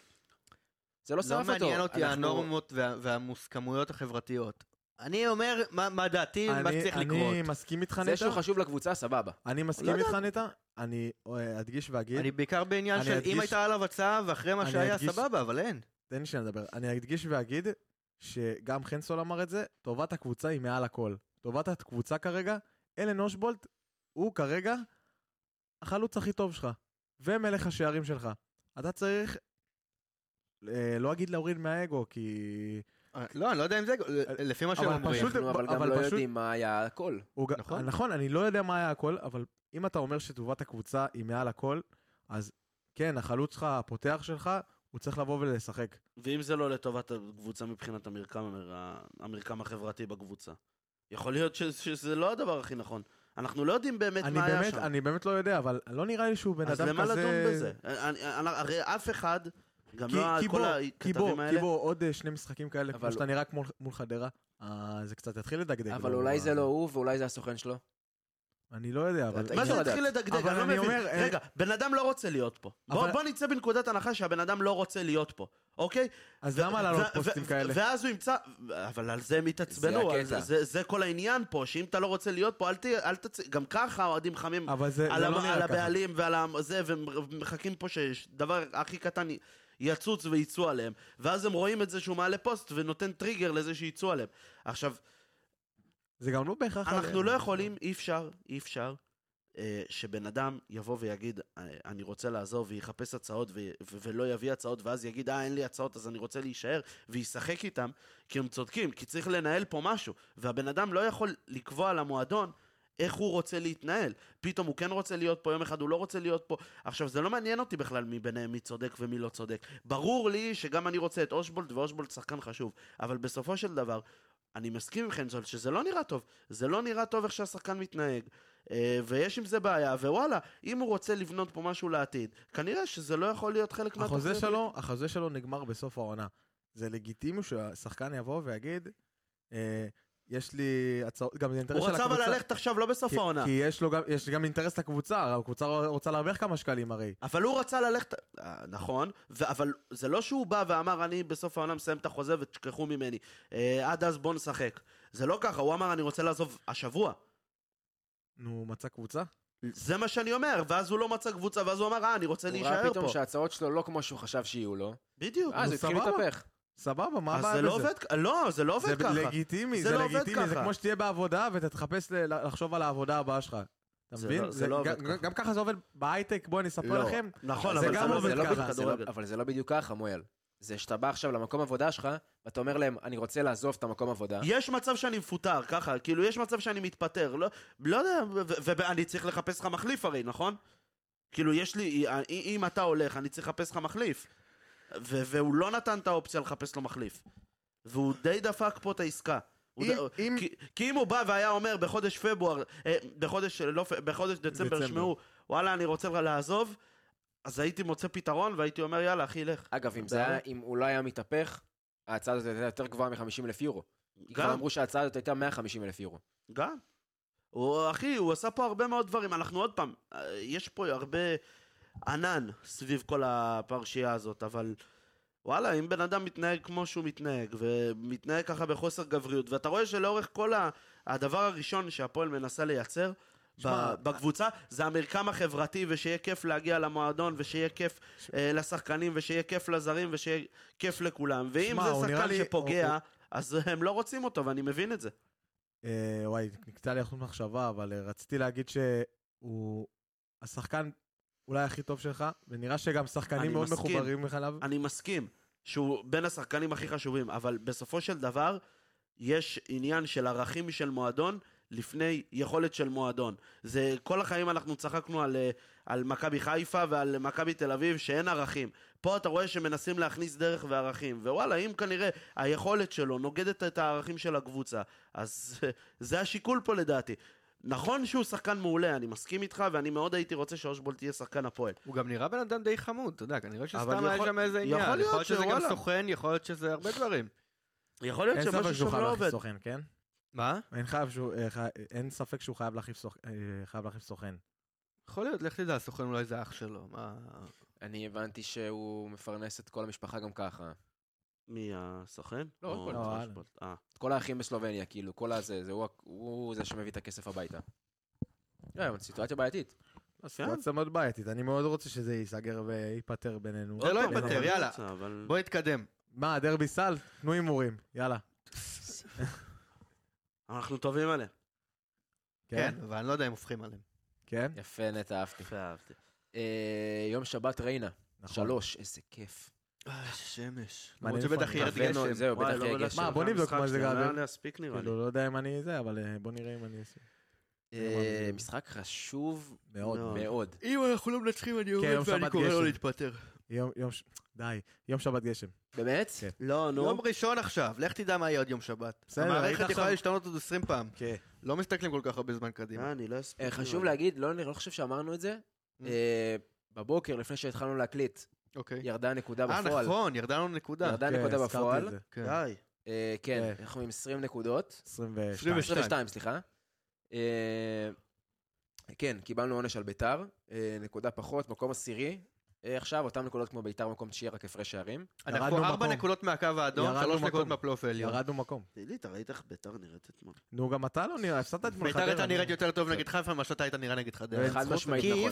A: זה לא שרף
E: לא
A: אותו.
E: מעניין אותי
A: אנחנו-
E: הנורמות וה- והמוסכמויות החברתיות. אני אומר מה מה דעתי, מה
F: אני-
E: שצריך לקרות.
F: אני מסכים איתך,
A: זה שהוא
F: נטע.
A: חשוב לקבוצה, סבבה.
F: אני מסכים איתך, נטע. אני אה, אדגיש ואגיד.
E: לא כן. אני בעיקר בעניין
F: אני
E: של אם
F: אדגיש-
E: הייתה עליו הצעה ואחרי מה
F: אני
E: שהיה,
F: אדגיש-
E: סבבה, אבל אין.
F: תן לי שנייה לדבר. אני אדגיש ואגיד שגם חנסול אמר את זה, טובת הקבוצה היא מעל הכל. טובת הקבוצה כרגע, אלן אושבולט הוא כרגע החלוץ הכי טוב שלך, ומלך השערים שלך. אתה צריך, אה, לא אגיד להוריד מהאגו, כי...
E: לא, אני לא יודע אם זה, לפי מה שהם
F: אבל
E: אומרים.
F: פשוט-
A: אנחנו אבל גם
F: אבל
A: לא
F: פשוט-
A: יודעים מה היה הכל.
F: הוא... ג-
E: נכון.
F: נכון, אני לא יודע מה היה הכל, אבל אם אתה אומר שטובת הקבוצה היא מעל הכל, אז כן, החלוץ שלך, הפותח שלך, הוא צריך לבוא ולשחק.
G: ואם זה לא לטובת הקבוצה מבחינת המרקם, המר- המרקם החברתי בקבוצה. יכול להיות ש- שזה לא הדבר הכי נכון. אנחנו לא יודעים באמת
F: אני
G: מה היה
F: באמת,
G: שם.
F: אני באמת לא יודע, אבל לא נראה לי שהוא בן אדם
G: אז
F: כזה...
G: למה לדון בזה? אני- אני- הרי אף אחד, גם
F: כי-
G: לא
F: כי
G: כל
F: בוא, כי
G: הכתבים
F: בוא, כי
G: האלה,
F: בוא, עוד אה, שני משחקים כאלה,
A: אבל-
F: כמו שאתה נראה כמו- מול חדרה, אה, זה קצת יתחיל לדגדג.
A: אבל
F: לו
A: אולי
F: ב-
A: זה לא הוא ואולי זה הסוכן שלו.
F: אני לא יודע, אבל...
A: אתה-
G: מה זה
A: לא
G: להתחיל
A: יודעת.
G: לדגדג?
F: אבל
G: אני לא
F: אני
G: מבין.
F: אומר, אה,
G: רגע, בן אדם לא רוצה להיות פה. בוא
F: אבל-
G: בוא נצא בנקודת הנחה שהבן אדם לא רוצה להיות פה, אוקיי?
F: אז למה לעלות
G: ו-
F: פוסטים
G: ו-
F: כאלה?
G: ואז הוא ימצא, אבל על זה הם
A: זה
G: התעצבנו, על
A: הקטע.
G: זה- זה- זה כל העניין פה, שאם אתה לא רוצה להיות פה, אל ת- אל תצ... גם ככה האוהדים חמים
F: אבל זה
G: על,
F: זה
G: המ-
F: לא
G: על
F: נראה ככה.
G: הבעלים ועל ה- זה, ומחכים פה שדבר הכי קטן י- יצוץ וייצאו עליהם. ואז הם רואים את זה שהוא מעלה פוסט ונותן טריגר לזה שייצאו עליהם. עכשיו,
F: זה גם לא בהכרח...
G: אנחנו לא יכולים, אי אפשר, אי אפשר, אה, שבן אדם יבוא ויגיד, אה, אני רוצה לעזוב, ויחפש הצעות, ו- ו- ולא יביא הצעות, ואז יגיד, אה, אין לי הצעות, אז אני רוצה להישאר, וישחק איתם, כי הם צודקים, כי צריך לנהל פה משהו. והבן אדם לא יכול לקבוע למועדון איך הוא רוצה להתנהל. פתאום הוא כן רוצה להיות פה, יום אחד הוא לא רוצה להיות פה. עכשיו, זה לא מעניין אותי בכלל מי ביניהם, מי צודק ומי לא צודק. ברור לי שגם אני רוצה את אושבולט, ואושבולט שחקן חשוב. אבל בסופו של דבר, אני מסכים עם חנזול שזה לא נראה טוב. זה לא נראה טוב איך שהשחקן מתנהג. אה, ויש עם זה בעיה, ווואלה, אם הוא רוצה לבנות פה משהו לעתיד, כנראה שזה לא יכול להיות חלק
F: החוזה
G: מהתוכנית.
F: שלו, החוזה שלו נגמר בסוף העונה. זה לגיטימי שהשחקן יבוא ויגיד, אה, יש לי הצעות, גם זה אינטרס
G: הוא
F: של
G: רצה
F: הקבוצה.
G: אבל ללכת עכשיו, לא בסוף
F: כי-
G: העונה.
F: כי יש לו גם, יש גם אינטרס לקבוצה, הקבוצה רוצה להרוויח כמה שקלים הרי.
G: אבל הוא רצה ללכת, אה, נכון, ו... אבל זה לא שהוא בא ואמר, אני בסוף העונה מסיים את החוזה ותשכחו ממני. אה, עד אז בוא נשחק. זה לא ככה, הוא אמר, אני רוצה לעזוב השבוע.
F: נו, הוא מצא קבוצה?
G: זה מה שאני אומר, ואז הוא לא מצא קבוצה, ואז הוא אמר, אה, אני רוצה
A: הוא ראה
G: להישאר
A: פתאום אה,
G: פה.
A: שההצעות שלו לא כמו שהוא חשב שיהיו לו,
G: בדיוק.
A: אז
F: נו,
A: הוא התחיל
F: סבבה.
A: להתהפך.
F: סבבה, מה
G: אז
F: הבעיה
G: זה
F: בזה?
G: לא עובד ככה. לא, זה לא
F: זה
G: עובד ככה.
F: לגיטימי,
G: זה
F: זה
G: לא עובד
F: לגיטימי, זה
G: ככה.
F: כמו שתהיה בעבודה ותחפש ל- לחשוב על העבודה הבאה שלך. אתה
G: זה
F: מבין?
G: לא- זה לא עובד
F: גם-
G: ככה.
F: גם ככה זה עובד בהייטק, בוא אני אספר
A: לא.
F: לכם.
G: נכון,
F: זה
G: אבל זה
F: גם
G: לא
F: עובד
G: עובד
F: ככה,
G: ככה.
A: זה לא- אבל זה לא בדיוק ככה, מואל. זה שאתה בא עכשיו למקום עבודה שלך, ואתה אומר להם, אני רוצה לעזוב את המקום עבודה.
G: יש מצב שאני מפוטר, ככה, כאילו, יש מצב שאני מתפטר, לא, לא יודע, ואני צריך לחפש לך מחליף הרי, נכון? כאילו, יש לי, אה, אם אתה הולך, אני צריך לחפש לך מחליף. ו- והוא לא נתן את האופציה לחפש לו מחליף. והוא די דפק פה את העסקה. הוא
F: אם-
G: ד-
F: אם-
G: כי, כי אם הוא בא והיה אומר בחודש פברואר, אה, בחודש, לא, פ- בחודש דצמבר,
F: דצמבר.
G: שמעו, וואלה, אני רוצה לעזוב, אז הייתי מוצא פתרון והייתי אומר, יאללה, אחי, לך.
A: אגב, אם זה היה, אם הוא לא היה מתהפך, ההצעה הזאת הייתה יותר גבוהה מ-50 אלף יורו. כי כבר
G: גם.
A: אמרו שההצעה הזאת הייתה 150 אלף יורו.
G: גם. הוא, אחי, הוא עשה פה הרבה מאוד דברים. אנחנו עוד פעם, אה, יש פה הרבה ענן סביב כל הפרשייה הזאת, אבל וואלה, אם בן אדם מתנהג כמו שהוא מתנהג, ומתנהג ככה בחוסר גבריות, ואתה רואה שלאורך כל ה... הדבר הראשון שהפועל מנסה לייצר
F: שמע,
G: ב- בקבוצה זה המרקם החברתי, ושיהיה כיף להגיע למועדון, ושיהיה כיף אה, לשחקנים, ושיהיה כיף לזרים, ושיהיה כיף לכולם. ואם
F: שמע, הוא
G: זה
F: נראה
G: שחקן
F: לי- הוא-
G: שפוגע,
F: הוא-
G: אז הם לא רוצים אותו, ואני מבין את זה.
F: אה, וואי, נקטע לי אחוז מחשבה, אבל אה, רציתי להגיד שהוא השחקן אולי הכי טוב שלך, ונראה שגם שחקנים
G: אני
F: מאוד
G: מסכים.
F: מחוברים אליו.
G: אני מסכים שהוא בין השחקנים הכי חשובים, אבל בסופו של דבר יש עניין של ערכים של מועדון לפני יכולת של מועדון. זה כל החיים אנחנו צחקנו על, אה, על מכבי חיפה ועל מכבי תל אביב שאין ערכים. פה אתה רואה שמנסים להכניס דרך וערכים, ווואלה, אם כנראה היכולת שלו נוגדת את הערכים של הקבוצה, אז אה, זה השיקול פה לדעתי. נכון שהוא שחקן מעולה, אני מסכים איתך, ואני מאוד הייתי רוצה שאושבולט יהיה שחקן הפועל.
E: הוא גם נראה בן אדם די חמוד, אתה יודע, כנראה שסתם
G: אבל
E: היה
G: יכול-
E: שם איזה עניין.
G: יכול להיות
E: יכול להיות שזה גם
G: שוואלה.
E: סוכן, יכול להיות שזה הרבה דברים.
G: יכול להיות
F: אין ספק
G: שמשהו
F: שהוא
G: שם
F: חייב
G: לא
F: להחליף
G: עובד.
F: סוכן, כן?
E: מה?
F: אין, חייב שהוא, אה, חי... אין ספק שהוא חייב להחליף סוכ... אה, חייב להחליף סוכן.
E: יכול להיות, לך תדע, הסוכן אולי זה אח שלו, מה...
A: אני הבנתי שהוא מפרנס את כל המשפחה גם ככה.
G: מי הסוכן?
A: לא,
G: או
A: אושבולט.
F: לא,
G: אושבולט?
F: אהלן.
G: אה.
A: את כל האחים בסלובניה, כאילו, כל הזה, זה הוא, ה- הוא זה שמביא את הכסף הביתה. לא, סיטואציה בעייתית.
F: סיטואציה מאוד בעייתית, אני מאוד רוצה שזה ייסגר וייפתר בינינו.
E: זה לא
G: עוד פעם,
E: ייפתר,
G: אבל
E: יאללה.
G: באמצע, אבל-
E: בוא נתקדם.
F: מה, דרבי סל? תנו הימורים, יאללה.
G: אבל אנחנו טובים עליהם.
E: כן, אבל אני לא יודע אם הופכים עליהם.
F: כן?
A: יפה, נטע, אהבתי.
G: יפה, אהבתי.
A: אה, יום שבת ריינה,
F: נכון.
A: שלוש, איזה כיף.
E: אה, שמש.
F: מעניין
E: למרות
F: איפה
E: שבטח
F: אני
E: ירד
F: מכוון,
A: הבאנו-
E: גשם.
A: זהו,
G: וואי,
A: בטח
G: לא
A: יהיה
G: בדקתי
A: גשם.
F: מה, בוא
G: את
F: נבדוק
G: המשחק
F: מה זה
G: שלהם,
F: גבי.
G: היה להספיק נראה לי.
F: כאילו, לא יודע אם אני זה, אבל אה, בוא נראה אם אני אעשה.
A: אה, משחק חשוב
F: מאוד.
G: מאוד.
A: מאוד.
E: אם אנחנו לא מנצחים, אני
F: יום
E: עומד ואני
F: שבת
E: קורא לו
F: גשם.
E: להתפטר.
F: יום, יום, ש- די, יום שבת גשם.
A: באמת?
F: כן.
G: לא, נו.
E: יום ראשון עכשיו, לך תדע מה יהיה עוד יום שבת.
F: בסדר, ראית
E: המערכת
F: עכשיו-
E: יכולה להשתנות עוד 20 פעם.
F: כן.
E: לא מסתכלים כל כך הרבה זמן
G: אה,
E: קדימה.
G: אני לא אספיק.
A: אה, חשוב
G: נראה לי.
A: להגיד, לא אני לא חושב שאמרנו את זה,
E: Mm.
A: אה, בבוקר, לפני שהתחלנו להקליט,
E: אוקיי.
A: ירדה הנקודה
E: אה,
A: בפועל.
E: נכון, ירדה לנו נקודה.
A: ירדה
F: כן,
A: נקודה
F: הזכרתי
A: בפועל.
F: את זה.
E: כן.
G: די.
A: אה, כן,
F: כן.
A: אנחנו עם 20 נקודות.
F: 22.
A: 22, סליחה. אה, כן, קיבלנו עונש על ביתר, אה, נקודה פחות, מקום עשירי. אה, עכשיו, אותן נקודות כמו ביתר, מקום תשיעי, רק הפרש שערים.
E: אנחנו
F: ירדנו
E: ארבע
F: מקום.
E: נקודות מהקו האדום,
F: ירדנו
E: שלוש
F: מקום.
E: נקודות מהפלייאוף העליון.
F: ירדנו מקום.
G: תהילי, אתה ראית איך ביתר נראית אתמול.
F: נו, גם אתה לא נראה, הפסדת את
E: ביתר הייתה נראית יותר טוב נגד חיפה ממה שאתה היית נראה נגד
G: אה,
E: חדרה.
A: חד משמעית
E: כי
A: נכון.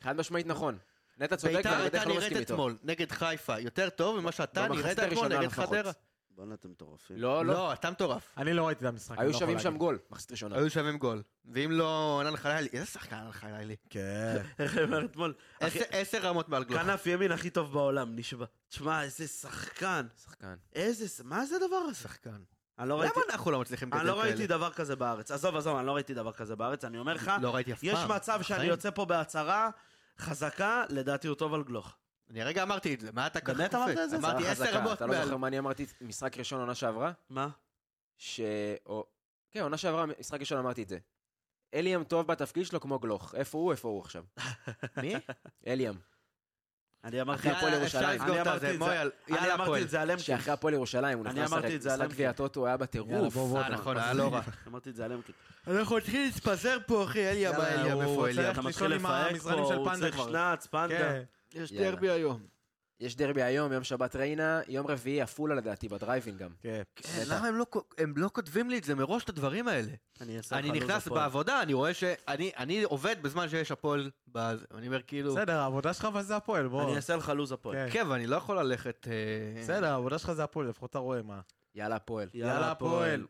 A: חד משמעית נכון. נטע צודק,
E: ביתר
A: ואני
E: הייתה
A: בדרך כלל לא מסכים
E: נראית
A: איתו.
E: אתמול נגד חיפה יותר טוב ממה
G: לא,
E: שאתה
A: במחצית
E: נראית אתמול
A: הראשונה
E: נגד
A: לפחות.
E: חדרה.
G: בואנה, אתם מטורפים.
A: לא, לא.
E: לא, אתה מטורף.
F: אני לא ראיתי את המשחק. אני
A: היו
F: לא
A: שווים
F: יכול
A: שם
F: להגיד.
A: גול, מחצית
G: לא.
A: ראשונה.
E: היו שווים גול. ואם לא ענן חלילי, איזה שחקן ענן חלילי?
F: כן.
G: איך אמר אתמול? אחי,
E: עשר- עשר רמות מעל גלוך.
G: כנף ימין הכי טוב בעולם, נשבע. תשמע, איזה שחקן.
A: שחקן.
G: איזה... ש- מה זה הדבר הזה?
E: שחקן.
G: אני לא
E: למה
G: ראיתי...
E: אנחנו לא מצליחים
G: אני
E: לקדם
G: לא ראיתי
E: כאלה?
G: דבר כזה בארץ. עזוב, עזוב, אני לא ראיתי דבר כזה בארץ. אני אומר לך,
E: לא ראיתי אף פעם.
G: יש מצב שאני
E: בחיים.
G: יוצא פה בהצהרה חזקה, לדעתי הוא טוב על גלוך.
E: אני הרגע אמרתי את זה, מה אתה ככה
G: באמת אמרת את זה?
E: אמרתי
A: הצהרה
E: עשר
A: חזקה.
E: רבות
A: אתה לא
E: מעל.
A: זוכר מה אני אמרתי משחק ראשון עונה שעברה?
G: מה?
A: ש... או... כן, עונה שעברה, משחק ראשון אמרתי את זה. אליאם טוב בתפקיד שלו כמו גלוך. איפה הוא, איפה הוא עכשיו?
E: מי?
A: אליאם.
G: אני אמרתי
A: אחרי
G: את
A: הפועל
G: זה-
A: ירושלים.
E: אפשר לסגור
G: אני
E: את
G: אמרתי
E: הזה,
G: את זה-
E: מויאל,
G: אני
E: אה, יאללה
G: אמרתי
E: הפועל.
G: את זה על אמקין.
A: שאחרי כן, הפועל ירושלים, הוא
G: אני
A: נכנס
G: אמרתי
A: לשחק
G: את זה על
A: משחק
G: אמקין.
A: גביע הטוטו, הוא היה
F: יאללה,
A: בטירוף.
F: בוא, בוא,
E: אה,
F: אתה-
E: נכון,
F: אתה-
E: היה לא רע.
G: אמרתי את זה על אמקין.
E: אנחנו נתחיל להתפזר פה, אחי, אליה, מה
F: יאללה,
E: אליה,
F: הוא
E: איפה
F: רוצה
E: אליה?
G: אתה
F: לשאול
G: מתחיל
F: עם
G: לפהק פה,
F: המזרנים של
G: הוא
F: פנדה
G: צריך
F: כבר.
G: שנץ, פנדה.
F: כן.
E: יש
A: יאללה.
E: דרבי היום.
A: יש דרבי היום, יום שבת ריינה, יום רביעי עפולה לדעתי, בדרייבין גם.
F: כן.
E: כן, למה הם לא כ- הם לא כותבים לי את זה מראש, את הדברים האלה?
G: אני אעשה לך
E: אני
G: לו"ז
E: נכנס
G: הפועל.
E: בעבודה, אני רואה שאני אני עובד בזמן שיש הפועל, באז- אני אומר כאילו,
F: בסדר, העבודה שלך אבל זה הפועל, בוא.
G: אני אעשה לך לו"ז הפועל.
F: כן.
E: כן, ואני לא יכול ללכת... אה,
F: בסדר, העבודה שלך זה הפועל, לפחות אתה רואה מה.
A: יאללה, הפועל.
F: יאללה, הפועל.